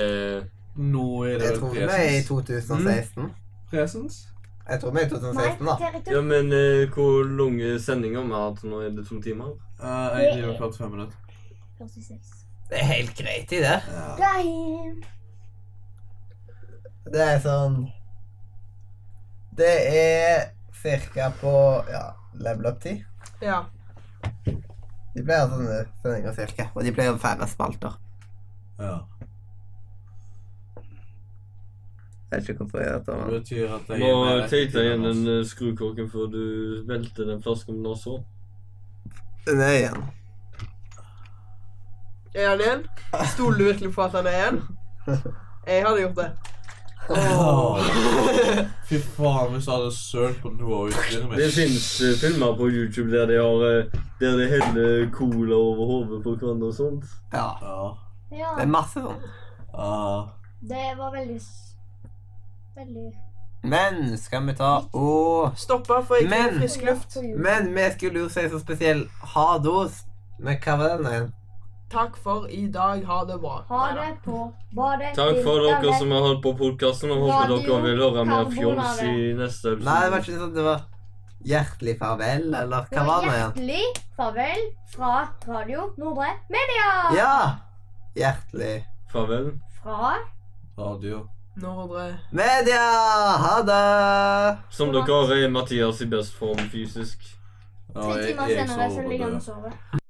S3: Eh,
S2: nå er det
S1: Jeg tror
S2: vel
S1: vi er i
S2: presens.
S1: 2016.
S2: presens.
S1: Jeg tror vi er i
S4: Nei,
S1: 2016, da.
S4: territorium.
S3: ja, men eh, hvor lange sendinger vi har hatt nå? Er det to timer?
S2: Eh, jeg driver klart fem minutter.
S4: 46.
S1: Det er helt greit i det.
S2: Ja.
S4: Damn.
S1: Det er sånn Det er ca. på ja, level up 10.
S5: Ja.
S1: De pleier å ha sånne sendinger cirka. Og de pleier å ha færre spalter.
S2: ja.
S1: Jeg vet ikke hvorfor jeg gjør dette.
S2: Det
S1: men-
S2: betyr at jeg
S3: Må
S2: er mer
S3: teite
S2: effektiv
S3: igjen
S2: enn
S3: den
S2: oss.
S3: eh, skrukorken før du velter den flasken altså. med nesa.
S1: Den er igjen.
S5: Er han igjen? Stoler du virkelig på at han er igjen? Jeg hadde gjort det.
S2: Åh. Fy faen, hvis jeg hadde sølt på noe av utstyret
S3: Det
S2: mitt.
S3: fins filmer på YouTube der de har eh, Der de heller cola over hodet på hverandre og sånt.
S1: Ja.
S2: Ja.
S4: Ja,
S1: Det er masse sånn.
S2: Ah.
S4: det var veldig s- Veldig
S1: Men skal vi ta og
S5: Stoppa, for jeg
S1: Men-
S5: fikk frisk luft.
S1: Men vi skulle jo si så spesiell hados. Men hva var den igjen?
S5: Takk for i dag. Ha det bra.
S4: Ha det på badet.
S3: Takk for dere
S4: Internet.
S3: som har hørt på podkasten, og håper
S4: Radio
S3: dere vil høre mer fjols
S4: Carbonara.
S3: i neste episode.
S1: Nei, det var ikke sånn det var hjertelig farvel, eller
S4: Det
S1: hva
S4: var
S1: var den igjen?
S4: hjertelig farvel fra Radio Nordre Media.
S1: Ja! Hjertelig
S3: Farvel.
S4: Fra
S2: Radio.
S5: Nordre
S1: media! Ha det!
S3: Som dere har, er Mathias i best form fysisk.
S2: Ja,
S4: tre
S2: jeg-
S4: timer
S2: jeg
S4: senere
S2: sover
S4: så
S2: på
S4: ligger han
S2: det.
S4: og sover.